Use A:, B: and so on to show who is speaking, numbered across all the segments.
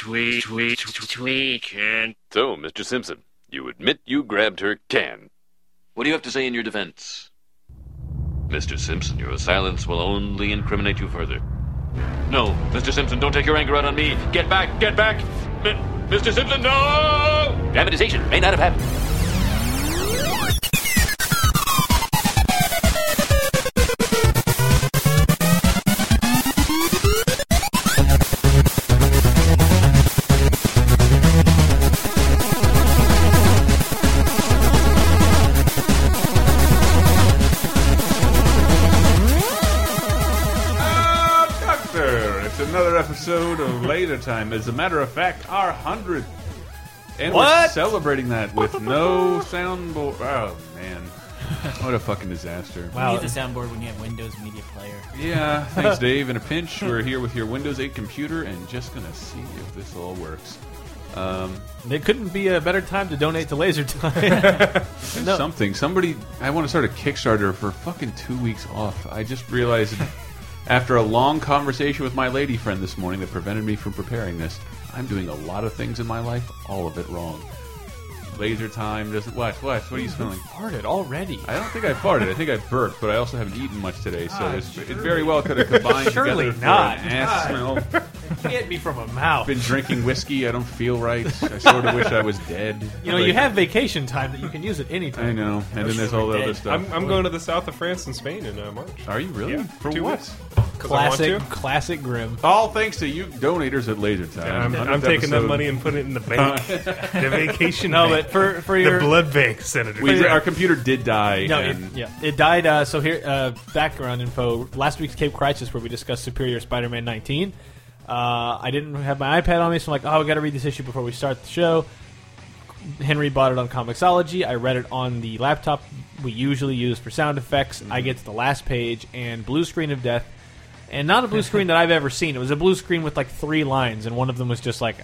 A: tweak, tweak, tweak, and
B: So, Mr. Simpson, you admit you grabbed her can. What do you have to say in your defense? Mr. Simpson, your silence will only incriminate you further. No, Mr. Simpson, don't take your anger out on me. Get back, get back! Mi- Mr. Simpson, no! Dramatization may not have happened.
C: Ah, Doctor! It's another episode of Later Time. As a matter of fact, our hundredth, and we're
D: What?
C: celebrating that with no soundboard. Oh man, what a fucking disaster!
D: Wow.
E: You need the soundboard when you have Windows Media Player.
C: Uh, Yeah, thanks, Dave. In a pinch, we're here with your Windows 8 computer and just gonna see if this all works. Um,
D: It couldn't be a better time to donate to Laser Time. No.
C: Something. Somebody. I want to start a Kickstarter for fucking two weeks off. I just realized after a long conversation with my lady friend this morning that prevented me from preparing this. I'm doing a lot of things in my life, all of it wrong. Laser time doesn't. What? What? What are you smelling?
D: Farted already.
C: I don't think I farted. I think I burped, but I also haven't eaten much today, so it's, it very well could have combined
D: Surely
C: together for
D: not.
C: an ass smell.
D: Can't be from a mouth.
C: Been drinking whiskey. I don't feel right. I sort of wish I was dead.
D: You know,
C: Like,
D: you have vacation time that you can use at any time.
C: I know, and then there's all the other stuff.
F: I'm, I'm going to the south of France and Spain in uh, March.
C: Are you really?
F: Yeah,
C: For
F: two
C: what?
F: weeks. 'Cause I want
D: Classic,
F: to.
D: classic Grim.
C: All thanks to you donators at Laser Time.
F: I'm, I'm
C: 100th
F: taking that
C: episode.
F: money and putting it in the bank, the vacation.
D: No,
F: bank.
D: but for for
F: the
D: your
F: blood bank, Senator.
C: We, our computer did die.
D: no, it,
C: and
D: yeah, it died. Uh, so here, uh, background info. Last week's Cape Crisis, where we discussed Superior Spider-Man 19. Uh, I didn't have my iPad on me, so I'm like, oh, I got to read this issue before we start the show. Henry bought it on Comixology. I read it on the laptop we usually use for sound effects. I get to the last page and blue screen of death, and not a blue screen that I've ever seen. It was a blue screen with like three lines, and one of them was just like,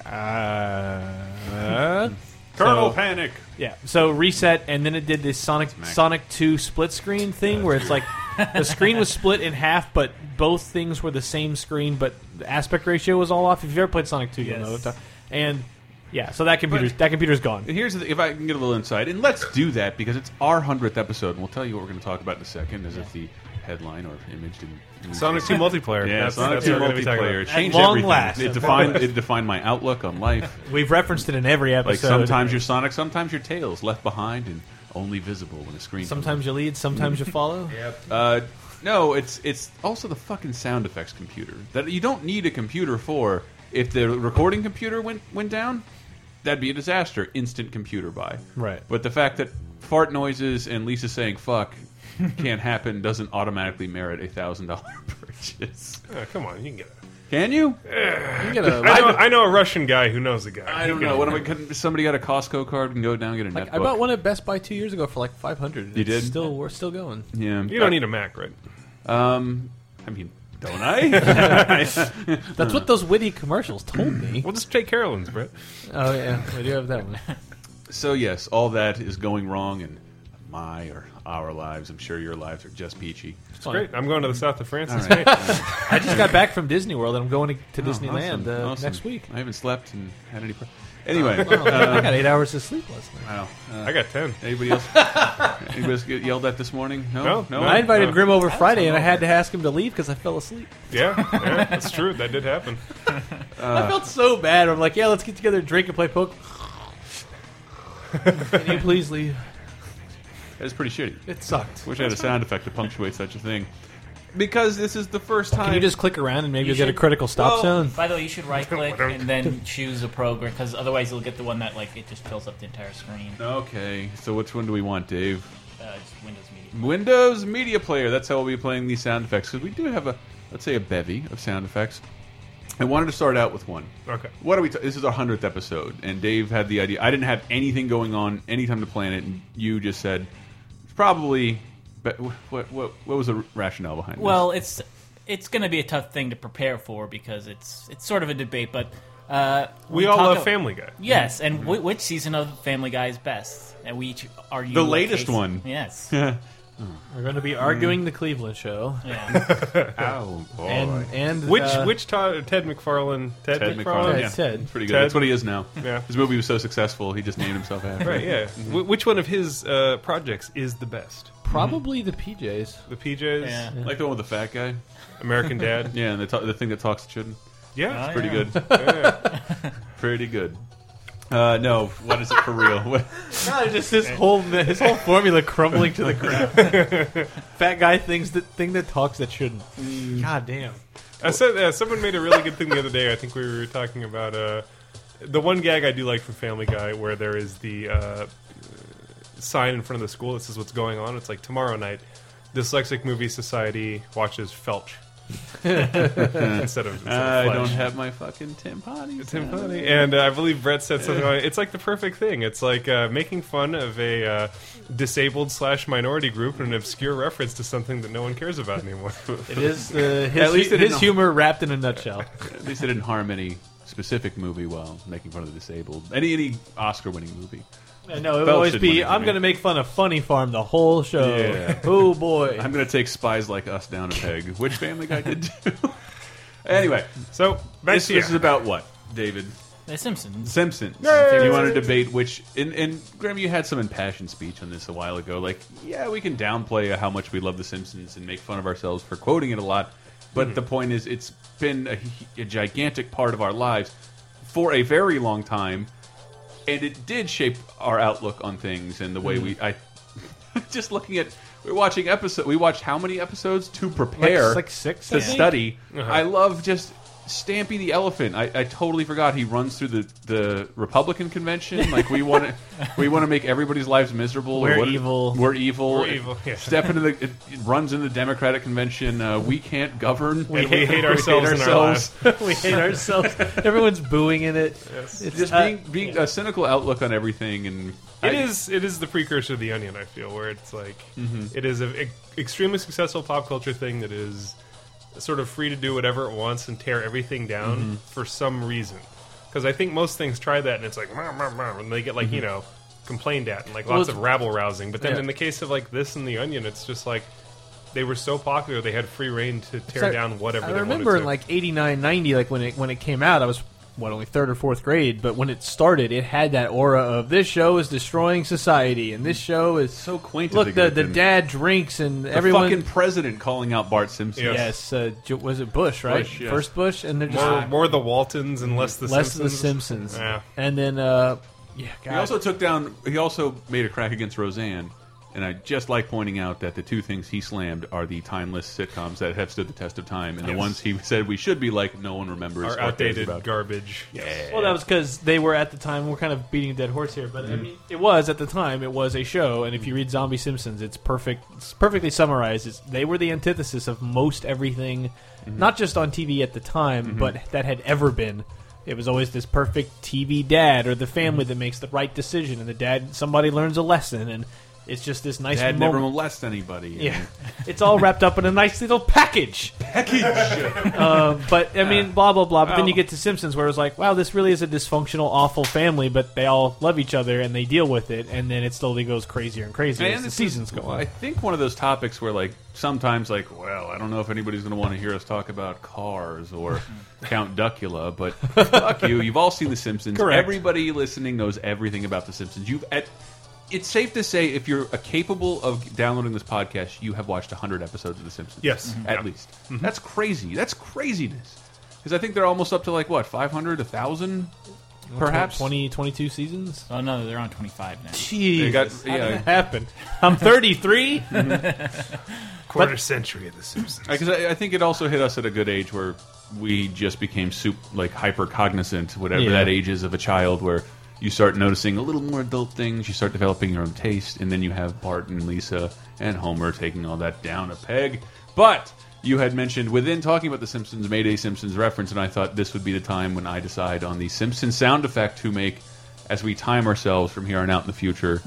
D: uh,
C: Colonel
D: So-
C: Panic.
D: yeah. So reset, and then it did this Sonic Sonic Two split screen thing where it's like the screen was split in half, but both things were the same screen, but the aspect ratio was all off. If you've ever played Sonic Two, you'll know.
E: Yes.
D: What I'm talking- and yeah, so that computer's that computer's gone.
C: Here's the, if I can get a little insight, and let's do that because it's our hundredth episode, and we'll tell you what we're going to talk about in a second, as if the headline or image didn't.
F: Sonic 2 multiplayer.
C: Yeah,
F: that's,
C: Sonic
F: that's
C: 2
F: what we're gonna be talking
C: multiplayer
F: about.
C: changed
D: At long
C: everything.
D: last.
C: It defined it defined my outlook on life.
D: We've referenced it in every episode.
C: Like sometimes you're Sonic, sometimes you're Tails, left behind and only visible when a screen. comes
D: sometimes you lead, sometimes you follow.
C: Uh, no, it's it's also the fucking sound effects computer that you don't need a computer for. If the recording computer went went down, that'd be a disaster. Instant computer buy.
D: Right.
C: But the fact that fart noises and Lisa saying "fuck" can't happen doesn't automatically merit a thousand dollar purchase.
F: Oh, come on, you can get it.
C: Can you?
D: You get a-
F: I know, I know a Russian guy who knows a guy.
C: Uh, I don't know. What am I? Could, somebody got a Costco card and go down and get a
E: Like,
C: netbook.
E: I bought one at Best Buy two years ago for like five hundred.
C: You did?
E: Still, we're still going.
C: Yeah.
F: You don't need a Mac, right?
C: Um. I mean, don't I?
E: That's what those witty commercials told me.
F: We'll just take Carolyn's, Brett.
E: oh yeah, we do have that one.
C: So yes, all that is going wrong in my or our lives. I'm sure your lives are just peachy.
F: It's great. I'm going to the south of France.
C: All
F: and
C: right.
F: Spain.
D: I just got back from Disney World, and I'm going to, to
C: Oh,
D: Disneyland
C: awesome,
D: uh,
C: awesome.
D: next week.
C: I haven't slept and had any. Pro anyway,
E: I
C: uh,
E: got eight hours of sleep last night.
C: wow. Uh,
F: I got 10.
C: anybody else? anybody else get yelled at this morning? No,
F: No, no.
D: I invited
F: Uh,
D: Grim over Friday, and I had to ask him to leave because I fell asleep.
F: Yeah, yeah, that's true. That did happen.
D: I felt so bad. I'm like, yeah, let's get together and drink and play poker. Can you please leave?
C: That's pretty shitty.
D: It sucked.
C: Wish I had a sound effect to punctuate such a thing. Because this is the first time.
D: Can you just click around and maybe
E: You
D: you will get a
E: should-
D: critical stop
C: Well-
D: zone?
E: By the way, you should right click
F: and
E: and then choose a program because otherwise you'll get the one that like it just fills up the entire screen. uh,
C: Okay, so which one do we want, Dave?
E: Windows Media.
C: Windows Media Player. That's how we'll be playing these sound effects because we do have a, let's say, a bevy of sound effects. I wanted to start out with one.
F: Okay.
C: What are we? T this is our hundredth episode, and Dave had the idea. I didn't have anything going on any time to plan it, and you just said it's probably. But what what what was the rationale behind?
E: Well, it's it's going to be a tough thing to prepare for because it's it's sort of a debate, but uh,
F: We, all
E: talk
F: love
E: a-
F: Family Guy.
E: Yes, and whi- which season of Family Guy is best? And Uh, we each argue
C: The
E: a
C: latest
E: case-
C: one.
E: Yes,
C: this?
D: We're going to be arguing the Cleveland show,
E: Yeah.
C: Ow. boy.
D: and and
F: Which
D: uh,
F: which Todd, Ted McFarlane? Ted,
C: Ted
D: Ted,
C: McFarlane. Yeah.
D: Ted.
C: Pretty good.
F: Ted?
C: That's what he is now.
F: Yeah.
C: His movie was so successful, he just named himself after.
F: Right.
C: it.
F: Yeah. Wh- which one of his uh, projects is the best?
D: probably the PJs.
F: The PJs,
E: Yeah.
C: Like the one with the fat guy.
F: American Dad.
C: Yeah, and the, ta- the thing that talks that shouldn't.
F: Yeah.
E: Oh,
F: it's
C: Pretty
E: yeah.
C: good. Pretty good. Uh, no, what is it for real? What-
D: No, just his whole his whole formula crumbling to the ground. Fat guy things that thing that talks that shouldn't. God damn.
F: I said uh, someone made a really good thing the other day. I think we were talking about uh, the one gag I do like from Family Guy, where there is the uh, sign in front of the school that says what's going on. It's like tomorrow night, Dyslexic Movie Society watches Felch instead of, instead
C: I
F: of Fletch.
C: don't have my fucking Tim Potties.
F: Tim Funny. And uh, I believe Brett said something like, it's like the perfect thing. It's like uh, making fun of a uh, disabled slash minority group and an obscure reference to something that no one cares about anymore.
D: It is the his,
C: At least it
D: his
C: didn't-
D: humor wrapped in a nutshell.
C: At least they didn't harm any specific movie while making fun of the disabled. Any any Oscar-winning movie.
D: Yeah, no, it would
C: Belch
D: always
C: should
D: be
C: win it,
D: I'm
C: man.
D: going to make fun of Funny Farm the whole show.
C: Yeah.
D: Oh boy.
C: I'm gonna take spies like us down a peg, which Family Guy did do. anyway,
F: so, back
C: this,
F: to you.
C: this is about what David
E: The Simpsons.
C: Simpson. You want to debate which? And, and Graham, you had some impassioned speech on this a while ago. Like, yeah, we can downplay how much we love The Simpsons and make fun of ourselves for quoting it a lot,
D: Hmm.
C: but the point is, it's been a, a gigantic part of our lives for a very long time, and it did shape our outlook on things and the
D: Hmm.
C: way we. I just looking at. We're watching episode. We watched how many episodes to prepare?
D: Like- like six, I
C: to
D: think.
C: study.
F: Uh-huh.
C: I love just Stampy the elephant. I, I totally forgot he runs through the, the Republican convention. Like we want to, we want to make everybody's lives miserable.
D: We're evil.
C: We're evil.
F: We're evil, yeah.
C: Step into the. It, it runs in the Democratic convention. Uh, we can't govern.
F: And we hate ourselves in our lives.
D: we hate ourselves. Everyods booing in it. It's
C: Just
D: uh,
C: being, being a cynical outlook on everything, and
F: It is it is the precursor of the onion. I feel where it's like
D: Mm-hmm.
F: it is an extremely successful pop culture thing that is sort of free to do whatever it wants and tear everything down
D: Mm-hmm.
F: for some reason. Because I think most things try that and it's like "Meow, meow, meow," and they get like you know complained at and like lots of rabble rousing. But then
D: Mm-hmm. Yeah.
F: in the case of like this and the onion, it's just like they were so popular they had free reign to tear
D: So,
F: down whatever.
D: I
F: they
D: remember
F: wanted
D: in
F: to.
D: like 89, 90, like when it when it came out, I was what only third or fourth grade, but when it started, it had that aura of this show is destroying society, and this show is
C: so quaint.
D: look the the
C: dad.
D: dad drinks and
C: The
D: everyone.
C: fucking president calling out Bart Simpson.
F: Yeah.
D: yes, uh, J- was it Bush right?
C: Bush, yeah.
D: First Bush, and they're just
F: more, more the Waltons and less the
D: less of the
F: Simpsons.
D: Simpsons,
F: Yeah.
D: and then uh, yeah, God.
C: He also took down. He also made a crack against Roseanne, and I just like pointing out that the two things he slammed are the timeless sitcoms that have stood the test of time, and the ones he said we should be like no one remembers or
F: Our
C: cares
F: outdated
C: about.
F: garbage.
D: Well, that was because they were at the time. We're kind of beating a dead horse here, but I
C: Mm-hmm.
D: mean, it was at the time. It was a show, and if you read Zombie Simpsons, it's perfect. It's perfectly summarized. It's, they were the antithesis of most everything,
C: Mm-hmm.
D: not just on TV at the time, but that had ever been. It was always this perfect TV dad or the family
C: Mm-hmm.
D: that makes the right decision, and the dad somebody learns a lesson, and it's just this nice
C: Dad never
D: moment.
C: molest anybody.
D: Yeah, it's all wrapped up in a nice little package. Um, but I mean, blah blah blah. But then you get to Simpsons, where it's like, wow, this really is a dysfunctional, awful family, but they all love each other and they deal with it, and then it slowly goes crazier and crazier as the
C: this
D: seasons
C: is,
D: go
C: I
D: on.
C: think one of those topics where, like, sometimes, like, well, I don't know if anybody's going to want to hear us talk about cars or Count Duckula, but fuck you. You've all seen The Simpsons.
D: Correct.
C: Everybody listening knows everything about The Simpsons. You've at it's safe to say if you're uh, capable of downloading this podcast, you have watched 100 episodes of The Simpsons.
F: Yes. Mhm.
C: At
F: Yeah.
C: least. That's crazy. That's craziness. Because I think they're almost up to, like, what, 500, 1,000? Perhaps?
D: 20, 22 seasons.
E: Oh no, they're on 25 now.
D: Jeez,
C: got-
D: how
C: yeah.
D: did that happen? I'm 33.
F: Quarter century of the Simpsons.
C: Because I, I think it also hit us at a good age where we just became soup like hyper cognizant, whatever
D: Yeah.
C: that age is of a child, where you start noticing a little more adult things, you start developing your own taste, and then you have Bart and Lisa and Homer taking all that down a peg. But you had mentioned within talking about the Simpsons, made a Simpsons reference, and I thought this would be the time when I decide on the Simpsons sound effect to make as we time ourselves from here on out in the future.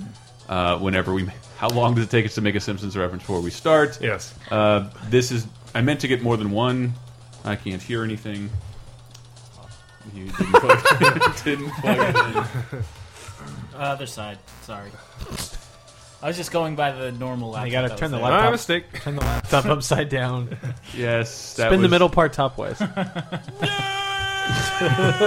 C: Uh, whenever we, how long does it take us to make a Simpsons reference before we start?
F: Yes.
C: Uh, this is. I meant to get more than one. I can't hear anything. You didn't plug, didn't plug it in.
E: Uh, Other side. Sorry. I was just going by the normal laptop.
D: You gotta
E: that
D: turn the
E: was
D: light-
E: there.
F: My
D: Laptop.
F: mistake.
D: Turn the laptop upside down.
C: Yes, that
D: Spin the
C: was-
D: middle part topwise.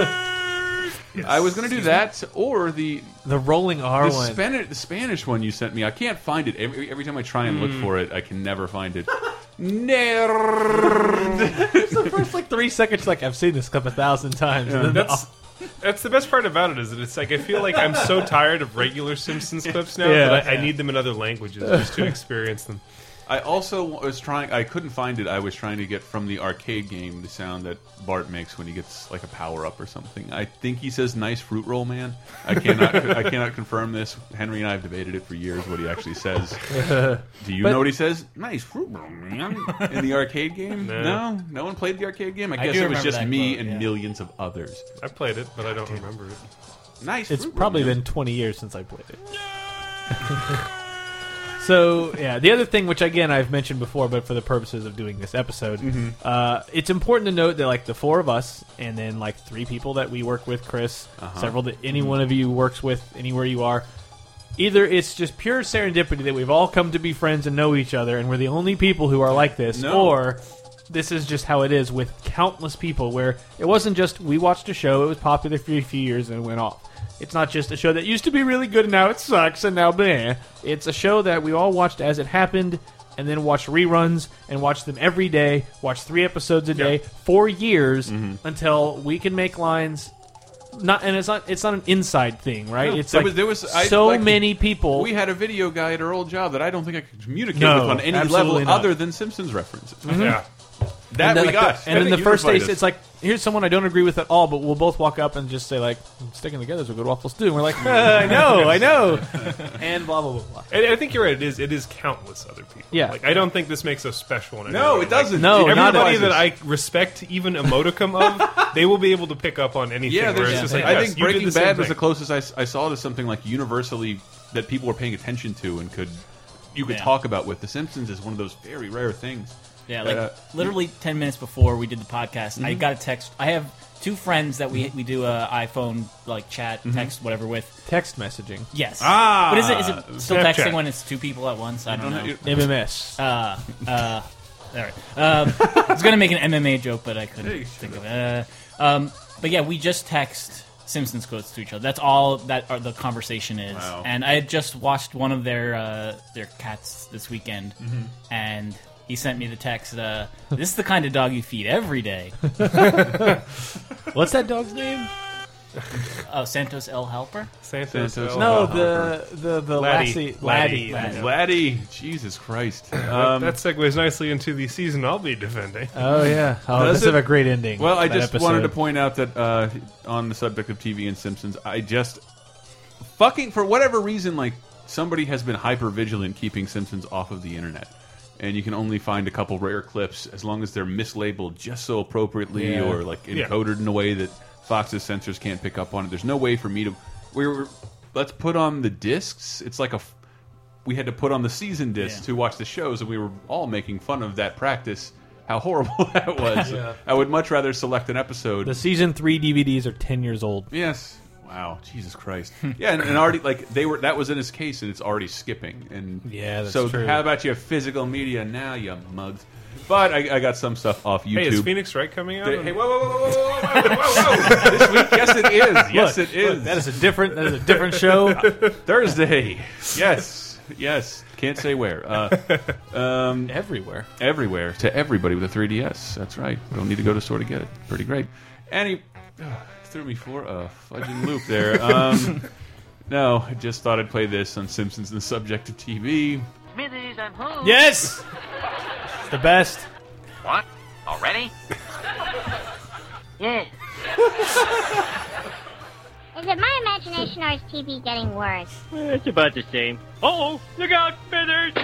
C: I was going to do that or the
D: the rolling R
C: the
D: one.
C: Spanish the Spanish one you sent me. I can't find it. Every, every time I try and look
D: Hmm.
C: for it, I can never find it. Nerd.
D: First like three seconds, like I've seen this clip a thousand times. and then
F: That's that's the best part about it is that it's like I feel like I'm so tired of regular Simpsons clips now
D: Yeah.
F: that I, I need them in other languages just to experience them.
C: I also was trying. I couldn't find it. I was trying to get from the arcade game the sound that Bart makes when he gets like a power up or something. I think he says "nice fruit roll, man." I cannot. I cannot confirm this. Henry and I have debated it for years what he actually says. Do you know what he says? Nice fruit roll, man. In the arcade game? No, no, one played the arcade game. I, guess
E: do
C: it was
E: remember
C: just
E: that
C: me
E: quote,
C: and
E: yeah.
C: millions of others.
F: I played it, but I don't remember it.
C: Nice.
D: It's
C: fruit roll,
D: probably
C: man.
D: been 20 years since I played it. so, yeah, the other thing, which again I've mentioned before, but for the purposes of doing this episode,
C: Mm-hmm.
D: uh, it's important to note that, like, the four of us, and then, like, three people that we work with, Chris,
C: Uh-huh.
D: several that any
C: Mm-hmm.
D: one of you works with, anywhere you are, either it's just pure serendipity that we've all come to be friends and know each other, and we're the only people who are like this,
C: No.
D: or this is just how it is with countless people where it wasn't just we watched a show, it was popular for a few years and it went off. It's not just a show that used to be really good and now it sucks and now bleh. It's a show that we all watched as it happened and then watched reruns and watched them every day, watched three episodes a day for years
C: Mm-hmm.
D: until we can make lines not and it's not it's not an inside thing, right?
C: No,
D: it's
C: there
D: like
C: was- there was- I-
D: so
C: like,
D: many people
C: We had a video guy at our old job that I don't think I could communicate
D: No,
C: with on any
D: absolutely
C: level
D: not.
C: other than Simpsons references.
D: Mm-hmm.
F: Yeah.
C: That
D: and then,
C: we
D: like,
C: got.
D: the- and
C: That
D: then the first day,
C: unified us.
D: it's like, here's someone I don't agree with at all, but we'll both walk up and just say like, sticking together is what good waffles do. And we're like, "Uh, I know, I know, and blah blah blah blah.
F: I, I think you're right. It is. It is countless other people.
D: Yeah.
F: Like I don't think this makes us special. In any
C: no,
F: way.
C: it doesn't.
D: No,
C: It
D: not at
F: Everybody
D: all.
C: unifies
F: that
C: us.
F: I respect, even emoticum of, they will be able to pick up on anything.
C: yeah,
F: where
C: there's
F: it's just like,
C: I
F: yes,
C: think
F: you did
C: Breaking
F: the same
C: Bad was the
F: thing.
C: closest I, s- I saw to something like universally that people were paying attention to and could you could
E: Yeah.
C: talk about with. The Simpsons is one of those very rare things.
E: Yeah, like
C: Uh,
E: literally ten minutes before we did the podcast, I got a text. I have two friends that we we do a iPhone like chat, text, whatever with.
D: Text messaging,
E: Yes.
C: Ah,
E: but is it, is it still
F: Snapchat.
E: texting when it's two people at once? I don't, know.
C: you-
D: MMS.
E: uh, uh, all right. Um, I was gonna make an MMA joke, but I couldn't think of it. Uh, um, but yeah, we just text Simpsons quotes to each other. That's all that are, the conversation is.
C: Wow.
E: And I had just watched one of their uh, their cats this weekend,
C: Mm-hmm.
E: and he sent me the text. Uh, this is the kind of dog you feed every day.
D: What's that dog's name?
E: Oh, Santos El Helper.
F: Santos.
C: Santos.
F: El-
D: No,
C: Oh,
D: the the the
F: Laddie.
D: Lassie, Laddie.
E: Laddie.
C: Laddie, Jesus Christ.
D: Uh,
F: That-
C: Um,
F: that segues nicely into the season I'll be defending.
D: Oh yeah, oh
C: Does
D: this have
C: it-
D: a great ending.
C: Well, I
D: that
C: just
D: episode.
C: wanted to point out that uh, on the subject of TV and Simpsons, I just fucking for whatever reason, like somebody has been hyper vigilant keeping Simpsons off of the internet, and you can only find a couple rare clips as long as they're mislabeled just so appropriately
D: Yeah.
C: or like
F: Yeah.
C: encoded in a way that Fox's sensors can't pick up on it. There's no way for me to we were let's put on the discs. It's like a f- we had to put on the season discs
E: Yeah.
C: to watch the shows, and we were all making fun of that practice. How horrible that was! I would much rather select an episode.
D: the season three DVDs are ten years old.
C: yes. Wow, Jesus Christ! yeah, and, and already like they were that was in his case, and it's already skipping. And
D: Yeah, that's
C: so
D: true.
C: how about your physical media now, you mugs? But I, I got some stuff off YouTube.
F: Hey, is Phoenix Wright coming out?
C: They- hey, whoa, whoa, whoa, whoa, whoa, whoa, whoa, whoa, whoa. this week, yes, it is. Yes,
D: Look,
C: it is.
D: look, that is a different that is a different show.
C: Thursday. Yes, yes. Can't say where. Uh,
D: Everywhere.
C: everywhere to everybody with a 3DS. That's right. Don't need to go to the store to get it. Pretty great. And he threw me for a fudging loop there. Um, no, I just thought I'd play this on Simpsons and the subject of TV.
G: Smithers, I'm home.
D: Yes, it's the best.
G: What? Already? yes.
H: Is it my imagination or is TV getting worse?
A: It's about the same. Oh, look out, feathers!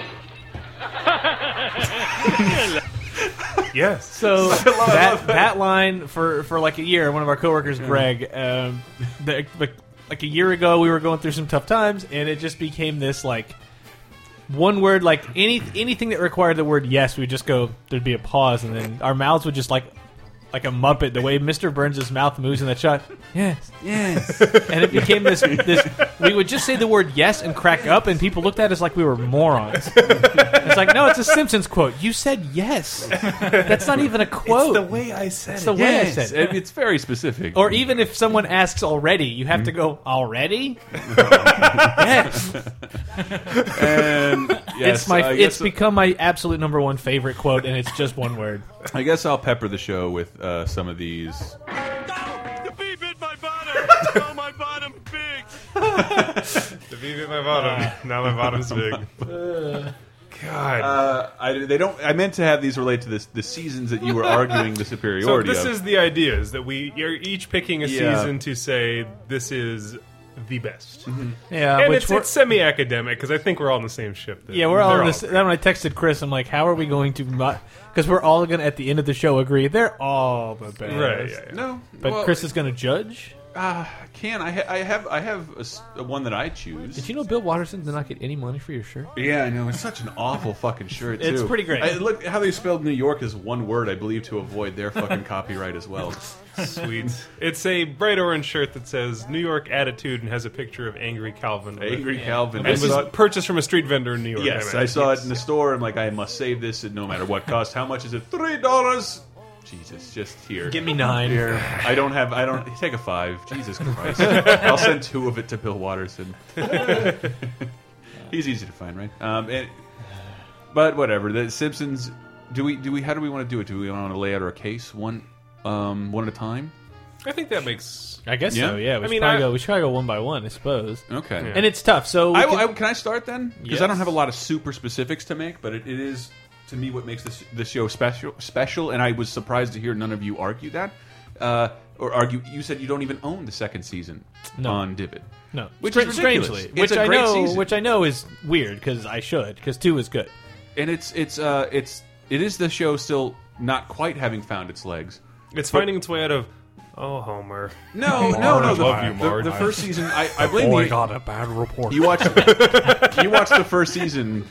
F: yes.
D: So that that line for for like a year, one of our coworkers, Greg, um, the, like, like a year ago, we were going through some tough times, and it just became this like one word, like any anything that required the word yes, we would just go. There'd be a pause, and then our mouths would just like like a Muppet, the way Mr. Burns' mouth moves in that shot. Yes, yes. And it became this, this. We would just say the word yes and crack up, and people looked at us like we were morons. It's like, no, it's a Simpsons quote. You said yes. That's not even a quote. It's the way I said it. the way I said it.
C: It- It's very specific.
D: Or even if someone asks already, you have
F: Hmm.
D: to go, already? yes.
C: and yes,
D: it's my.
C: I
D: It's
F: uh,
C: guess-
D: become my absolute number one favorite quote, and it's just one word.
C: I guess I'll pepper the show with uh, some of these.
A: The bee bit my bottom. oh, my bottom big.
F: The V bit my bottom. now my bottom's big. God.
C: Uh, I, they don't. I meant to have these relate to this the seasons that you were arguing the
F: so
C: superiority.
F: this
C: of.
F: is the idea: is that we you're each picking a
C: uh, Yeah.
F: season to say this is the best,
D: Yeah,
F: and
D: Uh, which
F: it's,
D: we're,
F: it's semi-academic because I think we're all on the same ship. that
D: yeah, we're all
F: they're
D: in this. Then when I texted Chris, I'm like, "How are we going to?" Because we're all going to at the end of the show agree they're all the best.
F: right. Yeah, yeah.
C: no,
D: But
C: well,
D: Chris is going to judge.
C: uh, can I? Ha I have. I have a s a one that I choose.
D: Did you know Bill Watterson did not get any money for your shirt?
C: Yeah, I know. It's such an awful fucking shirt. Too.
D: It's pretty great.
C: I, look how they spelled New York is one word, I believe, to avoid their fucking copyright as well.
F: Sweet. It's a bright orange shirt that says New York Attitude and has a picture of angry Calvin. on it.
C: Angry Calvin. I
F: And was
C: saw it-
F: purchased from a street vendor in New York.
C: yes, I saw it in the store. I'm like, I must save this at no matter what cost. How much is it? Three dollars. Jesus, just here.
D: Give me nine.
C: I don't have. I don't take a five. Jesus Christ! I'll send two of it to Bill Watterson. He's easy to find, right? Um, and, but whatever. The Simpsons. Do we? Do we? How do we want to do it? Do we want to lay out our case one, um, one at a time?
F: I think that makes.
D: I guess so.
C: Yeah.
D: Yeah, we
F: I
D: should
F: mean,
D: probably
F: I-
D: go. We should probably go one by one, I suppose.
C: Okay.
D: And it's tough. So we
C: I,
D: can-
C: I- can I start then? Because I
D: Yes.
C: don't have a lot of super specifics to make, but it, it is to me what makes this the show special. Special, and I was surprised to hear none of you argue that, uh, or argue. You said you don't even own the second season
D: No.
C: on Divid.
D: no,
C: Which
D: Stra-
C: is ridiculous.
D: strangely,
C: It's
D: which
C: a
D: I
C: great
D: know,
C: season.
D: which I know is weird because I should because two is good.
C: and it's it's uh it's it is the show still not quite having found its legs.
F: It's finding its way out of. Oh, Homer.
C: No, no, no.
F: I
C: The,
F: love you,
C: the-
F: Marge. Oh,
C: the first season, I, I blame you.
D: a bad report.
C: You watched, you watched the first season.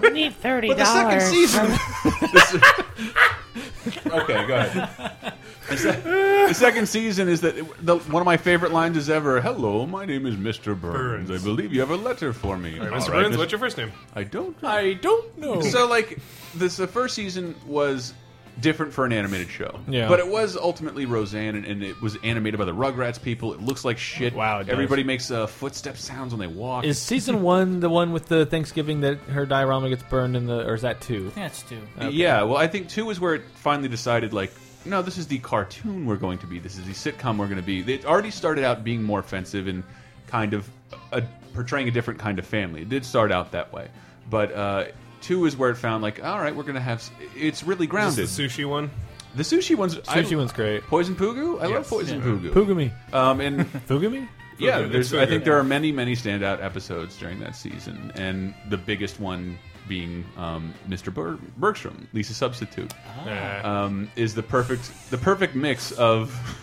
I: We need thirty
C: But the second
I: dollars.
C: season. This- okay, go ahead. The se- The second season is that the, one of my favorite lines is ever. Hello, my name is Mr. Burns.
F: Burns.
C: I believe you have a letter for me. All
F: Mr.
C: right,
F: Burns,
C: Mr.
F: what's your first name?
C: I don't.
D: I
C: Oh,
D: don't know.
C: So like this, the first season was different for an animated show.
D: Yeah.
C: But it was ultimately Roseanne, and, and it was animated by the Rugrats people. It looks like shit.
D: Wow, it does.
C: Everybody makes uh, footstep sounds when they walk.
D: Is season one the one with the Thanksgiving that her diorama gets burned in the, or is that two?
E: Yeah, it's two.
C: Yeah. Well, I think two is where it finally decided like. No, this is the cartoon we're going to be. This is the sitcom we're going to be. It already started out being more offensive and kind of uh portraying a different kind of family. It did start out that way, but uh, two is where it found like, all right, we're going to have. s- It's really
F: Is
C: grounded.
F: this the sushi one?
C: The sushi one's
D: Sushi
C: I,
D: one's great.
C: Poison Pugu. I love
F: Yes.
C: Poison Pugu.
D: Pugumi.
C: Um, and
D: Pugumi?
C: yeah,
F: Pugu,
C: there's.
F: it's
C: I
F: Pugu.
C: think there are many, many standout episodes during that season, and the biggest one being um, Mr. Ber Bergstrom, Lisa Substitute,
F: Uh,
C: um, is the perfect the perfect mix of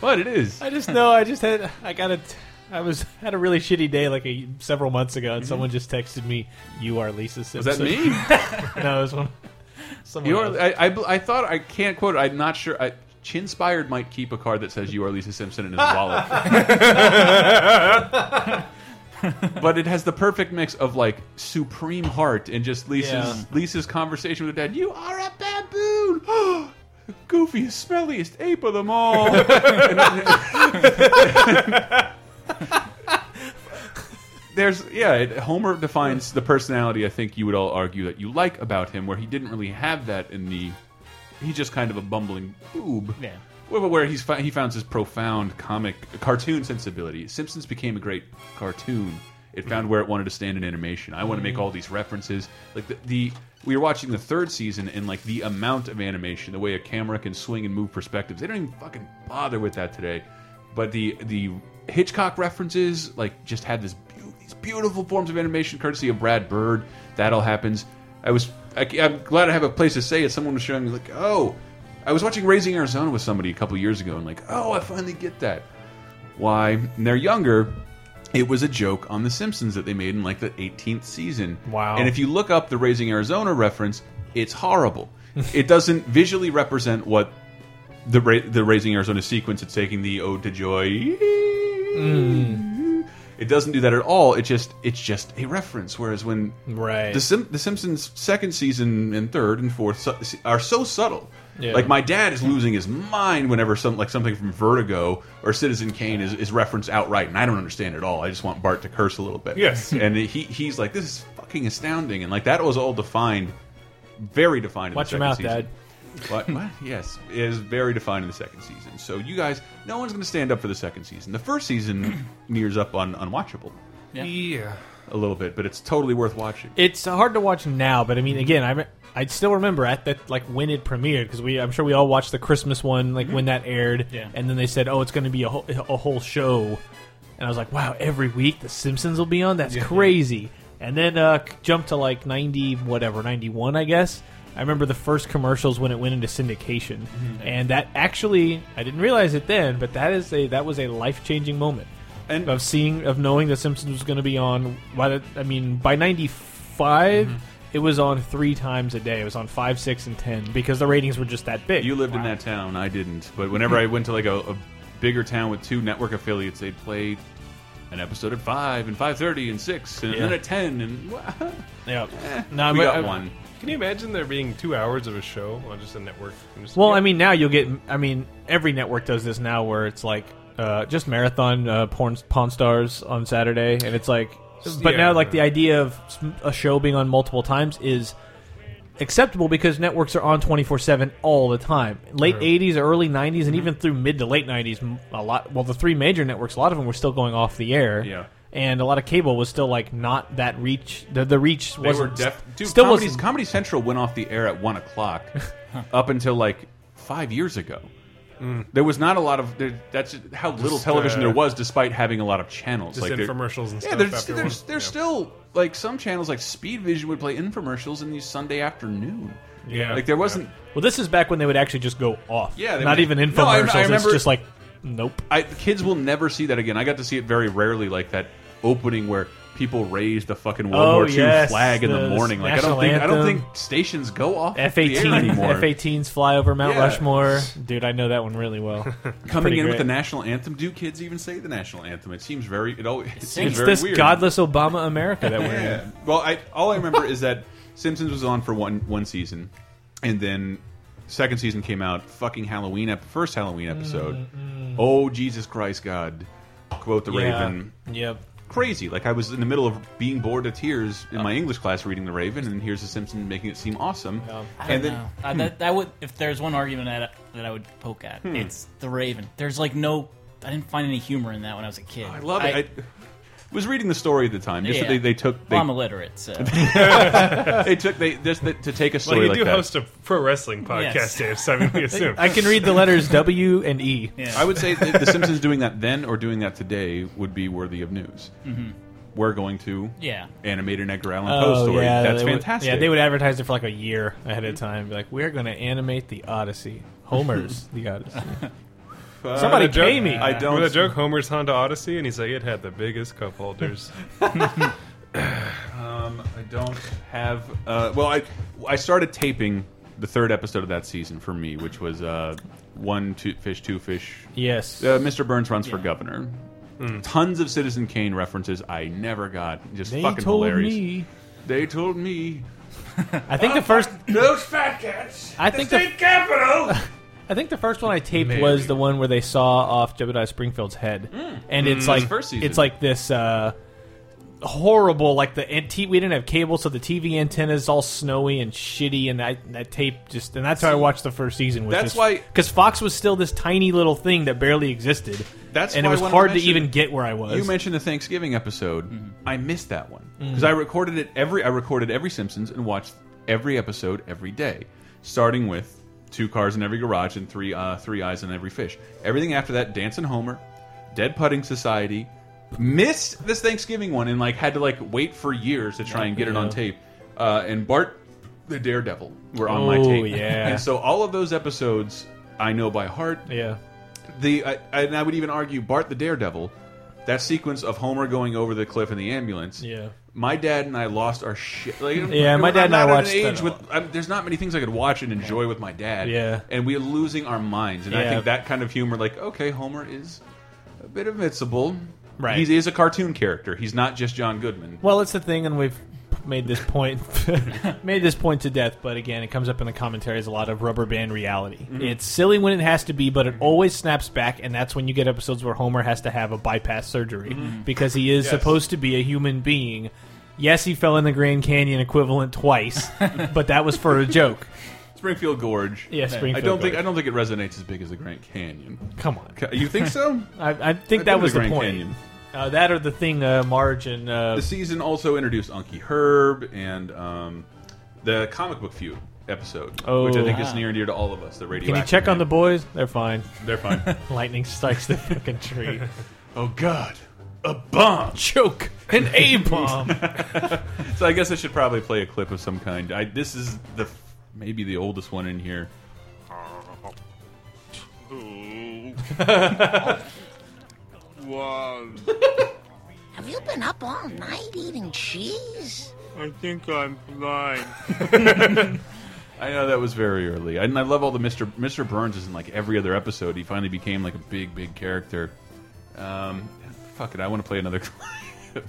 C: what it is.
D: I just know. I just had. I got a. I was had a really shitty day like a, several months ago, and someone just texted me, "You are Lisa
C: Is
D: Simpson."
C: Mm-hmm. that me?
D: no, it was one. Someone
C: You
D: else.
C: are. I, I, bl- I thought I can't quote. it. I'm not sure. I, Chinspired might keep a card that says you are Lisa Simpson in his wallet. but it has the perfect mix of like supreme heart and just Lisa's
D: Yeah.
C: Lisa's conversation with her dad. You are a baboon. The Goofiest, smelliest ape of them all. There's yeah, it, Homer defines the personality I think you would all argue that you like about him, where he didn't really have that in the. He's just kind of a bumbling boob.
E: Yeah.
C: Where, where he's fi- he founds his profound comic cartoon sensibility. Simpsons became a great cartoon. It found where it wanted to stand in animation. I want to make all these references. Like the, the we were watching the third season and like the amount of animation, the way a camera can swing and move perspectives. They don't even fucking bother with that today. But the the Hitchcock references like just had this beau- these beautiful forms of animation courtesy of Brad Bird. That all happens. I was I, am glad I have a place to say it. Someone was showing me like, oh, I was watching Raising Arizona with somebody a couple years ago and like, oh, I finally get that. Why? And they're younger. It was a joke on The Simpsons that they made in like the 18th season.
D: Wow.
C: And if you look up the Raising Arizona reference, it's horrible. it doesn't visually represent what the ra the raising Arizona sequence. It's taking the ode to joy.
D: Mm.
C: It doesn't do that at all. It just it's just a reference. Whereas when
D: Right.
C: the Sim the Simpsons second season and third and fourth su are so subtle.
D: Yeah.
C: Like my dad is losing his mind whenever some like something from Vertigo or Citizen Kane is, is referenced outright, and I don't understand it at all. I just want Bart to curse a little bit.
F: Yes.
C: and he he's like, this is fucking astounding, and like that was all defined, very defined. in the
D: Watch your
C: second
D: mouth,
C: season.
D: Dad.
C: What? what? Yes, it is very defined in the second season. So you guys, no one's going to stand up for the second season. The first season nears up on unwatchable
E: Yeah.
F: Yeah.
C: a little bit, but it's totally worth watching.
D: It's hard to watch now, but I mean, again, I re- I still remember at that like when it premiered because we I'm sure we all watched the Christmas one like when that aired,
E: Yeah.
D: and then they said, oh, it's going to be a whole, a whole show, and I was like, wow, every week The Simpsons will be on. That's crazy. And then uh, c- jumped to like ninety whatever ninety one, I guess. I remember the first commercials when it went into syndication,
C: Mm-hmm.
D: and that actually I didn't realize it then, but that is a that was a life changing moment
C: And-
D: of seeing of knowing the Simpsons was going to be on. By the, I mean, by '95,
C: Mm-hmm.
D: it was on three times a day. It was on five, six, and ten because the ratings were just that big.
C: You lived in that town, I didn't. But whenever I went to like a, a bigger town with two network affiliates, they'd play an episode at five and five thirty and six, and then
D: Yeah.
C: at ten, and
D: yeah. No,
C: Eh, we
D: but-
C: got
D: I-
C: one.
F: Can you imagine there being two hours of a show on just a network? And just-
D: Well, I mean, now you'll get. I mean, every network does this now, where it's like uh, just marathon uh, porn pawn stars on Saturday, and it's like. But
F: Yeah.
D: now, like the idea of s- a show being on multiple times is acceptable because networks are on twenty four seven all the time. Late '80s, early '90s, and
C: Mm-hmm.
D: even through mid to late '90s, m- a lot. Well, the three major networks, a lot of them were still going off the air.
C: Yeah.
D: And a lot of cable was still like not that reach. The, the reach
C: They were
D: wasn't
C: def- Dude,
D: still
C: Comedy,
D: wasn't
C: Comedy Central went off the air at one o'clock, up until like five years ago. There was not a lot of there, that's how little television
F: uh,
C: there was, despite having a lot of channels.
F: Just
C: there-
F: infomercials and
C: yeah,
F: stuff
C: there's
F: after
C: there's,
F: one.
C: there's
F: Yeah.
C: still like some channels like Speed Vision would play infomercials in the Sunday afternoon.
F: Yeah.
C: like there wasn't.
D: Well, this is back when they would actually just go off.
C: Yeah, they
D: not
C: would-
D: even infomercials.
C: No, I- I remember-
D: it's just like, nope.
C: I, kids will never see that again. I got to see it very rarely, like that opening where people raise the fucking World
D: Oh,
C: War II
D: yes,
C: flag in the
D: the
C: morning. Like I don't
D: national
C: think I don't
D: anthem.
C: think stations go off the air
D: F eighteen,
C: anymore.
D: F eighteens fly over Mount
C: Yeah.
D: Rushmore. Dude, I know that one really well. It's
C: Coming
D: pretty
C: in with
D: great.
C: the national anthem, do kids even say the national anthem? It seems very it always it seems
D: It's
C: very
D: this
C: weird.
D: godless Obama America that we're in.
C: Yeah. Well, I all I remember is that Simpsons was on for one one season, and then second season came out. Fucking Halloween ep first Halloween episode.
F: Mm-hmm.
C: Oh Jesus Christ, God! Quote the Raven.
D: Yep.
C: crazy. Like I was in the middle of being bored to tears in my English class reading The Raven, and here's The Simpsons making it seem awesome.
E: I don't
C: and then Hmm.
E: know. Uh, that, that would if there's one argument that that I would poke at, it's the Raven. There's like no, I didn't find any humor in that when I was a kid.
C: I love it. I, was reading the story at the time. Just that
E: Yeah.
C: they, they took they,
E: well, I'm illiterate, so
C: Hmm. they took they just that to take a
F: Well,
C: story
F: you
C: like
F: do
C: that.
F: host a pro wrestling podcast,
E: Yes.
F: Dave, so I mean, we assume.
D: I can read the letters W and E.
E: yeah.
C: I would say that The Simpsons doing that then or doing that today would be worthy of news. We're going to
E: Yeah.
C: animate an Edgar Allan Poe
D: Mm-hmm. Oh
C: story.
D: yeah,
C: That's
D: they would-
C: fantastic.
D: yeah, they would advertise it for like a year ahead of time. Be like, we're going to animate the Odyssey, Homer's the Odyssey.
C: Uh,
D: Somebody
F: Remember that
D: pay me.
C: I don't.
F: Remember that joke? Homer's Honda Odyssey, and he's like, it had the biggest cup holders.
C: Um, I don't have. Uh, well, I I started taping the third episode of that season for me, which was uh, one two, fish, two fish.
D: yes.
C: Uh, Mr. Burns runs for governor.
D: Hmm.
C: Tons of Citizen Kane references I never got. Just
D: they
C: fucking
D: told
C: hilarious. Oh,
D: me.
C: They told me
D: I think the first
C: those fat cats.
D: I think the-
C: state capital.
D: I think the first one I taped was the one where they saw off Jebediah Springfield's head, and it's like
C: Hmm. first season.
D: it's like this uh, horrible like the and t- we didn't have cable, so the TV antenna is all snowy and shitty, and that that tape just and that's how I watched the first season. Was
C: That's why-
D: because Fox was still this tiny little thing that barely existed.
C: That's
D: and
C: why I
D: it was
C: wanted to
D: hard to
C: mention-
D: even get where I was. Mm-hmm.
C: You mentioned the Thanksgiving episode. I missed that one because I recorded it every. I recorded every Simpsons and watched every episode every day, starting with two cars in every garage and three uh, three eyes on every fish. Everything after that, Dance and Homer, Dead Putting Society. Missed this Thanksgiving one and like had to like wait for years to try and get it on tape. Uh, and Bart the Daredevil were on my
D: Oh,
C: tape.
D: yeah.
C: And so all of those episodes I know by heart
D: yeah,
C: the I, and I would even argue Bart the Daredevil, that sequence of Homer going over the cliff in the ambulance.
D: yeah.
C: my dad and I lost our shit. Like,
D: Yeah, my
C: I'm
D: dad and
C: not
D: I
C: at an
D: watched that
C: age
D: a
C: with, I'm, there's not many things I could watch and enjoy with my dad.
D: Yeah.
C: and we're losing our minds. And I
D: Yeah.
C: think that kind of humor, like okay, Homer is a bit admissible.
D: Right.
C: he is a cartoon character. He's not just John Goodman.
D: Well, it's the thing, and we've made this point made this point to death. But again, it comes up in the commentary as a lot of rubber band reality.
C: Mm-hmm.
D: It's silly when it has to be, but it always snaps back, and that's when you get episodes where Homer has to have a bypass surgery
C: Mm-hmm.
D: because he is supposed to be a human being. Yes, he fell in the Grand Canyon equivalent twice, but that was for a joke.
C: Springfield Gorge.
D: Yeah, Springfield.
C: I don't think I
D: Gorge.
C: don't think it resonates as big as the Grand Canyon.
D: Come on,
C: Ca- You think so?
D: I, I think
C: I've been to
D: that was
C: the
D: the,
C: Grand
D: point.
C: Canyon.
D: Uh, that or the thing, uh, Marge and uh,
C: the season also introduced Unky Herb and um, the comic book feud episode,
D: Oh.
C: which I think is near and dear to all of us. The radio.
D: can you check on the boys? They're fine.
C: They're fine.
D: Lightning strikes the fucking tree.
C: oh God, a bomb.
D: Choke an A bomb.
C: So I guess I should probably play a clip of some kind. I, this is the maybe the oldest one in here.
I: Have you been up all night eating cheese?
A: I think I'm blind.
C: I know that was very early, and I love all the Mister Mister Burns is in like every other episode. He finally became like a big big character. Um, fuck it, I want to play another clip.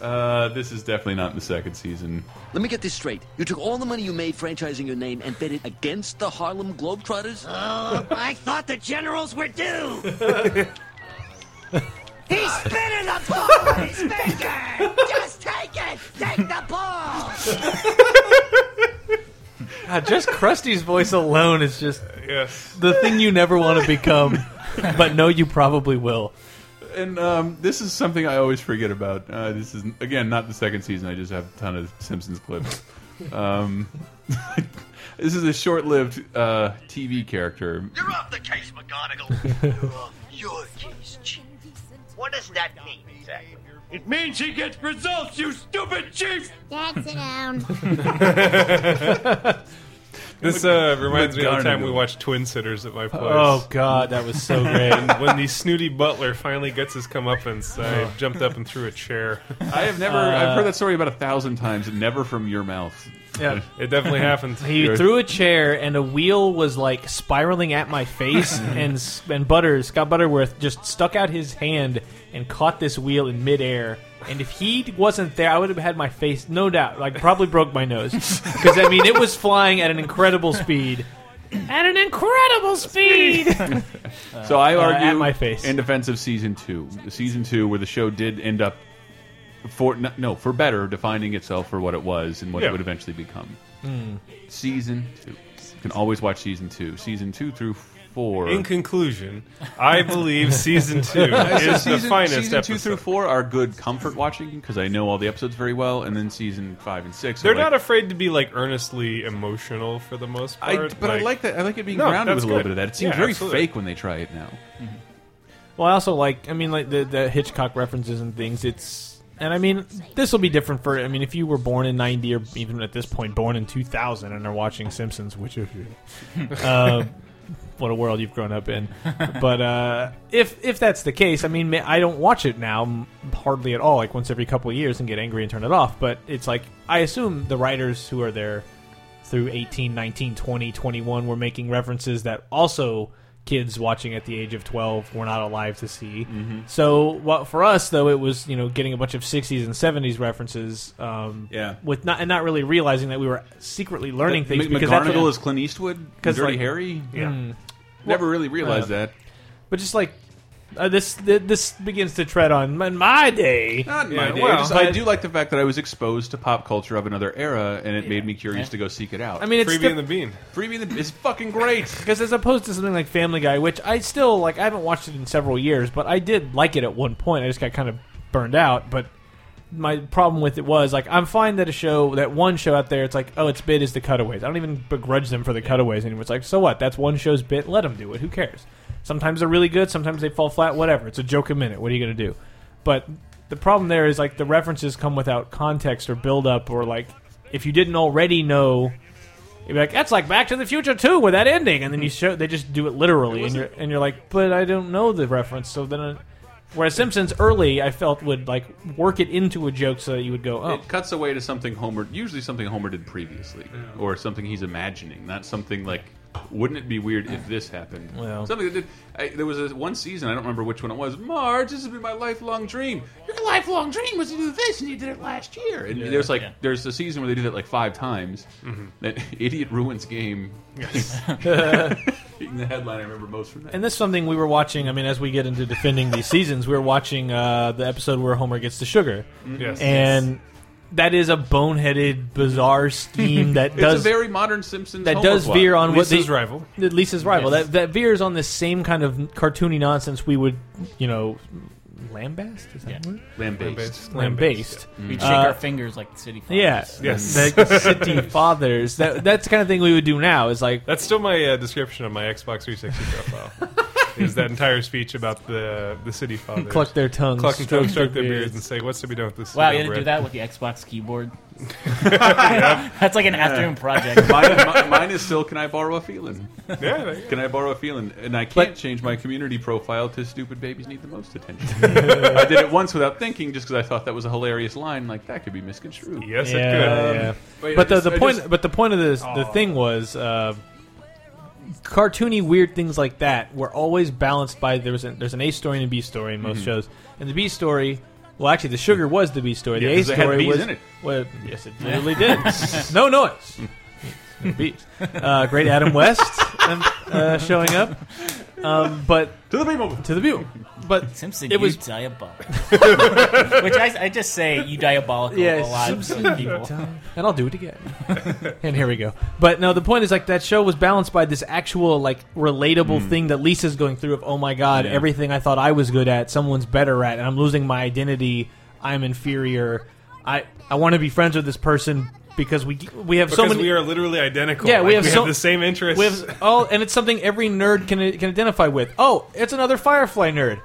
C: Uh, this is definitely not in the second season.
J: Let me get this straight. You took all the money you made franchising your name and bet it against the Harlem Globetrotters?
I: Oh, I thought the generals were due. He's spinning the ball with his finger. Just take it. Take the ball.
D: God, Uh, just Krusty's voice alone is just
F: Yes.
D: the thing you never want to become, but no, you probably will.
C: And um, this is something I always forget about. Uh, this is again not the second season. I just have a ton of Simpsons clips. Um, this is a short-lived uh, TV character.
J: You're off the case, McGonagall. You're off your case, Chief. What does that mean exactly?
A: It means he gets results, you stupid chief!
H: Dad, sit down.
F: This uh, reminds me of the
C: McGonagall.
F: time we watched Twin Sitters at my place.
D: Oh God, that was so great.
F: And when the snooty butler finally gets his comeuppance, I jumped up and threw a chair.
C: I have never. I've heard that story about a thousand times, and never from your mouth.
D: Yeah.
F: It definitely happened.
D: He threw a chair, and a wheel was like spiraling at my face, and s- and Butters Scott Butterworth just stuck out his hand and caught this wheel in midair. And if he wasn't there, I would have had my face, no doubt, like probably broke my nose because I mean it was flying at an incredible speed.
I: At an incredible speed.
C: So I argue
D: Uh, at my face.
C: in defense of season two, season two where the show did end up for no- no for better defining itself for what it was and what
F: Yeah.
C: it would eventually become.
D: Hmm.
C: Season two, you can always watch season two, season two through four.
F: In conclusion, I believe season two
C: So
F: is the
C: season,
F: finest
C: season
F: episode.
C: two through four are good comfort watching because I know all the episodes very well, and then season five and six.
F: They're
C: are like,
F: not afraid to be like earnestly emotional for the most
C: I,
F: part.
C: but I like that. I like it being
F: No,
C: grounded with
F: that's
C: a little
F: good.
C: bit of that. It seems
F: Yeah,
C: very
F: absolutely.
C: fake when they try it now.
D: Well, I also like, I mean, like the, the Hitchcock references and things. It's, and I mean, this will be different for, I mean, if you were born in 90 or even at this point, born in 2000 and are watching Simpsons, which of you? uh, what a world you've grown up in. But uh, if if that's the case, I mean, ma- I don't watch it now m- hardly at all, like once every couple of years and get angry and turn it off. But it's like, I assume the writers who are there through 18, 19, 20, 21 were making references that also kids watching at the age of 12 were not alive to see. So what for us though it was, you know, getting a bunch of 60s and 70s references um
C: Yeah.
D: with not and not really realizing that we were secretly learning things
C: Mc-
D: because that's what-
C: McGonagall Uh, is Clint Eastwood, and
D: 'Cause,
C: Dirty
D: like-
C: Harry.
F: Yeah.
C: Never really realized that.
D: But just like uh, this, th- this begins to tread on in my day.
C: Not in my
F: Yeah,
C: day.
F: well,
C: just,
F: I-
C: I do like the fact that I was exposed to pop culture of another era, and it made me curious to go seek it out.
D: I mean, it's
F: Freebie and the Bean.
C: Freebie and the is fucking great.
D: because as opposed to something like Family Guy, which I still like, I haven't watched it in several years, but I did like it at one point. I just got kind of burned out, but. My problem with it was like I'm fine that a show that one show out there it's like oh its bit is the cutaways I don't even begrudge them for the cutaways anymore it's like so what that's one show's bit let them do it who cares sometimes they're really good sometimes they fall flat whatever it's a joke a minute what are you gonna do but the problem there is like the references come without context or build up or like if you didn't already know You'd be like, that's like Back to the Future too with that ending, and then you show they just do it literally, and you're and you're like, but I don't know the reference, so then. I, Whereas Simpsons early, I felt would like work it into a joke so that you would go, oh,
C: It cuts away to something Homer, usually something Homer did previously, or something he's imagining, not something like. Wouldn't it be weird if this happened?
D: Well.
C: something that did. I, there was a, one season I don't remember which one it was. Marge, this has been my lifelong dream. Your lifelong dream was to do this, and you did it last year. And there's like there's a season where they did it like five times. That idiot ruins game. Being the headline I remember most from that.
D: And this is something we were watching. I mean, as we get into defending these seasons, we were watching uh, the episode where Homer gets the sugar,
C: Yes.
D: and that is a boneheaded, bizarre scheme that does
C: it's a very modern Simpsons
D: that
C: Homer
D: does
C: plot.
D: veer on what
F: Lisa's
D: the,
F: rival.
D: the Lisa's rival.
F: Yes.
D: That that veers on this same kind of cartoony nonsense we would, you know, lambast. Is that yeah.
C: Lambaste.
D: Lambast.
E: We'd shake
D: Uh,
E: our fingers like the city. fathers.
D: Yeah. The city fathers. That that's the kind of thing we would do now. Is like
F: That's still my uh, description of my Xbox 360 profile. is that entire speech about the the city fathers
D: Cluck their tongues,
F: cluck and
D: stroke
F: tongue, stroke
D: their
F: their beards,
D: beards.
F: and say, "What's to be done with this?"
E: Wow,
F: stale
E: you had to do
F: bread?"
E: that with the Xbox keyboard.
F: Yep.
E: That's like an afternoon project.
C: mine, mi- mine is still can I borrow a feeling?
F: Yeah, there you go.
C: Can I borrow a feeling? And I can't change my community profile to stupid babies need the most attention. I did it once without thinking, just because I thought that was a hilarious line. Like that could be misconstrued.
F: Yes,
D: Yeah,
F: it could.
D: yeah.
C: Wait,
D: Um, but
C: I
D: the,
C: just-
D: the
C: I
D: point,
C: just-
D: but the point of this, the thing was, uh, cartoony weird things like that were always balanced by there was an, there's an A story and a B story in most
C: Mm-hmm.
D: shows, and the B story. Well, actually, the sugar was the B story. The
C: Yeah,
D: A
C: 'cause they had
D: story
C: bees
D: was
C: in it.
D: Well, yes, it literally did. no noise. No bees. Uh, great Adam West um, uh, showing up, um, but
C: to the people.
D: to the view. But
E: Simpson,
D: It
E: it
D: was-
E: was diabolical. Which I, I just say you diabolical a
D: Yeah,
E: lot.
D: Simpson,
E: Simpson people.
D: and I'll do it again. and here we go. But no, the point is like that show was balanced by this actual like relatable
F: Hmm.
D: thing that Lisa's going through of oh my god, everything I thought I was good at, someone's better at, and I'm losing my identity. I'm inferior. I I want to be friends with this person because we we have so
F: Because
D: many
F: we are literally identical.
D: Yeah, we
F: Like,
D: have so-
F: the same interests.
D: we have oh, and it's something every nerd can can identify with. Oh, it's another Firefly nerd.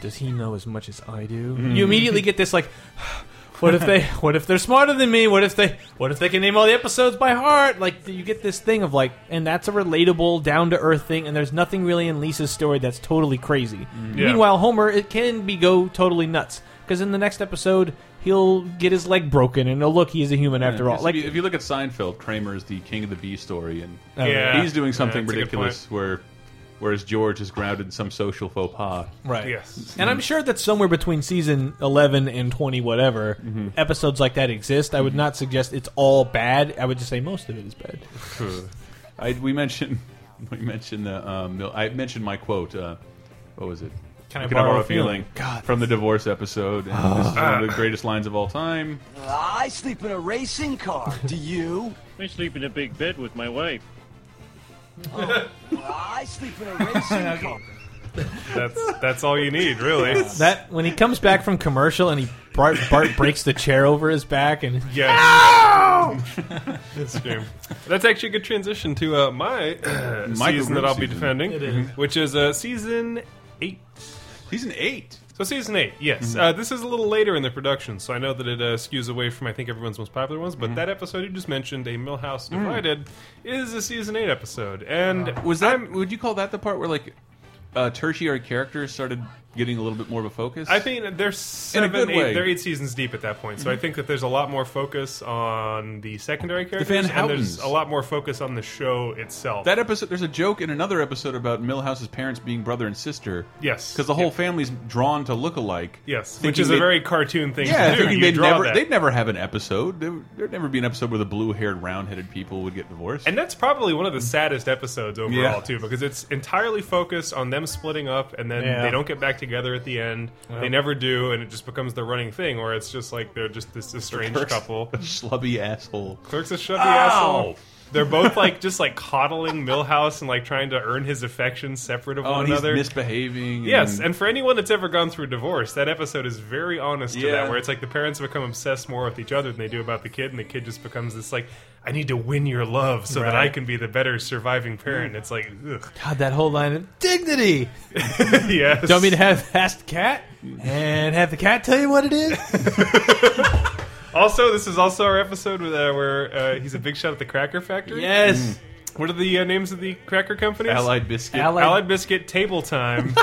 D: Does he know as much as I do? You immediately get this like, what if they? What if they're smarter than me? What if they? What if they can name all the episodes by heart? Like you get this thing of like, and that's a relatable, down to earth thing. And there's nothing really in Lisa's story that's totally crazy.
F: Yeah.
D: Meanwhile, Homer it can be go totally nuts because in the next episode he'll get his leg broken and oh look, he is a human after all.
C: Because
D: Like
C: if you, if you look at Seinfeld, Kramer is the king of the B story, and
F: Oh, Yeah.
C: he's doing something
F: Yeah, that's a good
C: ridiculous. Where, whereas George is grounded in some social faux pas.
D: right,
F: Yes.
D: And I'm sure that somewhere between season 11 and 20, whatever, episodes like that exist. I would not suggest it's all bad. I would just say most of it is bad.
C: I, we mentioned we mentioned the um, mil- I mentioned my quote. Uh, what was it?
D: Can I borrow a feeling?
C: God. from the divorce episode? And this is one of the greatest lines of all time.
I: I sleep in a racing car. Do you?
A: I sleep in a big bed with my wife.
I: I sleep in a racing car.
F: That's that's all you need, really.
D: That when he comes back from commercial and he Bart, Bart breaks the chair over his back and
F: Yes. That's true. That's actually a good transition to uh, my uh,
C: Michael
F: season that
C: Grove
F: I'll be
C: season.
F: defending, which is uh, season eight.
C: Season eight.
F: So season eight, yes. Uh, this is a little later in the production, so I know that it uh, skews away from I think everyone's most popular ones. But that episode you just mentioned, "A Millhouse Divided," is a season eight episode, and
C: Was that? would you call that the part where like uh, tertiary characters started getting a little bit more of a focus?
F: I think they're seven,
C: good
F: eight,
C: way.
F: they're eight seasons deep at that point. So I think that there's a lot more focus on the secondary characters,
C: Van
F: and there's
C: Houtens.
F: a lot more focus on the show itself.
C: that episode. There's a joke in another episode about Millhouse's parents being brother and sister.
F: Yes.
C: because the whole family's drawn to look alike.
F: yes,
C: Thinking
F: which is a
C: they-
F: very cartoon thing
C: Yeah,
F: to do.
C: thinking
F: You
C: they'd
F: draw
C: never
F: that.
C: they'd never have an episode. There, there'd never be an episode where the blue-haired, round-headed people would get divorced.
F: And that's probably one of the saddest episodes overall
C: Yeah.
F: too, because it's entirely focused on them splitting up, and then
D: Yeah.
F: they don't get back together at the end. They never do, and it just becomes the running thing, where it's just like they're just this estranged couple.
C: Schlubby asshole.
F: Clerk's a shitty asshole. They're both like just like coddling Millhouse and like trying to earn his affection separate of
C: Oh,
F: one
C: and he's
F: another.
C: misbehaving.
F: Yes, and for anyone that's ever gone through a divorce, that episode is very honest to
C: Yeah.
F: that, where it's like the parents become obsessed more with each other than they do about the kid, and the kid just becomes this like, I need to win your love so that I can be the better surviving parent. It's like, ugh.
D: God, that whole line of dignity.
F: yes.
D: Don't mean to have asked cat and have the cat tell you what it is.
F: Also, this is also our episode with, uh, where uh, he's a big shot at the Cracker Factory.
D: yes,
F: What are the uh, names of the cracker companies?
C: Allied biscuit.
D: Allied-
F: Allied Biscuit Table Time.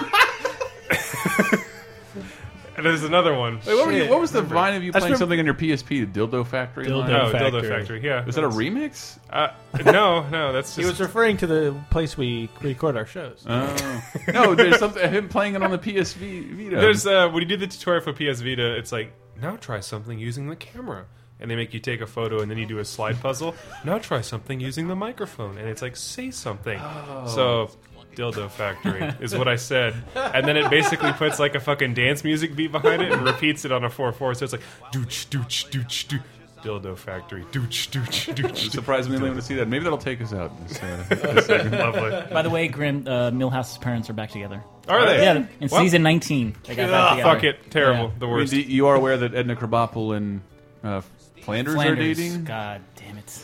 F: there's another one.
C: Wait, what, were you, what was the
F: Remember.
C: vine of you playing something on your PSP? The Dildo Factory.
F: Dildo
C: line?
F: Oh, Dildo Factory. Factory, yeah.
C: Was that a
F: That's-
C: remix?
F: Uh, no, no, that's just.
D: He was referring to the place we record our shows.
C: Oh. no, there's something him playing it on the PSV Vita.
F: There's uh, when you do the tutorial for PS Vita, it's like now try something using the camera, and they make you take a photo, and then you do a slide puzzle. now try something using the microphone, and it's like say something.
B: Oh.
F: So. Dildo Factory is what I said, and then it basically puts like a fucking dance music beat behind it and repeats it on a four four. So it's like dooch dooch dooch dooch. Dildo Factory dooch dooch dooch.
C: I'm surprised we only want to see that. Maybe that'll take us out. This, uh, this segment.
F: Lovely.
E: By the way, Grim uh, Milhouse's parents are back together.
C: Oh,
F: Are they?
E: Yeah, in
F: Well-
E: season 19. They got back
F: Ah,
E: together.
F: fuck it. Terrible. The
C: I mean,
F: worst.
C: do- you are aware that Edna Krabappel and uh, Flanders, are
E: Flanders.
C: dating.
E: God damn it.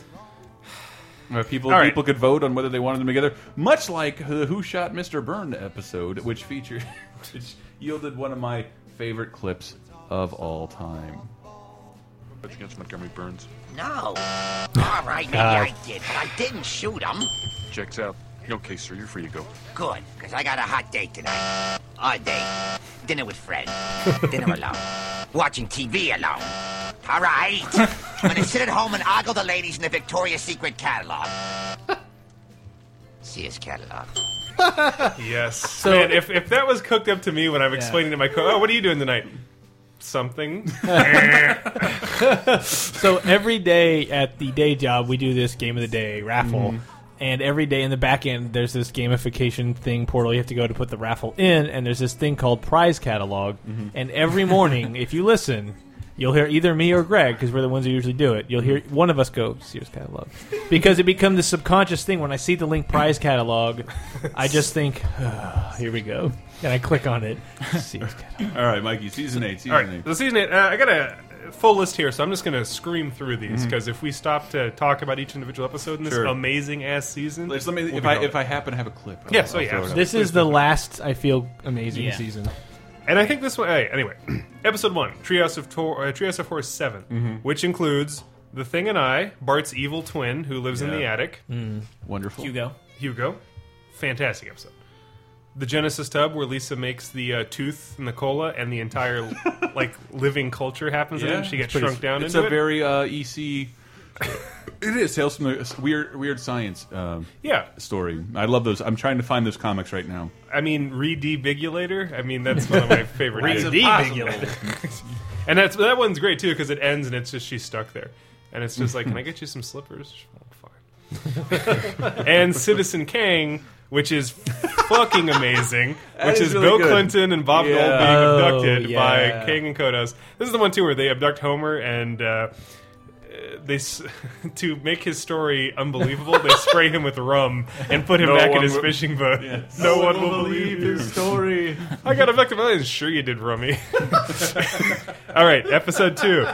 C: Uh, people
F: All right.
C: people could vote on whether they wanted them together, much like the Who Shot Mr. Byrne episode, which featured which yielded one of my favorite clips of all time.
B: Against Montgomery Burns.
I: No. All right, maybe I
B: God.
I: did. I didn't shoot him.
B: Checks out. Okay, sir, you're free to go.
I: Good, because I got a hot date tonight. Odd date. Dinner with Fred. Dinner alone. Watching TV alone. All right. I'm going to sit at home and ogle the ladies in the Victoria's Secret catalog. Sears catalog.
F: Yes. Man, if, if that was cooked up to me when I'm explaining to my co oh, what are you doing tonight? Something.
D: so every day at the day job, we do this game of the day raffle.
F: Mhm.
D: And every day in the back end, there's this gamification thing portal you have to go to put the raffle in, and there's this thing called prize catalog. And every morning, if you listen, you'll hear either me or Greg because we're the ones who usually do it. You'll hear one of us go Sears catalog because it becomes this subconscious thing. When I see the link prize catalog, I just think, "Ah, here we go, and I click on it. Sears catalog.
C: All right, Mikey, season eight, season
F: All right.
C: eight.
F: The season eight. Uh, I got a full list here, so I'm just going to scream through these
C: Mhm.
F: because if we stop to talk about each individual episode in this
C: Sure.
F: amazing ass season,
C: Let's- let me-
F: we'll
C: if
F: be
C: I-
F: going.
C: if I happen to have a clip, I'll-
F: yeah. So
C: I'll
F: oh, yeah,
C: throw it up.
F: absolutely.
D: This is the last I feel amazing
F: Yeah.
D: season.
F: And I think this one. Hey, anyway, episode one, Trios of Tor, uh, Trios of Horse 7
C: Mhm.
F: which includes the Thing and I, Bart's evil twin who lives in
C: Yeah.
F: the attic.
C: Mm. Wonderful.
E: Hugo.
F: Hugo, fantastic episode. The Genesis tub where Lisa makes the uh, tooth and the cola, and the entire like living culture happens. in it. She gets
C: it's pretty-
F: shrunk down
C: It's
F: into
C: a
F: it.
C: very uh, EC. It is tales from the weird, weird science. Um,
F: Yeah.
C: story. I love those. I'm trying to find those comics right now.
F: I mean, redebigulator. I mean, that's one of my favorite.
C: That's
F: ideas.
C: impossible.
F: and that's that one's great too because it ends and it's just she's stuck there, and it's just like, can I get you some slippers? Well, Fine. and Citizen Kang, which is fucking amazing,
C: That
F: which
C: is
F: is,
C: really
F: Bill
C: good.
F: Clinton and Bob
C: Yeah.
F: Dole being abducted
C: Oh, yeah.
F: by Kang and Kodos. This is the one too where they abduct Homer and. Uh, uh, they s- to make his story unbelievable. They spray him with rum and put him
B: No
F: back in
B: one
F: his
B: will-
F: fishing boat.
B: Yes.
F: No one will believe his story. I got abducted by aliens. Sure, you did, Rummy. All right, episode two.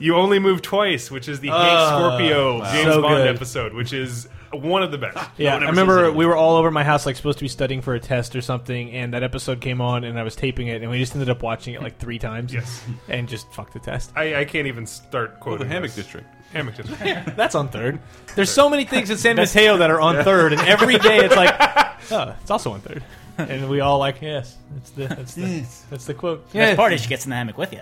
F: You only move twice, which is the Hank
D: Oh,
F: Scorpio
D: wow.
F: James
D: So
F: Bond
D: good.
F: episode, which is one of the best.
D: Yeah,
F: One
D: I
F: episode.
D: remember we were all over my house, like supposed to be studying for a test or something, and that episode came on, and I was taping it, and we just ended up watching it like three times.
F: Yes.
D: and just fucked the test.
F: I, I can't even start quoting
C: the Hammock
F: this.
C: District.
F: Hammock District.
D: That's on third. There's so many things in San Mateo that are on third, and every day it's like, oh, it's also on third, and we all like, yes, that's the that's the that's the quote.
E: Best part is she gets in the hammock with you.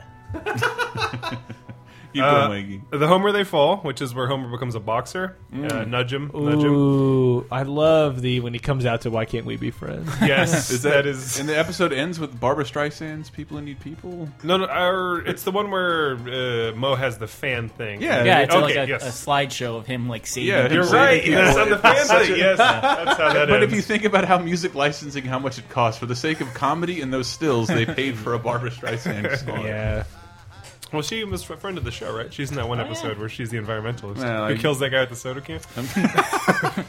C: Keep
F: Uh,
C: going, Mikey.
F: The Homer They Fall, which is where Homer becomes a boxer. Uh,
D: Mm.
F: nudge him, nudge him.
D: Ooh, I love the when he comes out to why can't we be friends?
F: Yes, that is.
C: And the episode ends with Barbara Streisand's "People Who Need People."
F: No, no, our, it's the one where uh, Mo has the fan thing.
E: yeah. It's
F: okay,
E: like a,
F: yes.
E: a slideshow of him like saving.
F: Yeah,
E: people.
F: you're right. That's on the fan site. Yes, that's how that
C: but if
F: ends.
C: you think about how music licensing, how much it costs for the sake of comedy and those stills, they paid for a Barbara Streisand song.
D: Yeah.
F: Well, she was a friend of the show, right? She's in that one
E: Oh, yeah.
F: episode where she's the environmentalist
C: Well,
F: who
C: I-
F: kills that guy with the soda can.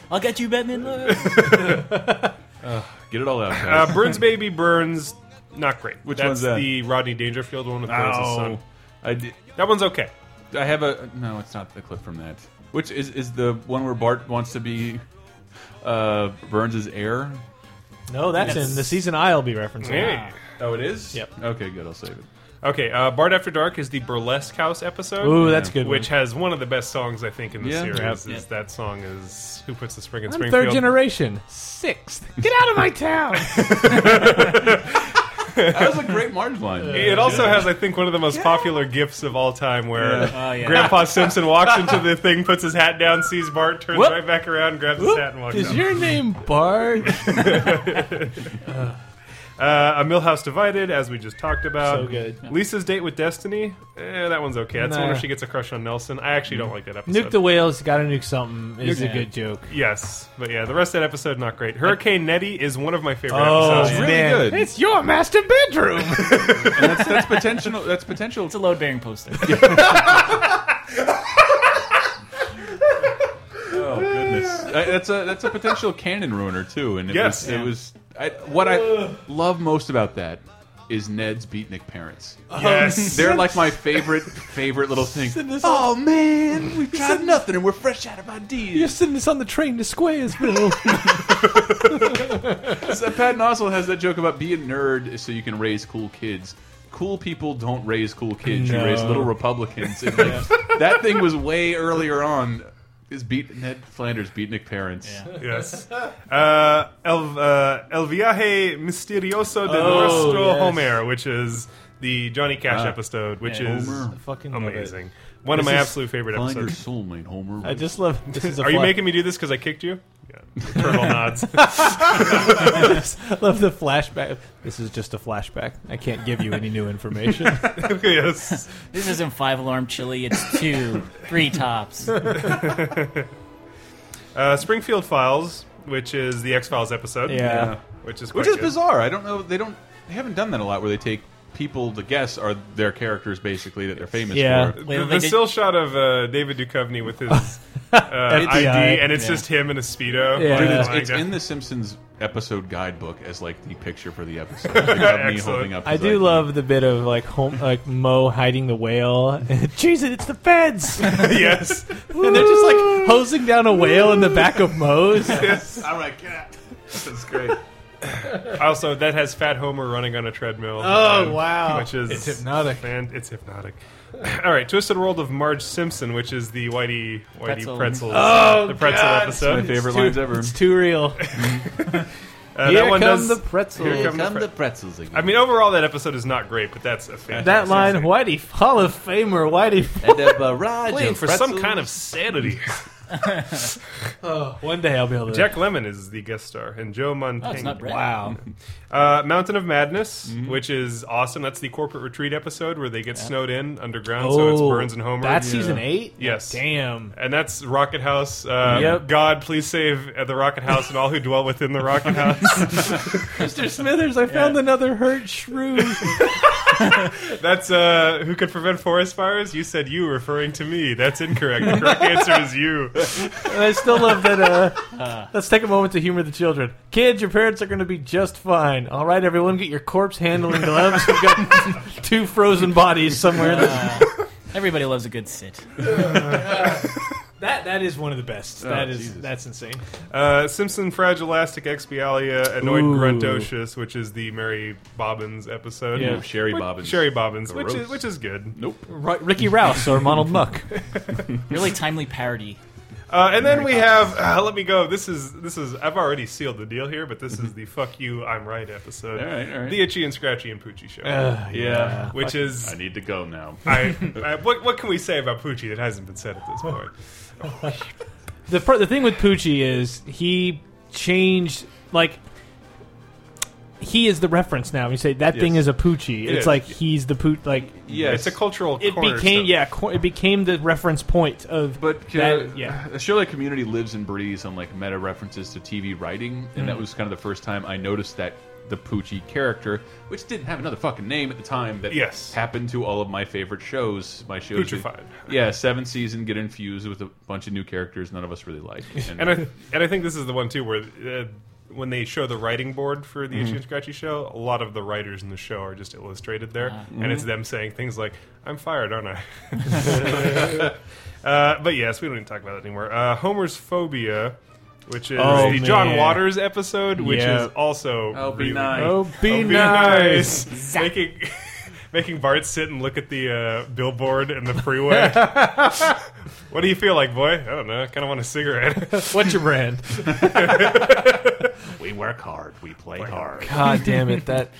E: I'll get you, Batman.
C: Ugh, get it all out. guys.
F: uh, Burns Baby Burns, not great.
C: Which
F: That's
C: one's that?
F: the Rodney Dangerfield one with Burns'
C: Oh,
F: son.
C: I did.
F: That one's okay.
C: I have a no. It's not the clip from that. Which is is the one where Bart wants to be uh, Burns' heir?
D: No, that's in the season I'll be referencing.
F: Hey.
C: Oh, it is.
D: Yep.
C: Okay, good. I'll save it.
F: Okay, uh, Bart After Dark is the Burlesque House episode.
D: Ooh, that's a good
F: Which has one of the best songs I think in the
D: Yeah.
F: series.
D: Yep.
F: Is that song is Who Puts the Spring in
D: I'm
F: Springfield?
D: third generation, sixth. Get out of my town.
C: That was a great Marge line.
F: It also has, I think, one of the most popular gifs of all time, where
C: Yeah. Oh, yeah.
F: Grandpa Simpson walks into the thing, puts his hat down, sees Bart, turns
D: Whoop.
F: right back around, grabs his hat, and walks
D: Is
F: out.
D: your name Bart?
F: Uh, a Millhouse Divided, as we just talked about.
D: So good.
F: Lisa's date with Destiny. Eh, that one's okay. That's the one
D: Nah.
F: where she gets a crush on Nelson. I actually don't like that episode.
D: nuke the whales. Got to nuke something. Is
F: Nuke-
D: a good joke.
F: Yes, but yeah, the rest of that episode not great. Hurricane Nettie is one of my favorite
D: Oh,
F: episodes.
D: man. It's your master bedroom.
C: And that's, that's potential. That's potential. It's
E: a load bearing poster.
C: oh goodness, I, that's a that's a potential canon ruiner too. And it
F: Yes.
C: was, it was I, what I love most about that is Ned's beatnik parents.
F: Yes.
C: they're like my favorite favorite little thing.
D: oh
C: man, we've tried nothing and we're fresh out of ideas.
D: You're sending us on the train to Squaresville.
C: So Pat Nozzle has that joke about be a nerd so you can raise cool kids. Cool people don't raise cool kids. You
D: No.
C: raise little Republicans. And, like, that thing was way earlier on. Is beat Ned Flanders beatnik parents?
F: Yes. Uh, El, uh, El viaje misterioso de
D: Oh,
F: nuestro
D: yes.
F: Homer, which is the Johnny Cash
C: Ah.
F: episode, which
D: Yeah.
F: is
D: Homer. I fucking love it.
F: amazing. One of
D: This
F: my
D: is
F: absolute favorite
C: Find your
F: episodes.
C: soulmate, Homer.
D: I just love. This is a
F: Are you
D: fly-
F: making me do this because I kicked you? Yeah. Turtle nods.
D: love the flashback. This is just a flashback. I can't give you any new information.
F: yes.
E: This isn't five alarm chili. It's two, three tops.
F: Uh, Springfield Files, which is the X Files episode.
D: Yeah.
F: Which is quite
C: which is
F: good.
C: bizarre. I don't know. They don't. They haven't done that a lot. Where they take people to guess are their characters basically that they're famous
D: Yeah.
C: for.
F: The,
E: Well,
F: the
E: they did-
F: still shot of uh, David Duchovny with his uh, ID,
D: FBI.
F: and it's
E: Yeah.
F: just him in a speedo.
D: Yeah.
F: lying
C: Dude, it's,
F: down.
C: it's in the Simpsons episode guidebook as like the picture for the episode. They got me
F: Excellent.
C: holding up
D: I
C: his
D: do
C: ID.
D: love the bit of like home, like Mo hiding the whale. Jesus, it's the feds, and
F: yes.
D: they're just like hosing down a whale in the back of Mo's.
F: yes.
C: All right, get out.
F: That's great. also, that has Fat Homer running on a treadmill. Um, Which is
D: It's hypnotic.
F: fan- it's hypnotic. All right, Twisted World of Marge Simpson, which is the Whitey Whitey
E: Pretzel.
F: pretzels, the pretzel
D: God.
F: episode.
C: My favorite lines ever.
D: It's too real.
F: Uh,
D: Here
F: that one
D: come
F: does.
D: the pretzels.
F: Here come the pre-
C: pretzels again.
F: I mean, overall, that episode is not great, but that's a fantastic.
D: that line, Whitey Hall of Famer, Whitey.
C: and a barrage
F: playing for some kind of sanity.
D: Oh, one day I'll be able to.
F: Jack Lemon is the guest star, and Joe Montana.
E: Oh, it's not red.
D: wow, Mm-hmm.
F: Uh, Mountain of Madness, which is awesome. That's the corporate retreat episode where they get snowed in underground, so it's
D: Oh,
F: Burns and Homer.
D: That's season eight.
F: Yes.
D: Damn.
F: And that's Rocket House. Uh,
D: Yep.
F: God, please save uh, the Rocket House and all who dwell within the Rocket House.
D: Mr. Smithers, I found another hurt shrew.
F: that's uh, who could prevent forest fires. You said you, referring to me. That's incorrect. The correct answer is you.
D: And I still love that. Uh, let's take a moment to humor the children. Kids, your parents are going to be just fine. All right, everyone, get your corpse handling gloves. We've got two frozen bodies somewhere.
E: Everybody loves a good sit.
D: that that is one of the best.
F: Oh,
D: that is
C: Jesus.
D: that's insane.
F: Uh, Simpson Fragilastic Expialia Annoyed
D: Ooh.
F: Gruntocious, which is the Mary Bobbins episode.
D: Yeah.
C: Sherry
F: Which-
C: Bobbins.
F: Sherry Bobbins, which is,
C: Gross.
F: which is good.
C: Nope.
D: Right, Ricky Rouse or Ronald Muck.
E: Really timely parody.
F: Uh, and then we have uh, let me go. This is this is I've already sealed the deal here, but this is the fuck you I'm right episode.
C: Mm-hmm. All right, all right.
F: The Itchy and Scratchy and Poochie show,
C: Yeah.
F: which is
C: I need to go now.
F: I, I, what what can we say about Poochie that hasn't been said at this point?
D: the pr- the thing with Poochie is he changed like he is the reference now. When you say that thing
C: Yes.
D: is a Poochie, it's
F: is.
D: like he's the Pooch. Like
C: Yes.
F: It's a cultural.
D: it
F: cornerstone.
D: became yeah, co- it became the reference point of
C: But uh,
D: That- yeah.
C: a show like Community lives and breathes on like meta references to TV writing, and that was kind of the first time I noticed that the Poochie character, which didn't have another fucking name at the time, that
F: Yes.
C: happened to all of my favorite shows. My shows,
F: Poochified.
C: yeah, seven season get infused with a bunch of new characters none of us really like,
F: and I and I think this is the one too where. Uh, when they show the writing board for the
D: Mm-hmm.
F: Itchy and Scratchy show, a lot of the writers in the show are just illustrated there,
D: Uh-huh.
F: and
D: Mm-hmm.
F: it's them saying things like, "I'm fired, aren't I?" uh, but yes, we don't need to talk about that anymore. Uh, Homer's phobia, which is
D: Oh,
F: the John
D: man.
F: Waters episode, which
D: Yeah.
F: is also
C: I'll be
F: really
C: nice.
F: good.
D: Oh, be
F: I'll
D: nice.
F: making. Making Bart sit and look at the uh, billboard in the freeway. what do you feel like, boy? I don't know. I kind of want a cigarette.
D: What's your brand?
C: we work hard, we play hard.
D: God damn it! That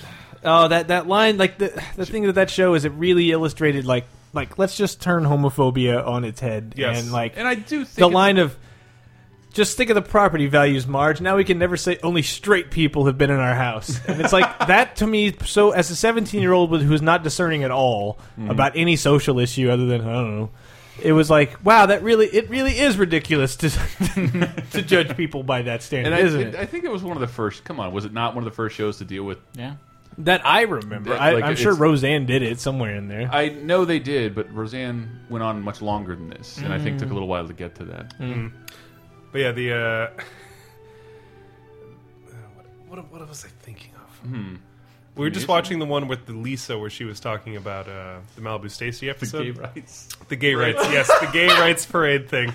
D: Oh, that that line, like the the thing that that show is, it really illustrated like like let's just turn homophobia on its head.
C: Yes.
D: and like
C: And I do think
D: the
C: it-
D: line of just think of the property values, Marge. Now we can never say only straight people have been in our house, and it's like that to me. So as a seventeen year old who's not discerning at all
C: Mm-hmm.
K: Mhm.
D: about any social issue other than I don't know. It was like, wow, that really, it really is ridiculous to to judge people by that standard,
C: And I,
D: isn't it?
C: I think it was one of the first. Come on, was it not one of the first shows to deal with?
E: Yeah.
D: That I remember. I,
C: Like,
D: I'm sure
C: it's-
D: Roseanne did it somewhere in there.
C: I know they did, but Roseanne went on much longer than this, and I think took a little while to get to that.
F: Mm. But yeah, the uh, uh, what, what, what was I thinking of?
C: Hmm.
F: We were
C: Maybe
F: just watching the one with the Lisa where she was talking about uh, the Malibu Stacy episode.
C: gay rights.
F: The gay rights. Yes, the gay rights parade thing.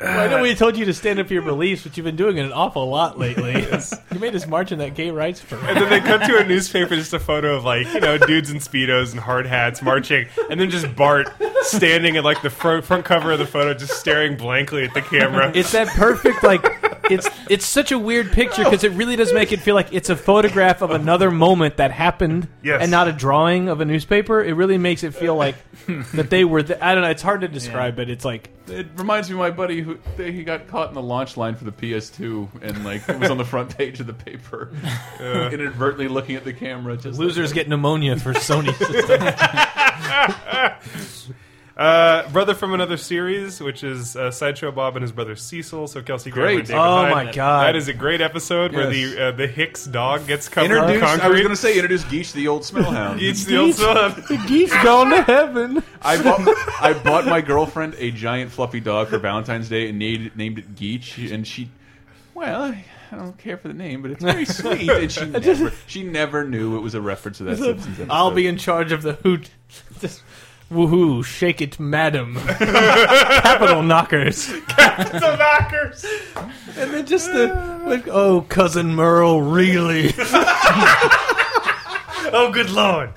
D: Well, I know we told you to stand up for your beliefs, but you've been doing it an awful lot lately. You made us march in that gay rights parade.
F: And then they cut to a newspaper, just a photo of like you know dudes in speedos and hard hats marching, and then just Bart standing at like the front front cover of the photo, just staring blankly at the camera.
D: It's that perfect like it's it's such a weird picture because it really does make it feel like it's a photograph of another moment that happened
F: Yes.
D: and not a drawing of a newspaper. It really makes it feel like that they were. Th- I don't know. It's hard to describe, but it's like
C: It reminds me of my buddy who they, he got caught in the launch line for the PS2, and like it was on the front page of the paper, inadvertently looking at the camera. Just
D: losers get pneumonia for Sony
C: system.
F: Uh, brother from another series, which is uh, Sideshow Bob and his brother Cecil. So Kelsey Grammer and
D: Great.
F: David
D: Oh
F: Hyde.
D: my God.
F: that is a great episode where
C: Yes.
F: the uh, the Hicks dog gets covered in
C: Introduce,
F: concrete.
C: I was going to say introduce Geesh the old smell hound.
F: Geesh the old smell hound.
D: The geese gone to heaven.
C: I bought, I bought my girlfriend a giant fluffy dog for Valentine's Day and named, named it Geech, and she, well, I I don't care for the name, but it's very sweet. And she never, she never knew it was a reference to that Simpsons episode.
D: I'll be in charge of the hoot. Just, woohoo! Shake it, madam. Capital knockers.
F: Capital knockers.
D: And then just the like, oh, cousin Merle, really?
F: oh, good lord,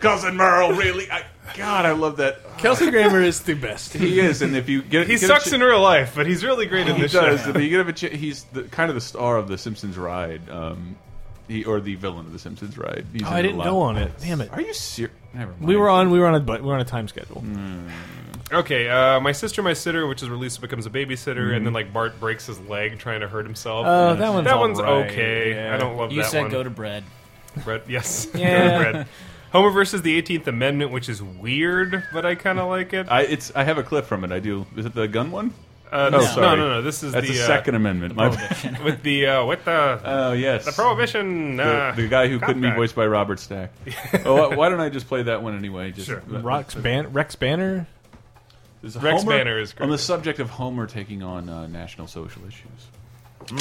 C: cousin Merle, really? I, God, I love that.
D: Kelsey Grammer is the best.
C: He is, and if you get,
F: He
C: get a
F: sucks
C: chi-
F: in real life, but he's really great in
C: he
F: this
C: does.
F: show.
C: If you get a ch- he's the, kind of the star of the Simpsons ride, um, he or the villain of the Simpsons ride. He's
D: Oh,
C: in
D: I
C: a
D: didn't
C: lot.
D: go on it. Damn it.
C: Are you serious? Never mind.
D: We were on. We were on a. bu- We were on a time schedule.
C: Mm.
F: Okay, uh, my sister, my sitter, which is released becomes a babysitter,
D: Mhm.
F: and then like Bart breaks his leg trying to hurt himself.
D: Oh, that one's
F: Uh, that one's
D: alright,
F: okay.
D: yeah.
F: I don't love
E: You
F: that
E: said
F: one.
E: go to bread.
F: Bread, yes,
E: Yeah.
F: go to bread. Homer versus the 18th Amendment, which is weird, but I kind of like it.
C: I it's I have a clip from it. I do. Is it the gun one?
F: Uh,
C: oh,
F: this-
C: sorry.
F: No, no, no. This is
C: That's
F: the, uh,
C: Second Amendment. My-
F: with the uh, what the?
C: Oh yes,
F: the prohibition.
C: The,
F: uh,
C: the guy who couldn't be
F: contract.
C: voiced by Robert Stack. oh, why- why don't I just play that one anyway? Just
F: Sure.
D: Rox Ban- Rex Banner.
C: There's
F: Rex
C: Homer-
F: Banner is great.
C: on the subject of Homer taking on uh, national social issues.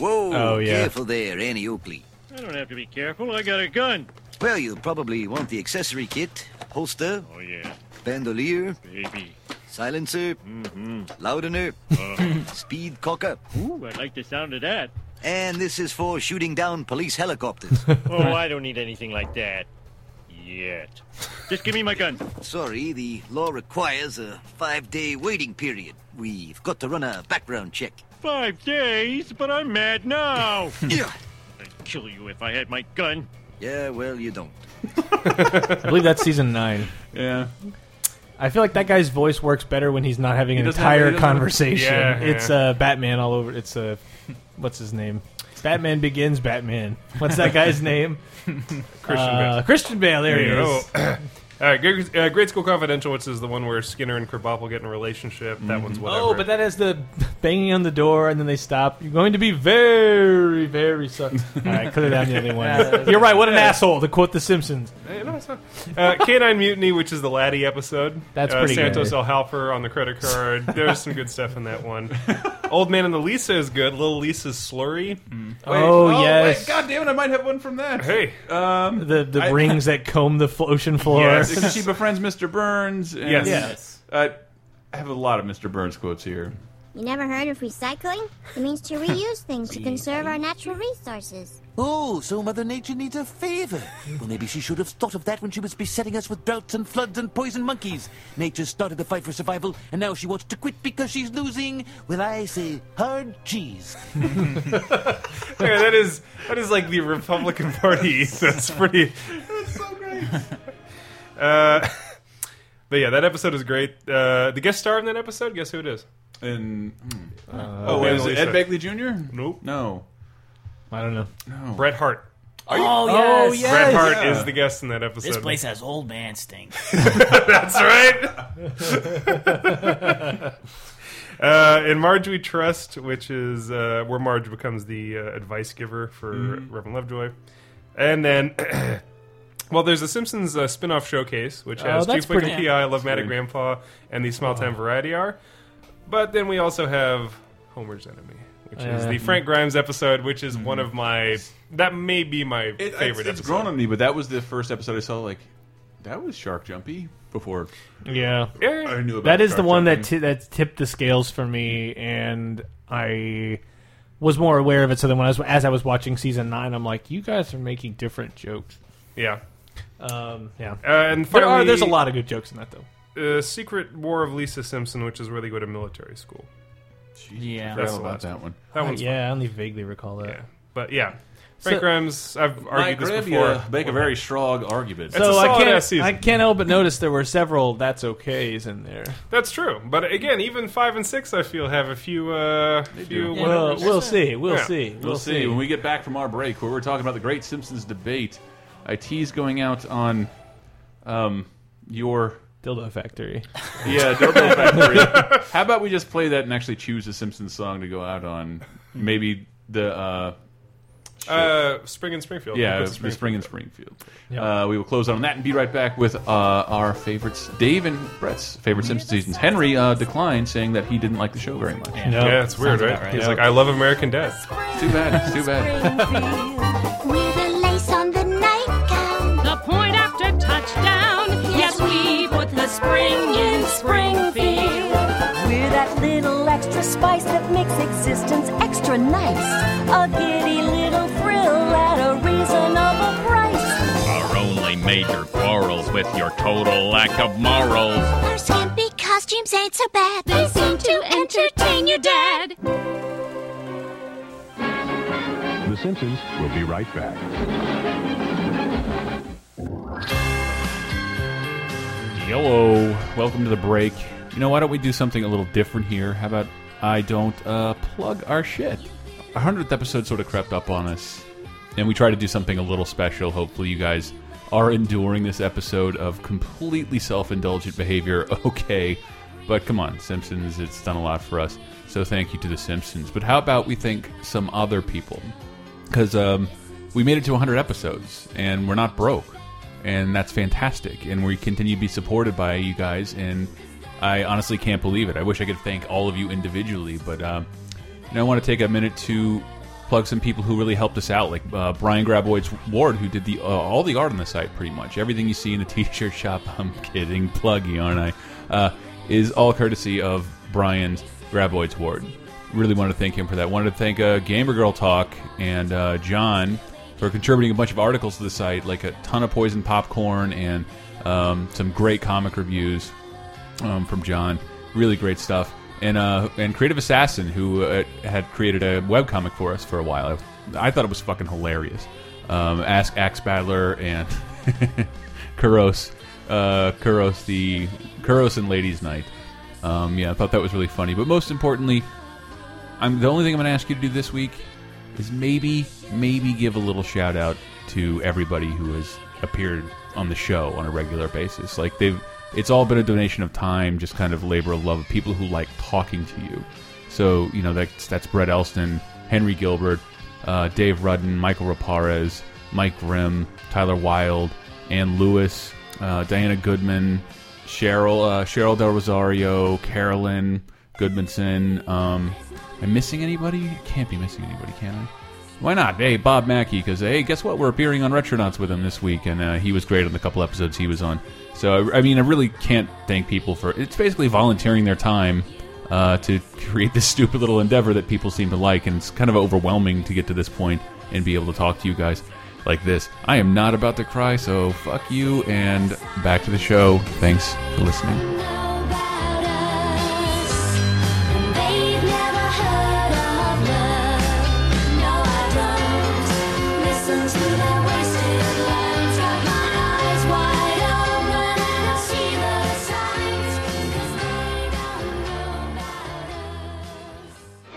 L: Whoa!
C: Oh, yeah.
L: Careful there, Annie Oakley.
A: I don't have to be careful. I got a gun.
L: Well, you'll probably want the accessory kit, holster. Oh yeah. Bandolier.
A: Baby.
L: Silencer. Mm-hmm. Loudener. Speed cocker.
A: Ooh, I like the sound of that.
L: And this is for shooting down police helicopters.
A: Oh, I don't need anything like that. Yet. Just give me my gun.
L: Sorry, the law requires a five-day waiting period. We've got to run a background check.
A: Five days, but I'm mad now. I'd kill you if I had my gun.
L: Yeah, well, you don't.
D: I believe that's season nine.
C: Yeah.
D: I feel like that guy's voice works better when he's not having
C: He
D: an
C: doesn't have- he
D: entire
C: doesn't have-
D: conversation.
C: Yeah, yeah.
D: It's uh, Batman all over. It's uh, what's his name? Batman Begins. Batman. What's that guy's name? Christian
C: uh,
F: Bale.
D: Christian Bale. There he
F: you
D: is.
F: go. All right, Great, Oh, uh, Grade School Confidential, which is the one where Skinner and Krabappel get in a relationship. That
C: Mm-hmm.
F: one's whatever.
D: Oh, but that has the banging on the door and then they stop. You're going to be very, very sorry. All right, clear down the other one. You're right. What an
F: Yeah.
D: asshole to quote The Simpsons.
F: Hey, no, it's not. Uh, Canine Mutiny, which is the Laddie episode.
D: That's
F: uh,
D: pretty
F: Santos
D: good.
F: El Halper on the credit card. There's some good stuff in that one. Old Man and the Lisa is good. Little Lisa's slurry.
C: Mm.
D: Wait, Oh, oh, yes. wait,
C: God damn it! I might have one from that.
F: Hey,
C: um,
D: The the
C: I-
D: rings that comb the flo- ocean floor.
C: Because she befriends Mr. Burns. And,
D: Yes. Yes.
C: Uh, I have a lot of Mr. Burns quotes here.
H: You never heard of recycling? It means to reuse things to conserve our natural resources.
L: Oh, so Mother Nature needs a favor. Well, maybe she should have thought of that when she was besetting us with droughts and floods and poison monkeys. Nature started the fight for survival, and now she wants to quit because she's losing, well, I say, hard cheese.
F: Yeah, that is that is like the Republican Party ethos. Pretty. That's so great. Uh, but yeah, that episode is great. Uh, the guest star in that episode, guess who it is?
C: And oh, wait, was it Ed Begley Jr.?
F: Nope.
C: No.
D: I don't know.
E: Oh.
C: No.
F: Bret Hart.
E: Are you- Oh, Oh, yes. yes.
F: Bret Hart
E: Yeah.
F: is the guest in that episode.
E: This place has old man stink.
F: That's right. Uh, in Marge We Trust, which is uh, where Marge becomes the uh, advice giver for
C: Mm-hmm.
K: Mhm.
F: Reverend Lovejoy. And then, well, there's a Simpsons uh, spin off showcase, which
K: Oh,
F: has
K: that's
F: Chief Wicked
K: pretty-
F: PI, Love
K: That's
F: Matic
K: good.
F: Grandpa, and the
C: Uh-huh.
F: Small Town Variety Hour. But then we also have Homer's Enemy, which is
C: Yeah. Mm-hmm.
F: the Frank Grimes episode, which is one of my. That may be my
C: It,
F: favorite
C: it's, it's
F: episode.
C: grown on me, but that was the first episode I saw. Like, that was Shark Jumpy before.
D: Yeah,
C: I knew about
D: that is the
C: Shark
D: one
C: Jumpy.
D: that ti that tipped the scales for me, and I was more aware of it. So then, when I was as I was watching season nine, I'm like, you guys are making different jokes.
F: Yeah.
D: Um, yeah.
F: Uh, and
D: There are-
F: finally-
D: there's a lot of good jokes in that,
F: Uh, Secret War of Lisa Simpson, which is where they go to military school.
D: Yeah.
F: That's
D: Forgot
F: the
D: about
F: last
D: that one.
F: That one's
D: Uh, yeah, I only vaguely recall that.
F: But yeah, Frank
D: So-
F: Grimes. I've
C: Mike
F: argued this
C: Grabia
F: before.
C: make a very strong argument.
D: So I can't, I can't help but notice there were several that's okays in there.
F: That's true. But again, even five and six, I feel have a few. Uh, few.
D: do.
F: whatever
D: Well,
F: it is.
D: we'll see, we'll
F: Yeah.
D: see.
C: We'll,
D: We'll
C: see.
D: see.
C: when we get back from our break, where we're talking about the Great Simpsons debate. I tease going out on um, your
D: dildo factory.
C: Yeah, dildo factory. How about we just play that and actually choose a Simpsons song to go out on? Maybe the. Uh,
F: Uh, Spring in Springfield.
C: Yeah,
F: Liquid
C: the spring in Springfield.
F: Yeah.
C: Uh, we will close on that and be right back with uh, our favorites, Dave and Brett's favorite Simpsons seasons. Henry uh, declined, saying that he didn't like the show very much.
F: Yeah, it's weird, right? He's like, I love American Dad.
C: Too bad. It's too bad.
H: With a lace on the nightgown.
M: The point after touchdown. Yes, we put the spring in Springfield.
N: We're that little extra spice that makes existence extra nice. A giddy little thrill at a reasonable price.
O: Our only major quarrels with your total lack of morals.
H: Our skimpy costumes ain't so bad. They seem to entertain your dad.
P: The Simpsons will be right back.
C: Hello. Welcome to the break. You know, why don't we do something a little different here? How about I don't uh, plug our shit? Our 100th episode sort of crept up on us, and we try to do something a little special. Hopefully, you guys are enduring this episode of completely self indulgent behavior. Okay. But come on, Simpsons, it's done a lot for us. So thank you to The Simpsons. But how about we thank some other people? Because um, we made it to 100 episodes, and we're not broke and that's fantastic. And we continue to be supported by you guys, and I honestly can't believe it. I wish I could thank all of you individually, but um, you know, I want to take a minute to plug some people who really helped us out, like uh, Brian Graboids Ward, who did the uh, all the art on the site, pretty much everything you see in the t-shirt shop. I'm kidding, pluggy, aren't I? Uh, is all courtesy of Brian Graboids Ward. Really want to thank him for that. Wanted to thank uh, Gamer Girl Talk and uh, John for contributing a bunch of articles to the site, like a ton of poison popcorn and um, some great comic reviews um, from John. Really great stuff. And uh, and Creative Assassin, who uh, had created a webcomic for us for a while. I, I thought it was fucking hilarious. Um, Ask Axe Battler and Kuros, uh, Kuros the Kuros and Ladies Night. Um, yeah, I thought that was really funny. But most importantly, I'm the only thing I'm going to ask you to do this week is maybe maybe give a little shout out to everybody who has appeared on the show on a regular basis. Like they've it's all been a donation of time, just kind of labor of love of people who like talking to you. So, you know, that's that's Brett Elston, Henry Gilbert, uh, Dave Rudden, Michael Raparez, Mike Grimm, Tyler Wild, Ann Lewis, uh, Diana Goodman, Cheryl, uh, Cheryl Del Rosario, Carolyn Goodmanson. Um, am I missing anybody? I can't be missing anybody, can I? Why not? Hey, Bob Mackey, because hey, guess what? We're appearing on Retronauts with him this week, and uh, he was great on the couple episodes he was on. So I, I mean, I really can't thank people for it's basically volunteering their time uh, to create this stupid little endeavor that people seem to like, and it's kind of overwhelming to get to this point and be able to talk to you guys like this. I am not about to cry, so fuck you, and back to the show. Thanks for listening.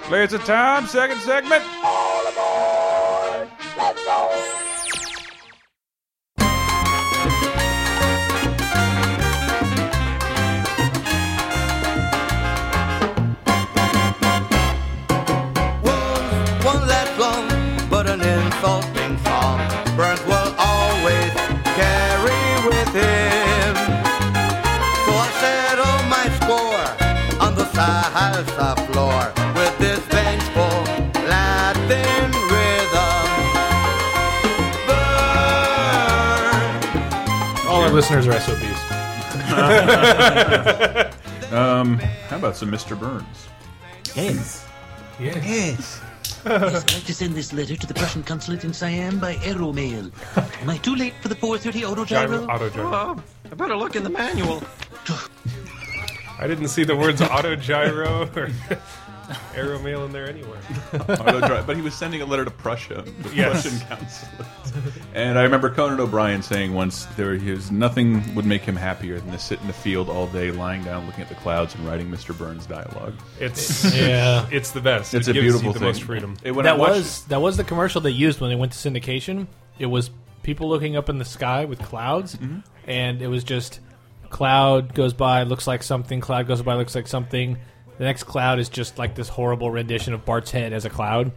J: Clears the time, second segment.
N: One left long, but an insulting song. Burns will always carry with him. So I settle my score on the salsa floor with this vengeful Latin rhythm.
D: All our listeners are SOBs.
C: um, how about some Mr. Burns?
B: Yes. Yes. yes, I'd like to send this letter to the Prussian consulate in Siam by aeromail. Am I too late for the 430 autogyro?
F: Autogyro.
B: Oh, I better look in the manual.
F: I didn't see the words autogyro or aeromail in there anywhere.
C: Autogyro, but he was sending a letter to Prussia, the
F: Yes.
C: Prussian consulate. And I remember Conan O'Brien saying once there he was nothing would make him happier than to sit in the field all day, lying down, looking at the clouds, and writing Mr. Burns dialogue.
F: It's- Yeah. it's the best.
C: It's
F: It
C: a
F: gives you
C: beautiful
F: the
C: thing.
F: most freedom.
C: It- when I
D: that
C: watched
D: was that was the commercial they used when they went to syndication. It was people looking up in the sky with clouds,
C: Mm-hmm.
D: and it was just cloud goes by, looks like something. Cloud goes by, looks like something. The next cloud is just like this horrible rendition of Bart's head as a cloud,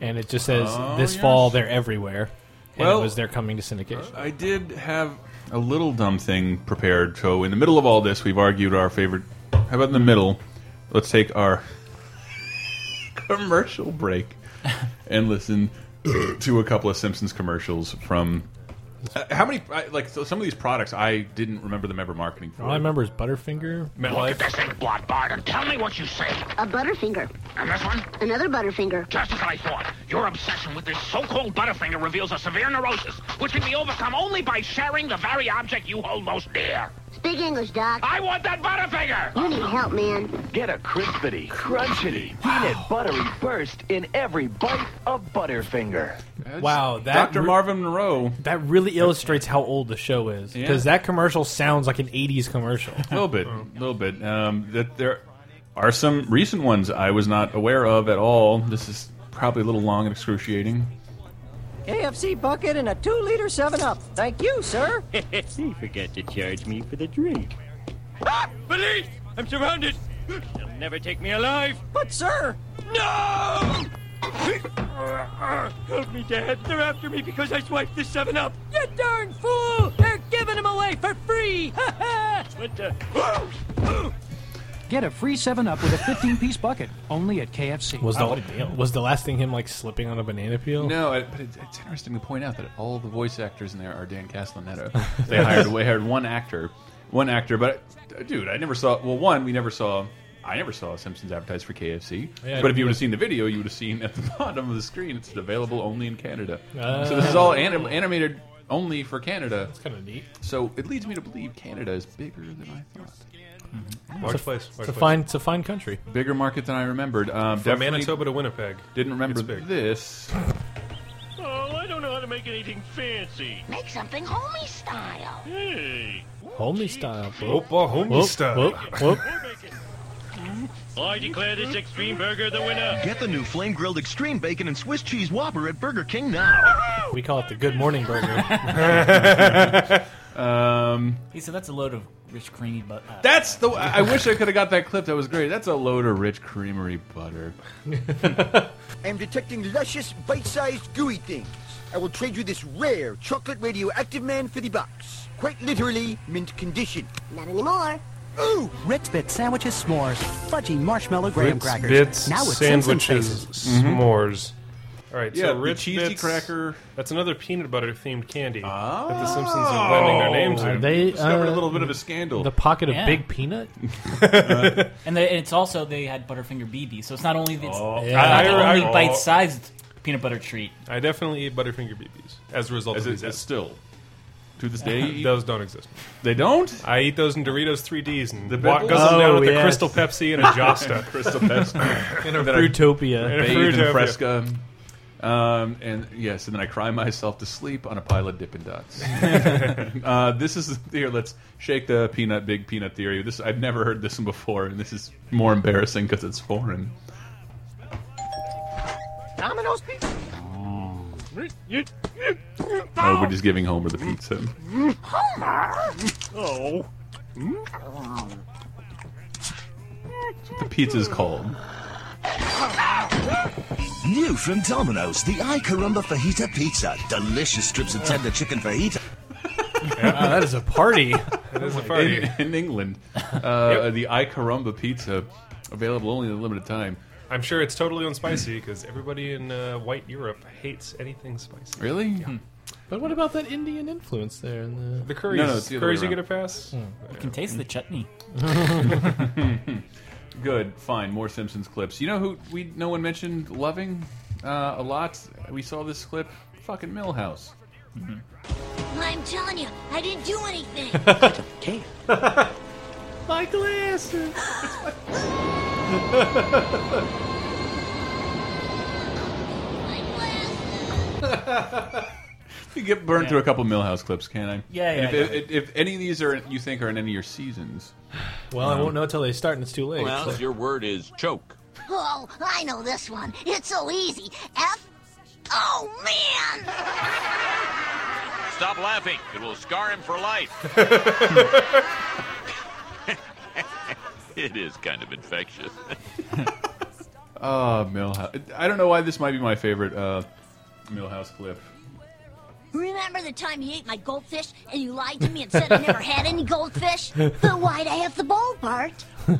D: and it just says,
C: Oh,
D: "This
C: yes.
D: fall, they're everywhere." And
C: Well, uh,
D: it was they're coming to syndication.
C: I did have a little dumb thing prepared. So in the middle of all this, we've argued our favorite. How about in the middle? Let's take our commercial break and listen to a couple of Simpsons commercials from. Uh, how many? I, like so some of these products, I didn't remember them ever marketing for.
D: All I remember is Butterfinger.
C: MetLife.
Q: This ain't Blood Bart, and tell me what you say.
R: A butterfinger.
Q: And this one?
R: Another butterfinger.
Q: Just as I thought. Your obsession with this so-called Butterfinger reveals a severe neurosis, which can be overcome only by sharing the very object you hold most dear.
R: Speak English, Doc.
Q: I want that Butterfinger!
R: You need help, man.
S: Get a crispity, crunchity, peanut buttery burst in every bite of Butterfinger.
D: Wow, that
C: Dr. Marvin Monroe.
D: That really illustrates how old the show is because that commercial sounds like an '80s commercial.
C: A little bit,
D: Oh.
C: a little bit. Um, that there are some recent ones I was not aware of at all. This is probably a little long and excruciating.
T: KFC bucket and a two-liter 7-Up. Thank you, sir.
A: he forgot to charge me for the drink.
U: Police! I'm surrounded! They'll never take me alive!
T: But, sir!
U: No! Help me, Dad. They're after me because I swiped the 7 Up. You darn fool! They're giving them away for free! what the?
V: Get a free 7 Up with a 15 piece bucket only at KFC.
D: Was the was the last thing him like slipping on a banana peel?
C: No, it, but it, it's interesting to point out that all the voice actors in there are Dan Castellaneta. they hired we hired one actor, one actor. But dude, I never saw. Well, one we never saw. I never saw Simpsons advertised for KFC.
D: Yeah,
C: but if you would have seen the video, you would have seen at the bottom of the screen it's available only in Canada.
D: Ah.
C: so this is all anim animated only for Canada. That's
D: kind of neat.
C: So it leads me to believe Canada is bigger than I thought.
F: Large It's a- place, large it's a place.
D: fine- it's a fine country.
C: Bigger market than I remembered. Um,
F: From
C: definitely
F: Manitoba to Winnipeg.
C: Didn't remember
F: It's big.
C: this.
W: Oh, I don't know how to make anything fancy.
A: Make something homie style.
W: Hey.
D: Homie style.
F: Whoop, oh, homie
D: Whoop,
F: style.
D: whoop, whoop.
W: I declare this extreme burger the winner.
S: Get the new flame grilled extreme bacon and Swiss cheese Whopper at Burger King now.
D: We call it the Good Morning
C: Burger. um,
E: He said that's a load of rich, creamy but. Uh,
C: that's the. I I wish I could have got that clip. That was great. That's a load of rich creamery butter.
L: I'm detecting luscious, bite-sized, gooey things. I will trade you this rare chocolate radioactive man for the box. Quite literally, mint condition. Not anymore. Ooh!
V: Ritz Bit sandwiches, s'mores, fudgy marshmallow graham
F: Ritz
V: crackers.
F: Bits,
V: now with Simpson
F: sandwiches,
V: faces.
F: s'mores. All right,
C: Mhm. Yeah,
F: so
C: the
F: Ritz
C: cheesy
F: Bits,
C: cracker. Uh-huh.
F: That's another peanut butter themed candy that the Simpsons
C: Oh.
F: are blending their names in.
D: They
C: Discovered
D: uh,
C: a little bit of a scandal.
D: The pocket of
E: Yeah.
D: Big Peanut.
E: and they, it's also they had Butterfinger BB, so it's not only it's
F: Oh.
E: it's
F: Yeah.
E: not
F: I-
E: the
F: I-
E: only
F: I- oh.
E: bite-sized peanut butter treat.
F: I definitely eat Butterfinger BBs as a result
C: As
F: of
C: it-
F: these.
C: as
F: ads.
C: still. To this day, you eat-
F: those don't exist.
C: They don't.
F: I eat those in Doritos 3ds and the
C: pebbles?
F: goes them
C: Oh,
F: down with a
C: yes.
F: Crystal Pepsi and a Josta.
C: Crystal Pepsi. Then
F: And
C: I bathe
F: Fruitopia.
C: in Fresca. Um, and yes, and then I cry myself to sleep on a pile of Dippin' Dots. uh, this is here. Let's shake the peanut, big peanut theory. This I've never heard this one before, and this is more embarrassing because it's foreign.
J: Domino's pizza.
C: Oh, we're just giving Homer the pizza.
J: Homer.
A: Oh.
C: The pizza's called.
B: New from Domino's, the I Carumba Fajita Pizza. Delicious strips of tender chicken fajita.
D: Wow, that is a party.
F: That is a
C: In, in England, uh, the I Carumba pizza available only in a limited time.
F: I'm sure it's totally unspicy because everybody in uh, white Europe hates anything spicy.
C: Really?
D: But what about that Indian influence there? In the,
F: The curries,
C: No, no, it's the other
F: curries
C: way
F: you get a
C: around.
F: pass.
E: You can taste the chutney.
C: Good, fine. More Simpsons clips. You know who we no one mentioned loving uh, a lot. We saw this clip. Fucking Millhouse.
R: I'm telling you, I didn't do anything.
C: Okay.
J: My glasses.
C: You get burned through a couple Millhouse clips, can I?
D: Yeah, yeah,
C: And
D: yeah.
C: if, if, if any of these are you think are in any of your seasons,
D: well, I won't know until they start, and it's too late.
G: Well,
D: so.
G: your word is choke.
R: Oh, I know this one. It's so easy. F. Oh man!
G: Stop laughing. It will scar him for life. it is kind of infectious.
C: Oh, Millhouse. I don't know why this might be my favorite uh, Millhouse clip.
R: Remember the time you ate my goldfish and you lied to me and said I never had any goldfish? But why'd I have the bowl, Bart?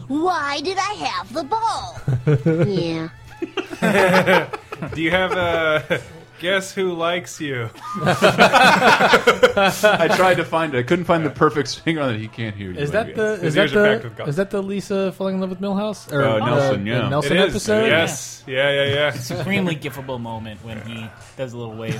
R: Why did I have the bowl? yeah.
F: Do you have a guess who likes you?
C: I tried to find it. I couldn't find the perfect singer on it. He can't hear you.
D: Is that the
F: His
D: is that
F: ears are packed with
D: the
F: gum.
D: is that the Lisa falling in love with Milhouse or
C: Uh,
D: the-
C: Nelson,
D: the
C: yeah.
D: Nelson
F: It is,
D: episode?
F: yes. Yeah, yeah, yeah.
E: Supremely gifable moment when he does a little wave.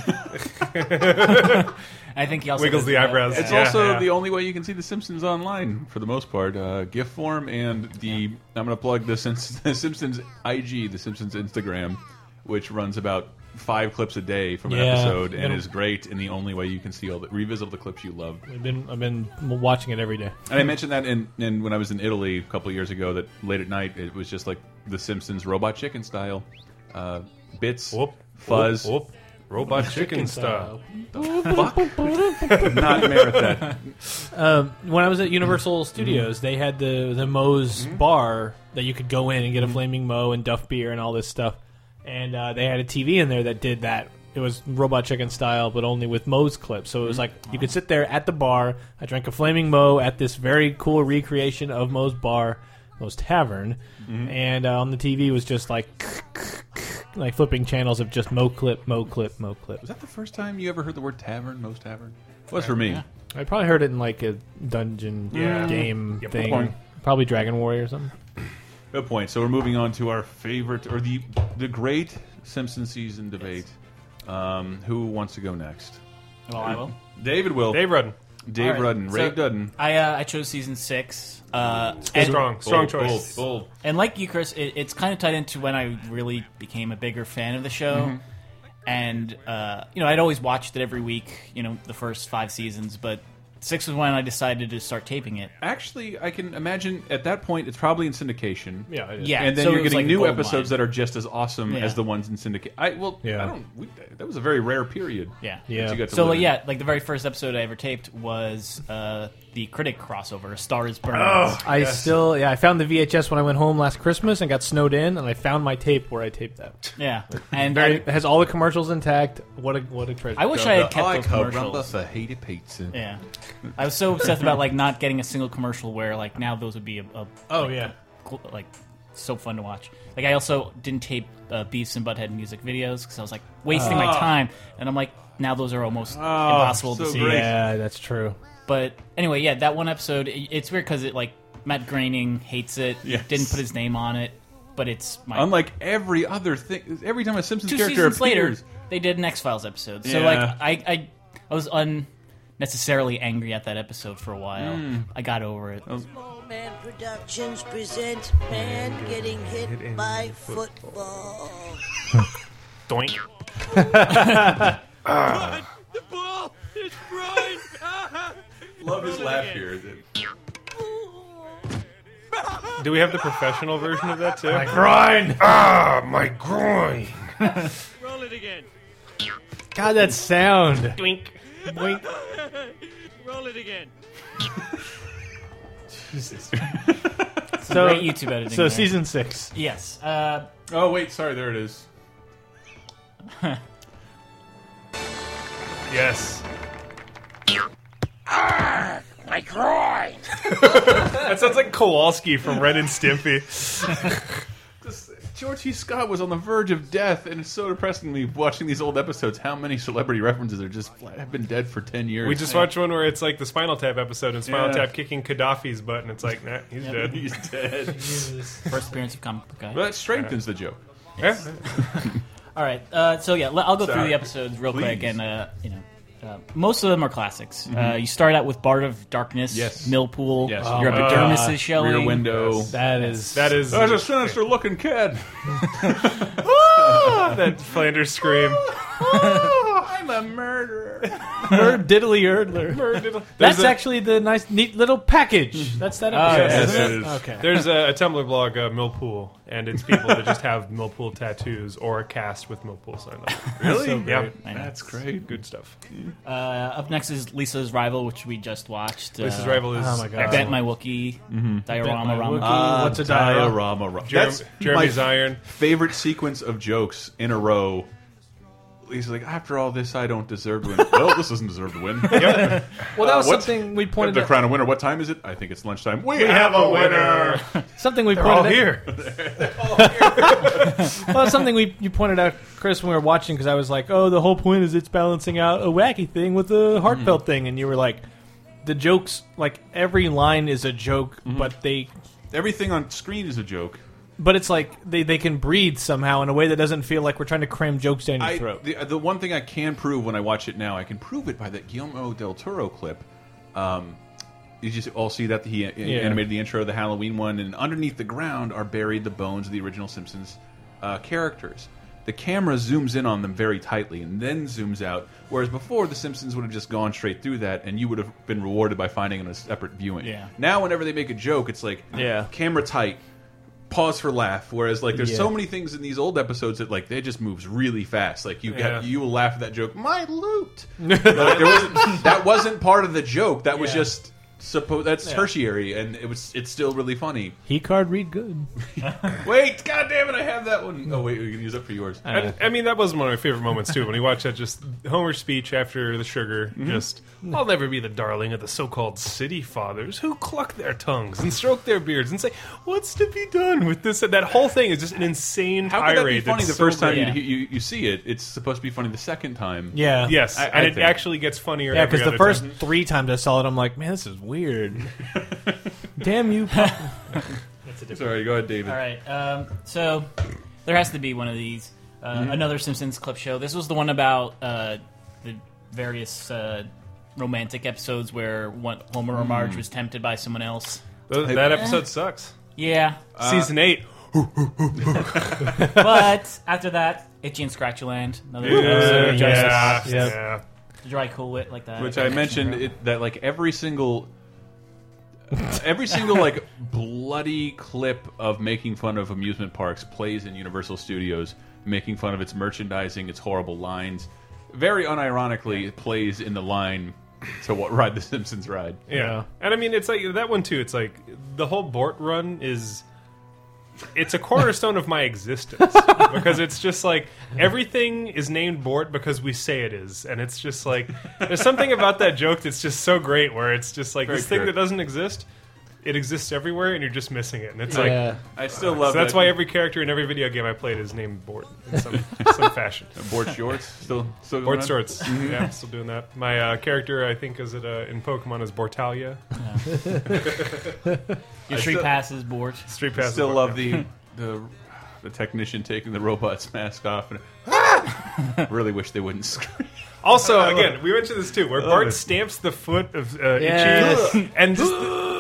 E: I think he also
F: Wiggles
E: does
F: the
E: that.
F: eyebrows.
E: Yeah. Mm-hmm.
C: It's also the only way you can see The Simpsons online, for the most part. Uh, GIF form and the. I'm going to plug the, Simps- the Simpsons IG, The Simpsons Instagram, which runs about five clips a day from an
D: Yeah.
C: episode and
D: It'll-
C: is great. And the only way you can see all the. Revisit all the clips you love.
D: I've been I've been watching it every day.
C: And I mentioned that in, in when I was in Italy a couple years ago. That late at night, it was just like The Simpsons Robot Chicken style, uh, bits, fuzz,
F: whoop, whoop. Robot chicken style.
C: Could not merit that.
D: Um, when I was at Universal Studios, they had the the Moe's bar that you could go in and get a flaming Moe and Duff beer and all this stuff, and uh, they had a TV in there that did that. It was Robot Chicken style, but only with Moe's clips. So it was like you could sit there at the bar. I drank a flaming Moe at this very cool recreation of Moe's bar, Moe's tavern, and uh, on the TV was just like like flipping channels of just Moe clip, Moe clip, Moe clip.
C: Was that the first time you ever heard the word tavern? Most tavern was for me.
D: I probably heard it in like a dungeon
C: Yeah.
D: game
C: Yeah,
D: thing,
C: point.
D: probably Dragon Warrior or something.
C: Good point. So we're moving on to our favorite or the the great Simpson season debate. Um, who wants to go next?
E: Well, I will.
C: David will. Dave
F: Rudden.
C: Dave
E: All right.
C: Rudden.
E: So,
C: Ray Dudden.
E: I uh, I chose season six. Uh,
F: Strong- strong Bold, choice. bold, bold.
E: And like you, Chris, it, it's kind of tied into when I really became a bigger fan of the show.
F: Mhm.
E: And uh, you know, I'd always watched it every week. You know, the first five seasons, but six was when I decided to start taping it.
C: Actually, I can imagine at that point it's probably in syndication.
E: Yeah, it is. Yeah,
C: And then
E: so
C: you're
E: it was
C: getting
E: like
C: new
E: gold
C: episodes that are just as awesome
E: Yeah.
C: as the ones in syndicate. I well,
E: Yeah.
C: I don't. We, that was a very rare period.
E: Yeah,
C: that You got to
E: so
C: live
E: like,
C: in.
E: yeah, like the very first episode I ever taped was uh, the critic crossover, A "Star Is Burned."
D: I still, yeah, I found the VHS when I went home last Christmas and got snowed in, and I found my tape where I taped that.
E: Yeah, and
D: Very-
E: I-
D: it has all the commercials intact. What a what a treasure!
E: I wish I had kept those
C: Caramba
E: commercials.
C: fajita pizza.
E: Yeah, I was so obsessed about like not getting a single commercial where like now those would be a, a
D: Oh,
E: like,
D: yeah.
E: a cl- like so fun to watch. Like I also didn't tape uh, Beefs and Butthead music videos because I was like wasting my
D: Oh.
E: time, and I'm like now those are almost
D: Oh,
E: impossible to
D: so
E: see.
D: great. Yeah, that's true.
E: But anyway, yeah, that one episode i- it's weird because it like Matt Groening hates it.
C: Yes.
E: Didn't put his name on it, but it's my
C: Unlike every other thing, every time a Simpsons
E: two
C: character
E: seasons
C: appears,
E: later they did an X Files episode. So
C: Yeah.
E: like I, I I was unnecessarily angry at that episode for a while.
C: Mm.
E: I got over it.
I: Small Man Productions presents Man, Getting Hit,
E: in
I: by
E: the
I: Football.
F: Doink.
J: The
A: Oh,
J: ball is Brian.
C: Love his laugh here.
F: Do we have the professional version of that too?
J: My groin.
F: Ah, my groin.
A: Roll it again.
D: God, that sound.
F: Doink.
D: Doink.
A: Roll it again.
D: Jesus.
E: Some great YouTube editing
D: So
E: there.
D: season six.
E: Yes. Uh,
C: oh wait, sorry, there it is.
F: Yes.
J: Ah, My groin.
F: that sounds like Kowalski from Ren and Stimpy.
C: George E. Scott was on the verge of death, and it's so depressingly watching these old episodes. How many celebrity references are just flat, have been dead for ten years?
F: we just watched one where it's like the Spinal Tap episode and Spinal
C: Yeah.
F: Tap kicking Gaddafi's butt, and it's like, nah, he's
C: Yeah,
F: dead.
C: he's dead. Jesus.
E: First appearance of comic book guy.
C: Well, that strengthens the joke.
E: Yes. All right. Uh, so yeah, le- I'll go through
C: Sorry.
E: the episodes real quick,
C: Please.
E: and uh, you know, uh, most of them are classics. Uh,
C: Mhm.
E: you start out with Bart of Darkness,
C: Yes.
E: Millpool,
C: Yes.
E: your
C: Oh,
E: epidermis
C: God.
E: is showing,
C: Rear Window. Yes.
D: That is-
F: That is-
C: That's a sinister looking kid.
F: that Flanders scream.
C: I'm a murderer.
D: Herb Diddly Erdler.
F: Herb Diddly-
D: That's
F: There's a-
D: actually the nice, neat little package. That's that episode. isn't it? Mm. Okay.
F: There's a, a Tumblr blog, uh, Millpool, and it's people that just have Millpool tattoos or a cast with Millpool sign up.
E: Really? So
F: yeah.
E: great. I know. That's
F: great. Good stuff.
E: Uh, up next is Lisa's Rival, which we just watched.
F: Lisa's
E: Uh,
F: Rival is Oh my God.
E: Bet
C: Uh,
E: My Wookie,
C: Mhm.
E: Diorama Rama.
C: Ah,
D: What's a diorama?
C: Ro-
F: Jerem-
C: That's
F: Jeremy's
C: my
F: iron.
C: Favorite sequence of jokes in a row. He's like, after all this, I don't deserve to win. well, this doesn't deserve to win.
D: Yep. Well, that was
C: what-
D: something we pointed
C: The
D: out-
C: crown a winner. What time is it? I think it's lunchtime. We,
D: We
C: have,
D: have
C: a
D: a
C: winner.
D: Something we
C: They're
D: pointed
C: all
D: out.
C: here.
D: well, it's something we you pointed out, Chris, when we were watching, because I was like, "Oh, the whole point is it's balancing out a wacky thing with
F: Mm-hmm.
D: a heartfelt thing," and you were like, "The jokes, like every line is a joke,
F: Mm-hmm.
D: but they
C: everything on screen is a joke."
D: But it's like they, they can breathe somehow in a way that doesn't feel like we're trying to cram jokes down your
C: I,
D: throat.
C: The, the one thing I can prove when I watch it now, I can prove it by that Guillermo del Toro clip. Um, you just all see that he
D: Yeah.
C: animated the intro of the Halloween one, and underneath the ground are buried the bones of the original Simpsons uh, characters. The camera zooms in on them very tightly and then zooms out, whereas before the Simpsons would have just gone straight through that, and you would have been rewarded by finding it on a separate viewing.
D: Yeah.
C: Now, whenever they make a joke, it's like
D: Yeah.
C: camera tight, pause for laugh. Whereas like there's
D: Yeah.
C: so many things in these old episodes that like they just moves really fast. Like you
D: Yeah.
C: got you will laugh at that joke. My loot. Like, there wasn't, that wasn't part of the joke. That was
D: Yeah.
C: just supposed. That's tertiary, and it was. It's still really funny.
D: He card read good.
C: Wait, god damn it, I have that one. Oh wait, we can use it for yours.
D: Uh,
F: I, I mean, that was one of my favorite moments too. When you watch that, just Homer's speech after the sugar,
C: Mhm.
F: just I'll never be the darling of the so-called city fathers who cluck their tongues and stroke their beards and say, "What's to be done with this?" That whole thing is just an insane
C: How could that
F: tirade.
C: be funny
F: that's
C: the
F: so
C: first time
F: great.
C: you, you you see it? It's supposed to be funny the second time.
F: Yes,
C: I- I
F: and it
C: think.
F: actually gets funnier.
D: Yeah,
F: every
D: because the
F: other
D: first
F: time.
D: three times I saw it, I'm like, man, this is weird. Damn you! Pop-
E: That's a different-
C: Sorry, go ahead, David.
E: All right. Um, so there has to be one of these. Uh,
F: Mm-hmm.
C: Mhm.
E: Another Simpsons clip show. This was the one about uh, the various uh, romantic episodes where one, Homer or Marge
F: Mm.
E: was tempted by someone else.
F: Th- Hey, that episode sucks.
E: Yeah.
C: Uh,
F: Season eight.
E: but after that, Itchy and Scratchy Land. Another
C: Yeah,
E: episode of Justice.
C: yeah, yeah.
E: Dry Cool Wit like that.
C: which I mentioned it, that like every single uh, every single like bloody clip of making fun of amusement parks plays in Universal Studios, making fun of its merchandising, its horrible lines. Very unironically, it plays in the line to what ride the Simpsons ride.
F: Yeah. And I mean, it's like that one too. It's like the whole Bort run is. It's a cornerstone of my existence because it's just like everything is named Bort because we say it is, and it's just like there's something about that joke that's just so great where it's just like
C: Very
F: this thing
C: pure.
F: that doesn't exist. it exists everywhere, and you're just missing it. And it's
C: Yeah.
F: like
C: Yeah. I still love
F: So that's
C: that.
F: why every character in every video game I played is named Bort in some, some fashion.
C: Bort Shorts? Still- still
F: Bort
C: going on?
F: Shorts.
C: Mhm.
F: yeah, I'm still doing that. My uh, character, I think, is it uh, in Pokemon is Bortalia.
E: Your
F: I
E: street
F: still-
E: pass is Bort.
F: Street pass. is
C: Still
F: Bort,
C: love
F: yeah.
C: the the the technician taking the robot's mask off and really wish they wouldn't scream.
F: Also, again, we mentioned this too, where
C: Love
F: Bart
C: it.
F: stamps the foot of uh,
C: Yes.
F: Ichi, and just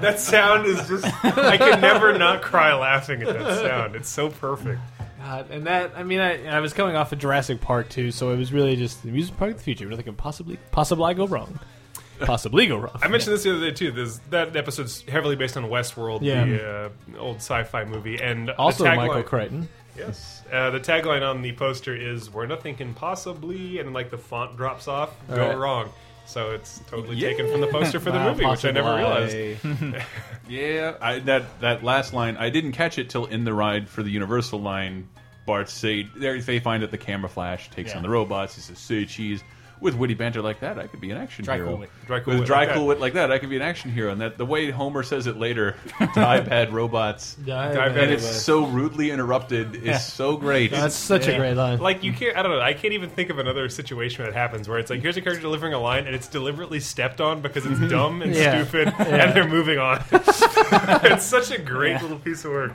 F: that sound is just—I can never not cry laughing at that sound. It's so perfect.
D: God, and that I mean I, I was coming off of Jurassic Park too, so it was really just the amusement park of the future. Nothing can possibly possibly go wrong. Possibly go wrong.
F: I mentioned this the other day too. This that episode's heavily based on Westworld,
D: Yeah.
F: the uh, old sci-fi movie, and the
D: Also
F: tagline-
D: Michael Crichton.
F: Yes, uh, the tagline on the poster is "Where nothing can possibly," and like the font drops off.
D: All
F: go
D: right.
F: wrong. So it's totally
C: Yeah.
F: taken from the poster for the
C: Wow,
F: movie, which I never realized.
C: yeah, I, that that last line I didn't catch it till in the ride for the Universal line. Bart say there they find out the camera flash takes
F: Yeah.
C: on the robots. He says, "Say cheese." With witty banter like that, I could be an action
F: Dry
C: hero.
F: cool wit. Dry cool
C: With
F: wit
C: dry
F: like
C: cool
F: that.
C: wit like that, I could be an action hero. And that the way Homer says it later, to iPad robots,
F: Dive
C: and
F: anyway.
C: it's so rudely interrupted is
F: Yeah.
C: so great.
F: Yeah. Like you can't. I don't know. I can't even think of another situation that happens where it's like here's a character delivering a line and it's deliberately stepped on because it's dumb and
D: Yeah.
F: stupid,
D: Yeah.
F: and they're moving on. it's such a great
E: Yeah.
F: little piece of work.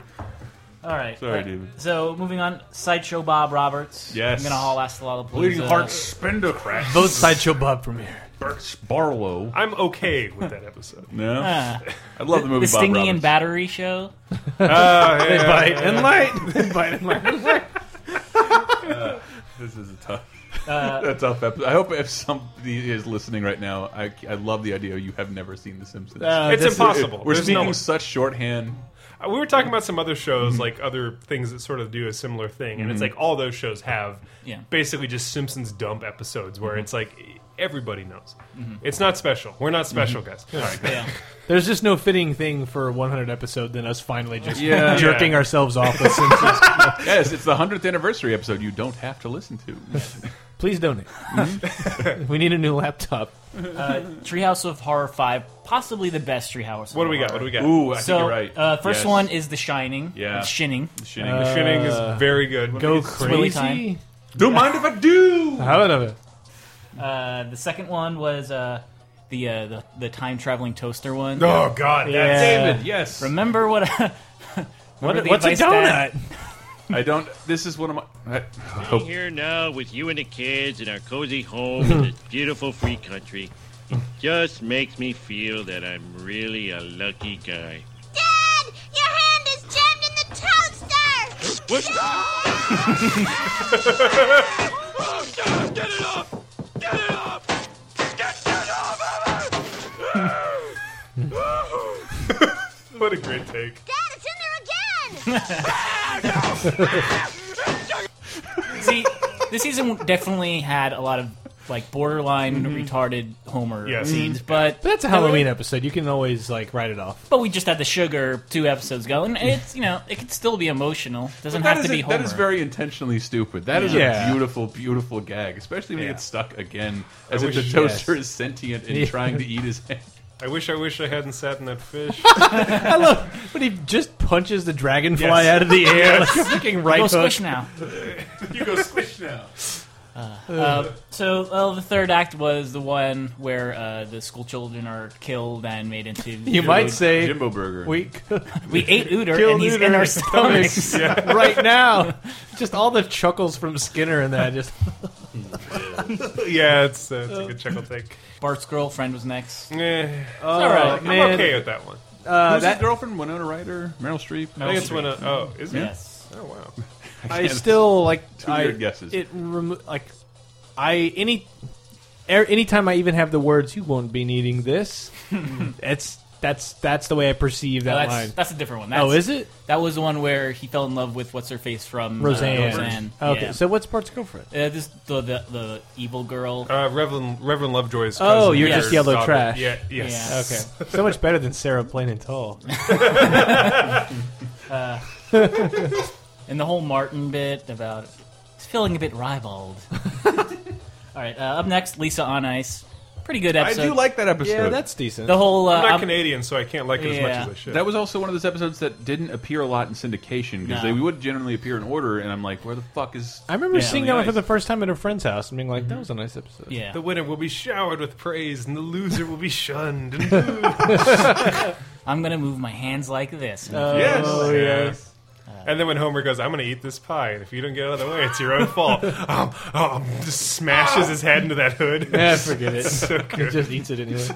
E: All right.
F: Sorry,
E: Uh,
F: David.
E: So moving on, sideshow Bob Roberts.
C: Yes.
E: I'm gonna haul ass a lot of uh,
C: Bleeding Heart Spindlecrats.
D: Both sideshow Bob premiere.
C: Burt Barlow.
F: I'm okay with that episode.
C: No,
E: Ah.
C: I love the movie.
E: The
C: Bob
E: Stingy
C: Roberts.
E: and Battery show.
C: Oh, yeah,
D: They
C: yeah,
D: bite
C: yeah,
D: and
C: yeah.
D: light. They bite and light.
C: Uh, this is a tough,
E: Uh,
C: a tough episode. I hope if somebody is listening right now, I, I love the idea you have never seen The Simpsons.
F: Uh, It's this is- impossible.
C: We're
F: There's
C: speaking
F: no-
C: such shorthand.
F: Uh, We were talking about some other shows,
D: Mm-hmm.
F: like other things that sort of do a similar thing, and it's
C: Mhm.
F: like all those shows have
E: Yeah.
F: basically just Simpsons dump episodes
D: Mm-hmm.
F: where it's like everybody knows.
D: Mhm.
F: It's not special. We're not special,
D: Mhm.
F: guys.
D: Yeah.
F: All right.
D: Yeah. There's just no fitting thing for a 100 episode than us finally just
C: Yeah.
D: jerking
C: Yeah.
D: ourselves off with Simpsons.
C: yes, it's the hundredth anniversary episode. You don't have to listen to.
D: Please donate.
F: Mm-hmm.
D: we need a new laptop.
E: Uh, Treehouse of Horror Five, possibly the best Treehouse. of
F: What do we
E: Horror.
F: got? What do we got?
C: Ooh, I think
E: so,
C: you're right.
E: Uh, first
C: Yes.
E: one is The Shining.
C: Yeah.
E: It's Shining.
C: The Shining. The Shining is
F: very good.
D: uh, Go
E: It's Willy
D: crazy.
E: time.
C: Don't mind if I do.
D: How about it?
E: Uh, the second one was uh, the, uh, the the time traveling toaster one.
F: Oh, God, that's-
E: uh,
F: David,
C: yes.
E: Remember what? Remember the
C: what's a
E: advice Dad-
C: I don't. This is one of my.
A: Sitting here now with you and the kids in our cozy home in this beautiful free country. It just makes me feel that I'm really a lucky guy.
X: Dad, your hand is jammed in the toaster.
A: What?
X: oh, God, get it off! Get it off! Get it off!
F: what a great take.
X: Dad, it's in there again!
E: See, this season definitely had a lot of like borderline
C: Mm-hmm.
E: retarded Homer scenes, but
D: Mm-hmm. that's a Halloween episode. You can always like write it off.
E: But we just had the sugar two episodes ago, and it's you know it could still be emotional. Doesn't
C: But that
E: have to
C: is
E: be
C: a-
E: Homer.
C: That is very intentionally stupid. That is
E: Yeah.
C: a beautiful, beautiful gag, especially when he gets stuck again,
F: I
C: as if the
F: wish-
C: toaster
F: yes.
C: is sentient and
F: Yeah.
C: trying to eat his hand.
F: I wish I wish I hadn't sat in that fish.
D: I love when he just punches the dragonfly
F: Yes.
D: out of the air like a
F: Yes.
D: fucking right hook.
F: you go squish now.
E: Uh, so well, the third act was the one where uh, the school children are killed and made into.
D: You might say
C: Jimbo Burger.
D: We
E: We ate Uter
D: Killed
E: and he's
D: Uter
E: in our
D: stomachs
E: stomachs. Yeah.
D: right now. Just all the chuckles from Skinner and that just.
F: yeah, it's, uh, it's a good chuckle take.
E: Bart's girlfriend was next.
F: Yeah,
D: Oh, all right. man.
F: I'm okay with that one.
D: Uh,
C: Who's
D: that-
C: his girlfriend? Winona Ryder, Meryl Streep.
F: I think it's one of. Oh, is it?
E: Yes.
F: Oh wow.
D: I still like
C: Two
D: I,
C: weird guesses.
D: It remo- like I any er, anytime I even have the words "you won't be needing this," it's that's that's the way I perceive that
E: No, that's,
D: line.
E: that's a different one.
D: oh,
E: That's-
D: is it
E: That was the one where he fell in love with what's her face from uh,
D: Roseanne?
E: Roseanne.
D: Okay,
E: Yeah.
D: so what's Bart's girlfriend?
E: Uh, this the, the the evil girl.
F: Uh, Reverend Reverend Lovejoy's.
D: Oh,
F: cousin,
D: you're
F: yes.
D: just yellow
F: daughter.
D: trash.
F: Yeah. Yes.
D: Okay. So much better than Sarah Plain and Tall.
E: Uh, and the whole Martin bit about it's feeling a bit ribald. All right, uh, up next, Lisa on Ice. pretty good episode.
C: I do like that episode.
E: The whole uh,
F: I'm not
E: I'm-
F: Canadian, so I can't like it as much as I should.
C: That was also one of those episodes that didn't appear a lot in syndication because
F: No.
C: they would generally appear in order, and I'm like, where the fuck is?
D: I remember
C: Yeah.
D: seeing that
C: Family
D: one for
C: Ice?
D: the first time at a friend's house and being like, "That was a nice episode."
F: The winner will be showered with praise, and the loser will be shunned. And
E: I'm gonna move my hands like this.
F: yes, And then when Homer goes, "I'm going to eat this pie," and if you don't get out of the way, it's your own fault. um, um, just smashes his head into that hood.
D: Yeah, forget it.
F: so
D: He
F: good.
D: just eats it anyway.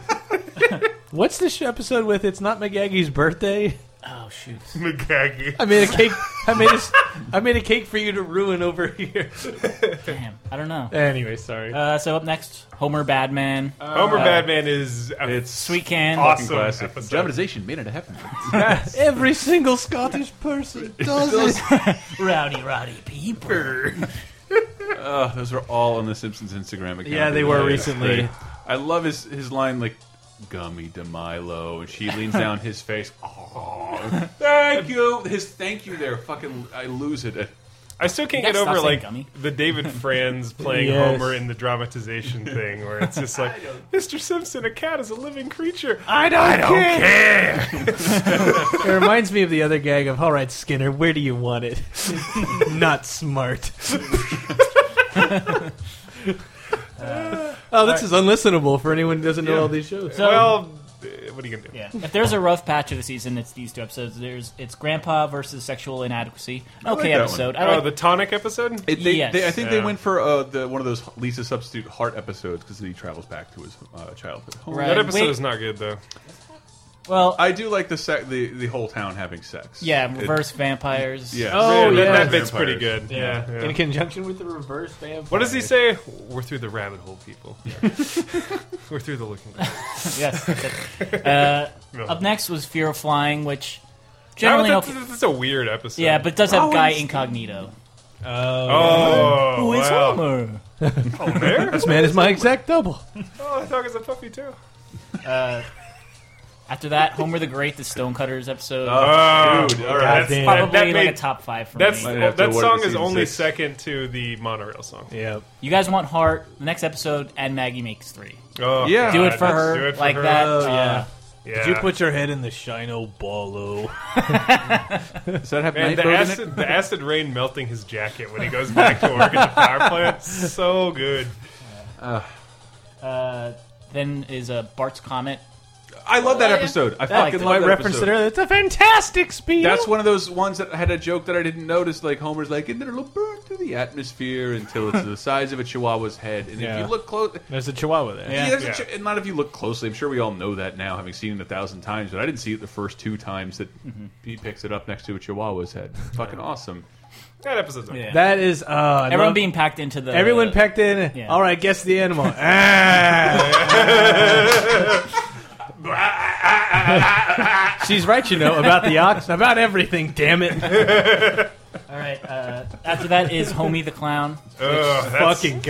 D: What's this episode with? It's not McGaggy's birthday.
E: Oh shoot,
F: McGaggy.
D: I made a cake. I made a, s- I made a cake for you to ruin over here.
E: Damn, I don't know.
D: Anyway, sorry.
E: Uh, so up next, Homer Badman.
F: Homer
E: Uh,
F: Badman is a
C: It's
E: Sweet Can.
F: awesome
C: classic.
F: episode.
C: Dramatization made it happen.
D: Every single Scottish person does it.
E: rowdy, rowdy people.
C: Ugh, those were all on the Simpsons Instagram account.
D: Yeah, they were
C: It's
D: recently.
C: great. I love his his line like "Gummy de Milo," and she leans down his face. Oh, thank you. His thank you there. Fucking, I lose it.
F: I still can't get over like the David Franz playing
C: Yes.
F: Homer in the dramatization thing, where it's just like Mr. Simpson, a cat is a living creature.
D: I don't
F: care.
D: it reminds me of the other gag of, all right, Skinner, where do you want it? Not smart. oh, this is unlistenable for anyone who doesn't know all these shows.
F: well, uh, what are you gonna do?
E: Yeah. If there's a rough patch of the season, it's these two episodes. There's it's Grandpa versus sexual inadequacy. An
F: I like
E: okay
F: that one.
E: episode.
F: Oh,
E: I like
F: the tonic episode.
C: It, they,
E: Yes.
C: they, I think they
E: Yeah.
C: went for uh, the, one of those Lisa substitute heart episodes because he travels back to his uh, childhood. home.
E: Right. That episode Wait.
F: is not good though.
E: Well,
C: I do like the sec- the the whole town having sex.
E: Yeah,
C: It-
E: reverse vampires.
C: Yeah.
F: Oh,
C: Reverse
F: yeah. That- that
C: vampires.
F: bit's pretty good. Yeah. Yeah.
D: In conjunction with the reverse vampire.
F: What does he say? We're through the rabbit hole, people. We're through the looking glass.
E: yes. that's it. Uh, Up next was Fear of Flying, which generally
F: That was- that's- that's a weird episode.
E: Yeah, but it does have Guy
F: Rowan's-
E: Incognito.
F: Oh,
E: who is
F: wow.
E: Homer?
F: Homer?
D: This man is my exact double.
F: Oh, I thought it was a puppy too.
E: Uh, after that, Homer the Great, the Stonecutters episode.
F: Oh, dude, all right.
E: That's
F: That's-
E: probably like
F: made-
E: a top five for
F: that's,
E: me.
F: That song is only second to the monorail song.
D: Yeah.
E: You guys want Heart? The next episode, and Maggie makes three.
F: Oh, Yeah.
E: do it
F: God,
E: for
F: let's
E: her
F: do it for
E: like
F: her.
E: that.
F: Oh,
E: uh,
F: yeah. Yeah.
D: Did you put your head in the shino ballo?
C: Does that have
F: Man, the acid, the acid rain melting his jacket when he goes back to work at the power plant. So good.
E: uh, then is uh, Bart's Comet.
C: I love
E: Oh,
C: that episode. I fucking
E: that.
C: love that episode.
D: It's a fantastic speed.
C: That's one of those ones that had a joke that I didn't notice. Like Homer's like, and then it'll burn through the atmosphere until it's the size of a chihuahua's head. And
D: Yeah.
C: if you look close,
D: There's a chihuahua there.
C: yeah, there's a chi- and not if you look closely. I'm sure we all know that now, having seen it a thousand times. But I didn't see it the first two times that he picks it up next to a chihuahua's head. Fucking awesome.
F: That episode's okay.
D: That is uh, I
E: Everyone
D: love-
E: being packed into the-
D: everyone packed in.
E: Yeah.
D: All right, guess the animal. Ah. She's right, you know, about the ox, about everything. Damn it!
E: All right. Uh, after that is Homie the Clown.
F: Ugh,
E: which-
F: that's-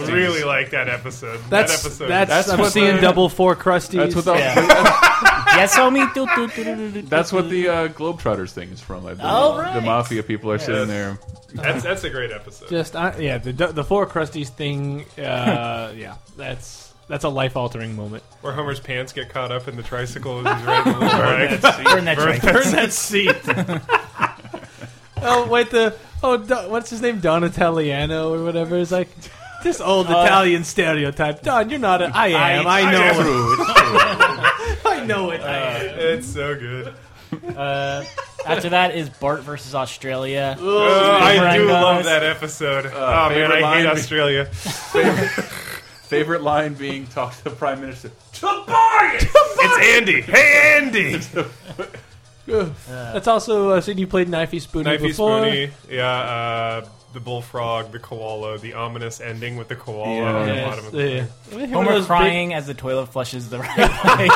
F: I really like that episode.
D: Oh, That's
F: that episode.
D: that's, I'm
C: what
D: seeing
C: the-
D: double four crusties.
C: That's what the,
E: yes, homie. Do, do, do, do, do, do.
C: that's what the uh, Globetrotters thing is from. I believe.
E: All right.
C: The mafia people are sitting there.
F: That's that's a great episode.
D: Just uh, yeah, the the four crusties thing. Uh, yeah, that's that's a life altering moment.
F: Where Homer's pants get caught up in the tricycle as he's riding along.
D: Burn that seat. Burn that train. Burn that
F: seat.
D: Oh wait, the oh Don, what's his name, Don Italiano or whatever is like this old
E: Uh,
D: Italian stereotype. Don, you're not. A, I am. I, know. it. Uh, I know it.
F: it's so good.
E: Uh, after that is Bart versus Australia.
F: Oh, I do
E: Rangos.
F: love that episode. oh man,
C: favorite
F: I
C: line
F: hate
C: be-
F: Australia.
C: Favorite line being talk to the prime minister.
F: It's Andy. Hey, Andy.
D: Ugh. That's also uh, Sydney played Knifey Spoonie
F: Knifey
D: before.
F: Spoonie. Yeah. Uh, the bullfrog, the koala, the ominous ending with the koala
D: Yeah.
F: on the
D: Yes,
F: bottom of the
D: yeah. Well, here
E: Homer
D: those
E: crying as the toilet flushes the right way.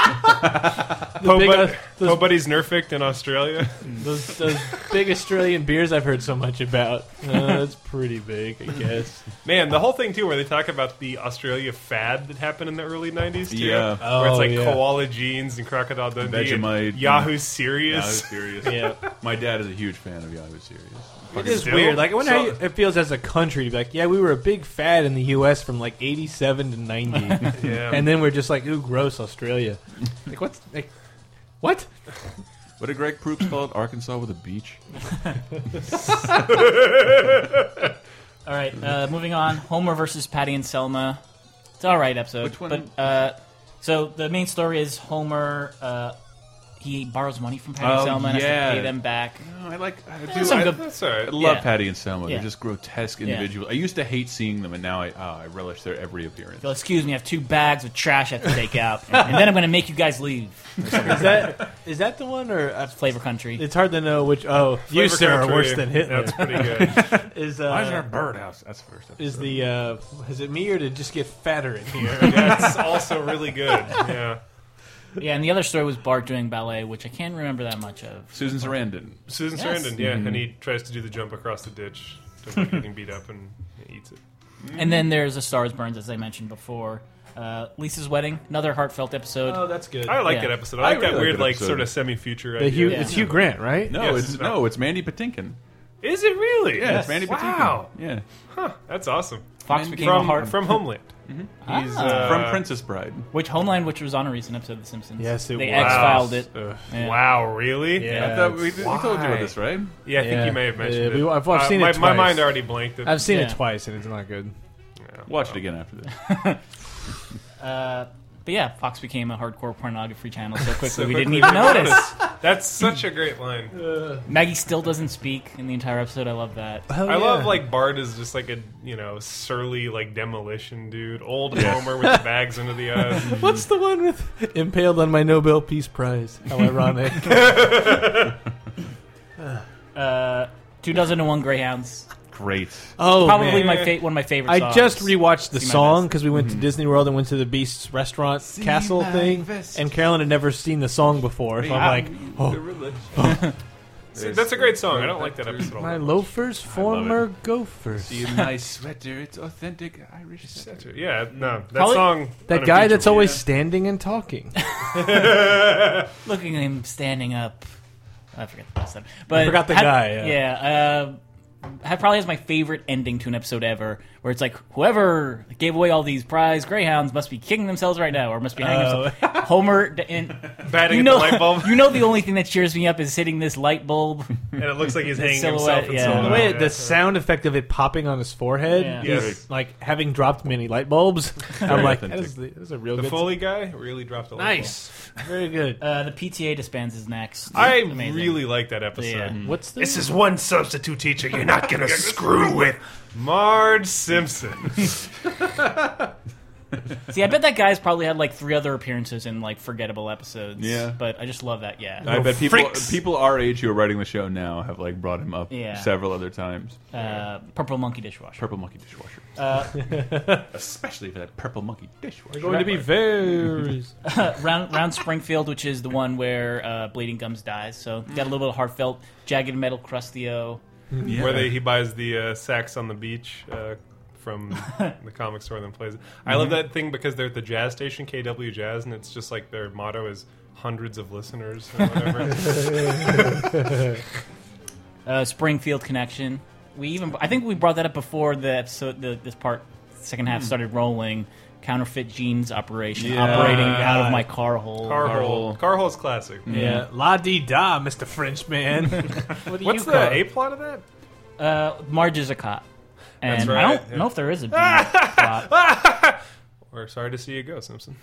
F: Poe
D: uh,
F: Bud- Poe Buddy's nerfed in Australia.
D: Those, those big Australian beers I've heard so much about. Uh, that's pretty big, I guess.
F: Man, the whole thing too, where they talk about the Australia fad that happened in the early '90s too,
C: Yeah.
F: where it's
C: Oh,
F: like
C: yeah.
F: koala jeans and crocodile Dundee, and
C: Vegemite,
F: Yahoo Serious,
C: Yahoo Serious.
F: yeah,
C: My dad is a huge fan of Yahoo Serious.
D: It is weird. Like I wonder how you, it feels as a country to be like, yeah, we were a big fad in the U.S. from like '87 to '90,
F: Yeah.
D: and then we're just like, ooh, gross, Australia. Like what's like, what?
C: What did Greg Proops call it? Arkansas with a beach.
E: all right, uh, moving on. Homer versus Patty and Selma. It's all right episode.
C: Which one-
E: But, uh, so the main story is Homer. Uh, he borrows money from Patty
C: Oh,
E: and Selma and has
C: yeah.
E: to pay them back.
C: No, I like. I
E: There's
C: do-
E: some
C: I-
E: good-
C: I love
E: Yeah.
C: Patty and Selma.
E: Yeah.
C: They're just grotesque
E: Yeah.
C: individuals. I used to hate seeing them, and now I ah, I relish their every appearance.
E: They'll, excuse me, I have two bags of trash I have to take out, and, and then I'm going to make you guys leave. Is
D: that is that the one or uh,
E: Flavor Country?
D: It's hard to know which. Oh, you
E: Flavor
D: sir are
E: Country.
D: worse than Hitler.
E: That's pretty good.
D: is uh,
E: Why is there a birdhouse? That's the first
D: Is the uh, is it me or did it just get fatter in here?
F: That's also really good. Yeah.
E: Yeah, and the other story was Bart doing ballet, which I can't remember that much of.
C: Susan Sarandon.
F: Susan
E: Yes.
F: Sarandon, yeah,
E: Mhm.
F: and
C: Mm-hmm.
F: he tries to do the jump across the ditch to avoid getting beat up and he eats it.
E: And then there's a Stars Burns, as I mentioned before. Uh, Lisa's Wedding, another heartfelt episode.
D: Oh, that's good.
F: I like
E: Yeah.
F: that episode. I like that
C: really
F: weird,
C: that
F: like,
C: episode.
F: sort of semi-future.
D: The
F: idea.
D: Hugh- it's Hugh Grant, right?
C: No,
F: Yes,
C: it's no, it's Mandy Patinkin.
F: Is it really?
C: Yeah, it's Mandy Patinkin.
F: Wow.
C: Yeah.
F: Huh. That's awesome.
E: Fox
F: Mandy-
E: became a
F: from,
E: heart-
F: from Homeland. He's uh,
C: from Princess Bride.
E: Which Homeland, which was on a recent episode of The Simpsons.
D: Yes, it
E: they
D: was.
E: X-filed it.
F: Ugh.
E: Yeah.
F: Wow, really?
E: Yeah,
C: I thought uh, we, we told you about this, right?
F: Yeah, I think
D: Yeah.
F: you may have mentioned
D: Yeah,
F: it.
D: we- I've- I've
F: Uh,
D: seen
F: my,
D: it
F: My
D: twice.
F: mind already blanked. It.
D: I've seen
E: Yeah.
D: it twice and it's not good.
C: Watch it again after this.
E: Uh, but yeah, Fox became a hardcore pornography channel so quickly
F: So
E: we didn't
F: quickly
E: even
F: we
E: notice.
F: noticed. That's such a great line.
E: Maggie still doesn't speak in the entire episode. I love that.
F: I love like Bart is just like a you know surly like demolition dude, old
D: Yeah.
F: Homer with the bags under the eyes.
D: What's the one with impaled on my Nobel Peace Prize? How ironic.
E: uh, two dozen and one greyhounds.
C: Great.
D: Oh,
E: probably
D: man.
E: my fa- one of my favorite.
D: I
E: songs.
D: just rewatched the
E: See my
D: song
E: best.
D: because we went to Disney World and went to the Beast's restaurant castle
E: my
D: thing,
E: best.
D: and Carolyn had never seen the song before. So
F: Yeah.
D: I'm like, oh, oh.
F: See, that's a great song. I don't like that episode.
D: my loafers, former gophers.
C: See my sweater. It's authentic Irish sweater.
F: Yeah, no, that
D: Probably-
F: song.
D: that guy that's always standing and talking.
E: Looking at him standing up. I forget the last time. But
D: I forgot the
E: had-
D: guy, yeah.
E: Yeah. Uh, had- probably has my favorite ending to an episode ever, where it's like whoever gave away all these prize greyhounds must be kicking themselmals right now, or must be hanging
D: Oh.
E: themselves. Homer d- and
F: Batting
E: you
F: at
E: know,
F: the light bulb.
E: You know, the only thing that cheers me up is hitting this light bulb,
F: and it looks like he's
E: The
F: hanging
E: silhouette,
F: himself. And
E: yeah.
F: someone
D: The way
F: else.
D: the sound effect of it popping on his forehead,
E: Yeah.
D: he's,
F: Yes.
D: like having dropped many light bulbs. I'm like, that
F: authentic.
D: is, the- that is a real
F: the
D: good.
F: Foley guy really dropped a light
D: nice, very good.
E: Uh, the PTA disbands is next.
F: bulb. I
E: Amazing.
F: really like that episode.
E: Yeah.
D: What's the
H: This is one substitute teacher you're not gonna screw with.
F: Marge Simpson.
E: See, I bet that guy's probably had like three other appearances in like forgettable episodes.
C: Yeah.
E: but I just love that. Yeah,
C: I bet people people our age who are writing the show now have like brought him up
E: Yeah.
C: several other times.
E: Uh, purple monkey dishwasher.
C: Purple monkey dishwasher,
E: Uh,
C: especially for that purple monkey dishwasher.
D: We're going to be very.
E: round round Springfield, which is the one where uh, Bleeding Gums dies. So got a little bit of heartfelt, jagged metal crustio.
F: Where they, he buys the uh, sax on the beach uh, from the comic store and then plays it. I love
E: Mhm.
F: that thing because they're at the jazz station, KW Jazz, and it's just like their motto is hundreds of listeners or whatever.
E: uh, Springfield connection. We even I think we brought that up before the episode. The, this part second half
C: Hmm.
E: started rolling. Counterfeit jeans operation
C: Yeah.
E: operating out of my car hole.
F: Car hole. Car hole's classic.
E: Mm.
D: Yeah, la di da, Mister Frenchman. what do
F: What's
D: you
F: the
D: call it?
F: A plot of that?
E: Uh, Marge is a cop, and
F: That's
E: I
F: right,
E: don't
F: yeah.
E: know if there is a B plot.
F: We're sorry to see you go, Simpson.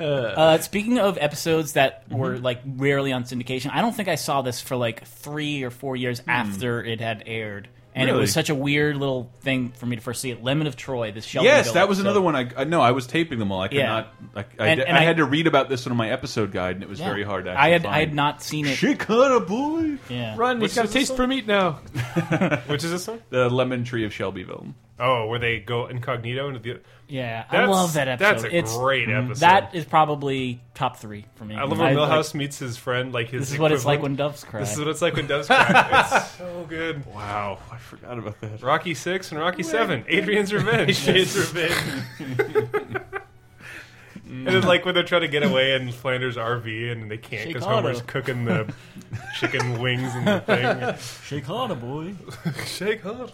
E: Uh, speaking of episodes that were like rarely on syndication, I don't think I saw this for like three or four years after it had aired, and it
C: Really?
E: was such a weird little thing for me to first see it. Lemon of Troy, this Shelby.
C: yes, that was another one. I I- no, I was taping them all. I could
E: Yeah.
C: not. I, I,
E: And-
C: di-
E: and
C: I
E: I-
C: had to read about this one in my episode guide, and it was
E: Yeah.
C: very hard. To
E: I had
C: actually
E: I had
C: find.
E: not seen it.
C: She cut a boy.
E: Yeah.
D: Run,
F: Which
D: he's got a
F: is this
D: taste
F: one?
D: for meat now.
F: Which is this one?
C: The Lemon Tree of Shelbyville.
F: Oh, where they go incognito into the.
E: Yeah, I
F: That's-
E: love that episode.
F: That's a
E: It's- Mm-hmm.
F: great episode.
E: That is probably top three for me.
F: I love when
E: I, like-
F: Milhouse meets his friend. Like his.
E: This is what it's like
F: equivalent.
E: when doves cry.
F: This is what it's like when doves cry. it's so good.
C: Wow, Oh, I forgot about that.
F: Rocky Six and Rocky Seven. Adrian's Revenge.
D: Adrian's
F: Revenge. and then, like when they're trying to get away in Flanders' RV and they can't because
E: Chicago.
F: Homer's cooking the chicken wings and the
E: Shake harder, boy.
F: thing. Shake hard.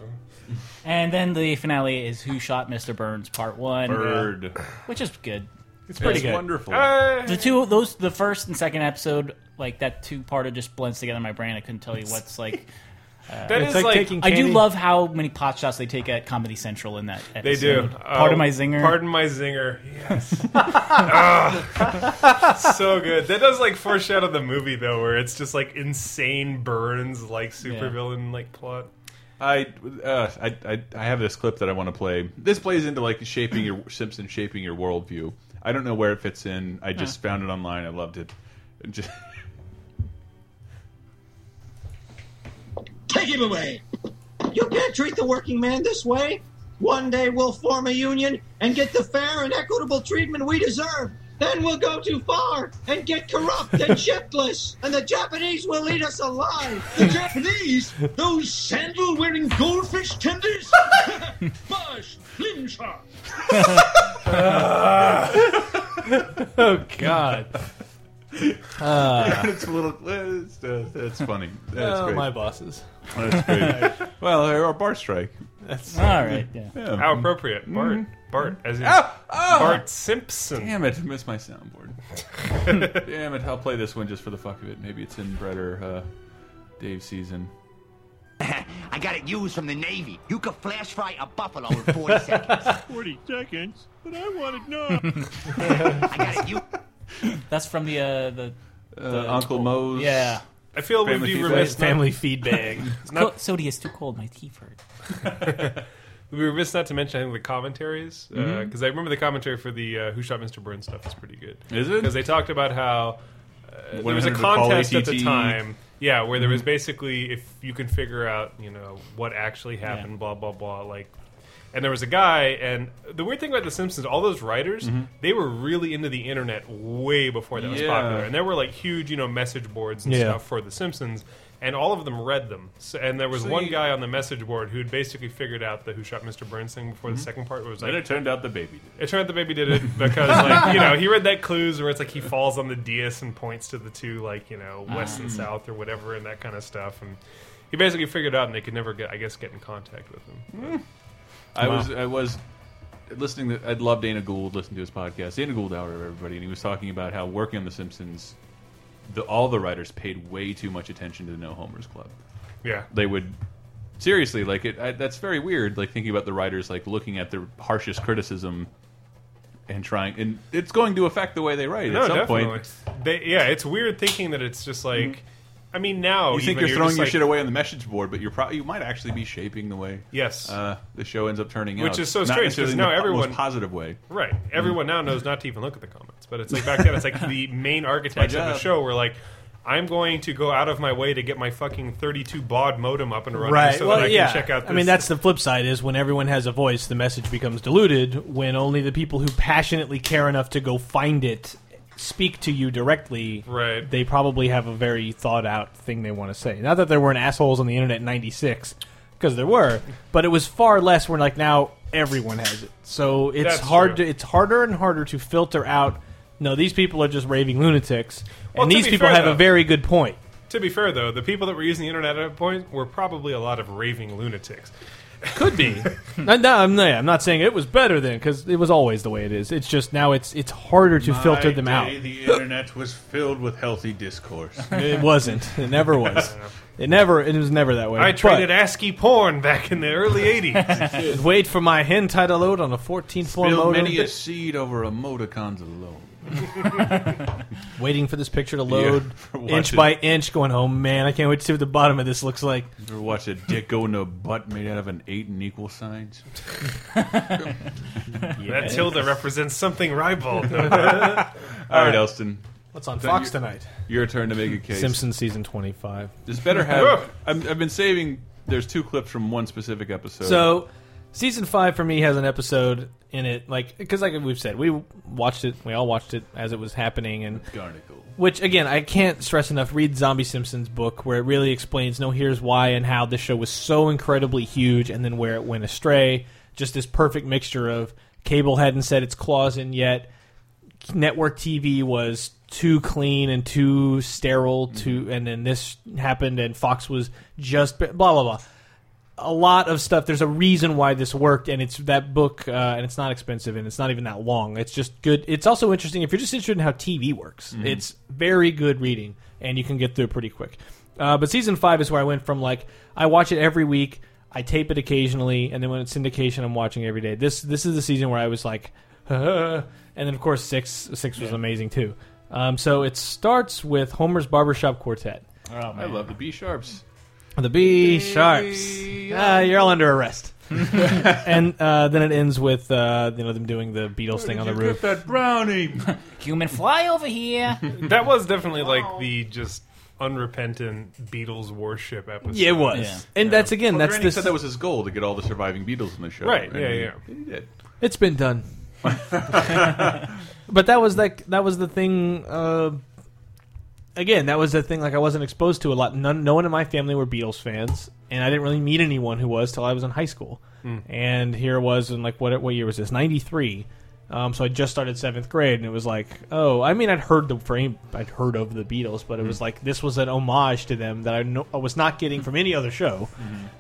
E: And then the finale is Who Shot Mr. Burns Part One.
C: Bird.
E: Which is good.
C: It's pretty It's good. wonderful.
F: Uh,
C: Hey!
E: The two those the first and second episode, like that two parter just blends together in my brain. I couldn't tell you what's like uh,
F: That It's is like like- taking
E: I do
F: candy-
E: love how many pot shots they take at Comedy Central in that
F: They do.
E: episode. Pardon
F: Oh,
E: my zinger.
F: Pardon my zinger. Yes. Ah. so good. That does like foreshadow the movie though, where it's just like insane burns, like supervillain like plot.
C: I, uh, I I I have this clip that I want to play. This plays into like shaping your Simpson shaping your worldview. I don't know where it fits in. I just found it online. I loved it. It Just,
L: Take him away. You can't treat the working man this way. One day we'll form a union and get the fair and equitable treatment we deserve. Then we'll go too far and get corrupt and shiftless, and the Japanese will eat us alive. The Japanese? Those sandal wearing goldfish tenders? Bosh! Limsha!
D: oh God. Ah.
C: it's a little. It's, uh, it's funny. That's
D: Oh,
C: great.
D: my bosses.
C: That's great. well, our bar strike.
D: That's
F: How appropriate, Bart.
C: Mhm.
F: Bart, as in
C: Mm-hmm. Oh, oh.
F: Bart Simpson.
C: Damn it! Missed my soundboard. Damn it! I'll play this one just for the fuck of it. Maybe it's in Brett or uh, Dave's season.
M: I got it used from the Navy. You could flash fry a buffalo in 40 seconds.
A: 40 seconds, but I want it now.
M: I got it used.
E: That's from the uh, the, the-
C: Uncle Moe's
E: Yeah.
F: I feel we'd be remiss. not-
E: it's
F: Not-
E: cold- Sodi is too cold. My teeth hurt.
F: We were remiss not to mention I think the commentaries because
C: Mm-hmm.
E: Mhm.
F: I remember the commentary for the uh, Who Shot Mr. Burns stuff is pretty good.
C: Is it?
F: Because they talked about how uh, there was a
C: 100 to call
F: contest at the
C: ATT.
F: time, yeah, where there was
C: Mhm.
F: basically if you can figure out you know what actually happened, blah blah blah, like. And there was a guy, and the weird thing about The Simpsons, all those writers,
C: Mhm.
F: they were really into the internet way before that was
C: Yeah.
F: popular, and there were like huge, you know, message boards and
C: Yeah.
F: stuff for The Simpsons, and all of them read them. So, and there was
C: So
F: one
C: you-
F: guy on the message board who'd basically figured out the Who Shot Mr. Burns thing before
C: Mhm.
F: the second part. Where it was like,
C: Then it turned out the baby did.
F: It turned out the baby did it because, like, you know, he read that clues where it's like he falls on the dais and points to the two, like, you know, west
C: Ah.
D: Mm.
F: and south or whatever, and that kind of stuff. And he basically figured it out, and they could never get, I guess, get in contact with him.
C: I
F: Wow.
C: was I was listening. To, I'd love Dana Gould listening to his podcast, Dana Gould Hour, everybody, and he was talking about how working on The Simpsons, the, all the writers paid way too much attention to the No Homers Club.
F: Yeah.
C: they would seriously like it. I, that's very weird. Like thinking about the writers, like looking at their harshest criticism. And trying, and it's going to affect the way they write at some point.
F: They, yeah, it's weird thinking that it's just
D: Mm-hmm.
F: like, I mean, now
C: you think
F: even,
C: you're, throwing
F: just
C: your
F: like-
C: shit away on the message board, but you're probably you might actually be shaping the way.
F: Yes.
C: uh, the show ends up turning out,
F: Which is so
C: Not
F: strange
C: necessarily
F: because
C: in
F: now
C: the po- most
F: everyone
C: positive way,
F: Right. Everyone now knows not to even look at the comments, but it's like back then, it's like the main architects of the
C: job.
F: show were like. I'm going to go out of my way to get my fucking 32 baud modem up and running
D: Right.
F: so
D: well,
F: that I
D: yeah.
F: can check out this.
D: I mean, that's the flip side. Is when everyone has a voice, the message becomes diluted. When only the people who passionately care enough to go find it speak to you directly,
F: right?
D: They probably have a very thought out thing they want to say. Not that there weren't assholes on the internet in '96, because there were, but it was far less. When like now everyone has it, so it's
F: That's
D: hard. To, it's harder and harder to filter out. No, these people are just raving lunatics,
F: Well,
D: and
F: to
D: these
F: be
D: people
F: fair,
D: have a
F: though-
D: very good point.
F: To be fair, though, the people that were using the internet at that point were probably a lot of raving lunatics.
D: Could be. no, no, I'm, no, yeah, I'm not saying it was better then because it was always the way it is. It's just now it's it's harder to filter them out.
C: The internet was filled with healthy discourse.
D: It wasn't. It never was. It never. It was never that way.
F: I
D: But
F: traded ASCII porn back in the early 80s.
D: I'd wait for my hentai to load on a 14 form
C: Spilled
D: modem.
C: many a seed over emoticons alone.
D: waiting for this picture to load
C: Yeah, watch
D: inch
C: it.
D: by inch. Going, oh man, I can't wait to see what the bottom of this looks like.
C: You ever watch a dick go into a butt made out of an eight and equal signs?
F: That tilde represents something ribald.
C: All right, Elston.
D: What's on
C: Then
D: Fox
C: your-
D: tonight?
C: Your turn to make a case.
D: Simpsons season 25.
C: This better have. I'm, I've been saving. There's two clips from one specific episode.
D: So, season five for me has an episode in it, like because like we've said, we watched it, we all watched it as it was happening, and
C: Garnicle.
D: Which again, I can't stress enough. Read Zombie Simpson's book, where it really explains. No, here's why and how this show was so incredibly huge, and then where it went astray. Just this perfect mixture of cable hadn't set its claws in yet network TV was too clean and too sterile to and then this happened and Fox was just blah blah blah. A lot of stuff. There's a reason why this worked, and it's that book, uh, and it's not expensive, and it's not even that long. It's just good. It's also interesting if you're just interested in how TV works.
K: Mhm.
D: It's very good reading, and you can get through it pretty quick. Uh, but season five is where I went from like I watch it every week, I tape it occasionally, and then when it's syndication, I'm watching every day. This this is the season where I was like, and then of course six six was amazing too. Um, so it starts with Homer's Barbershop Quartet.
C: I love the B sharps.
D: The B sharps. Ah, you're all under arrest. and uh, then it ends with uh, you know them doing the Beatles thing on the roof.
C: that brownie.
E: Human fly over here. Oh,
F: that was definitely like the just unrepentant Beatles worship episode.
D: Yeah, it was. And that's again,
C: Well,
D: that's
C: Granny
D: this.
C: said that was his goal to get all the surviving Beatles in the show.
F: Right,
C: And
F: yeah,
C: he-
F: yeah.
C: He did.
D: It's been done. but that was like that was the thing. Uh, again, that was the thing. Like I wasn't exposed to a lot. None, no one in my family were Beatles fans, and I didn't really meet anyone who was till I was in high school.
K: Mm.
D: And here it was in like what what year was this? Ninety three. Um, so I just started seventh grade, and it was like, oh, I mean, I'd heard the frame, I'd heard of the Beatles, but it was like this was an homage to them that I, no, I was not getting from any other show,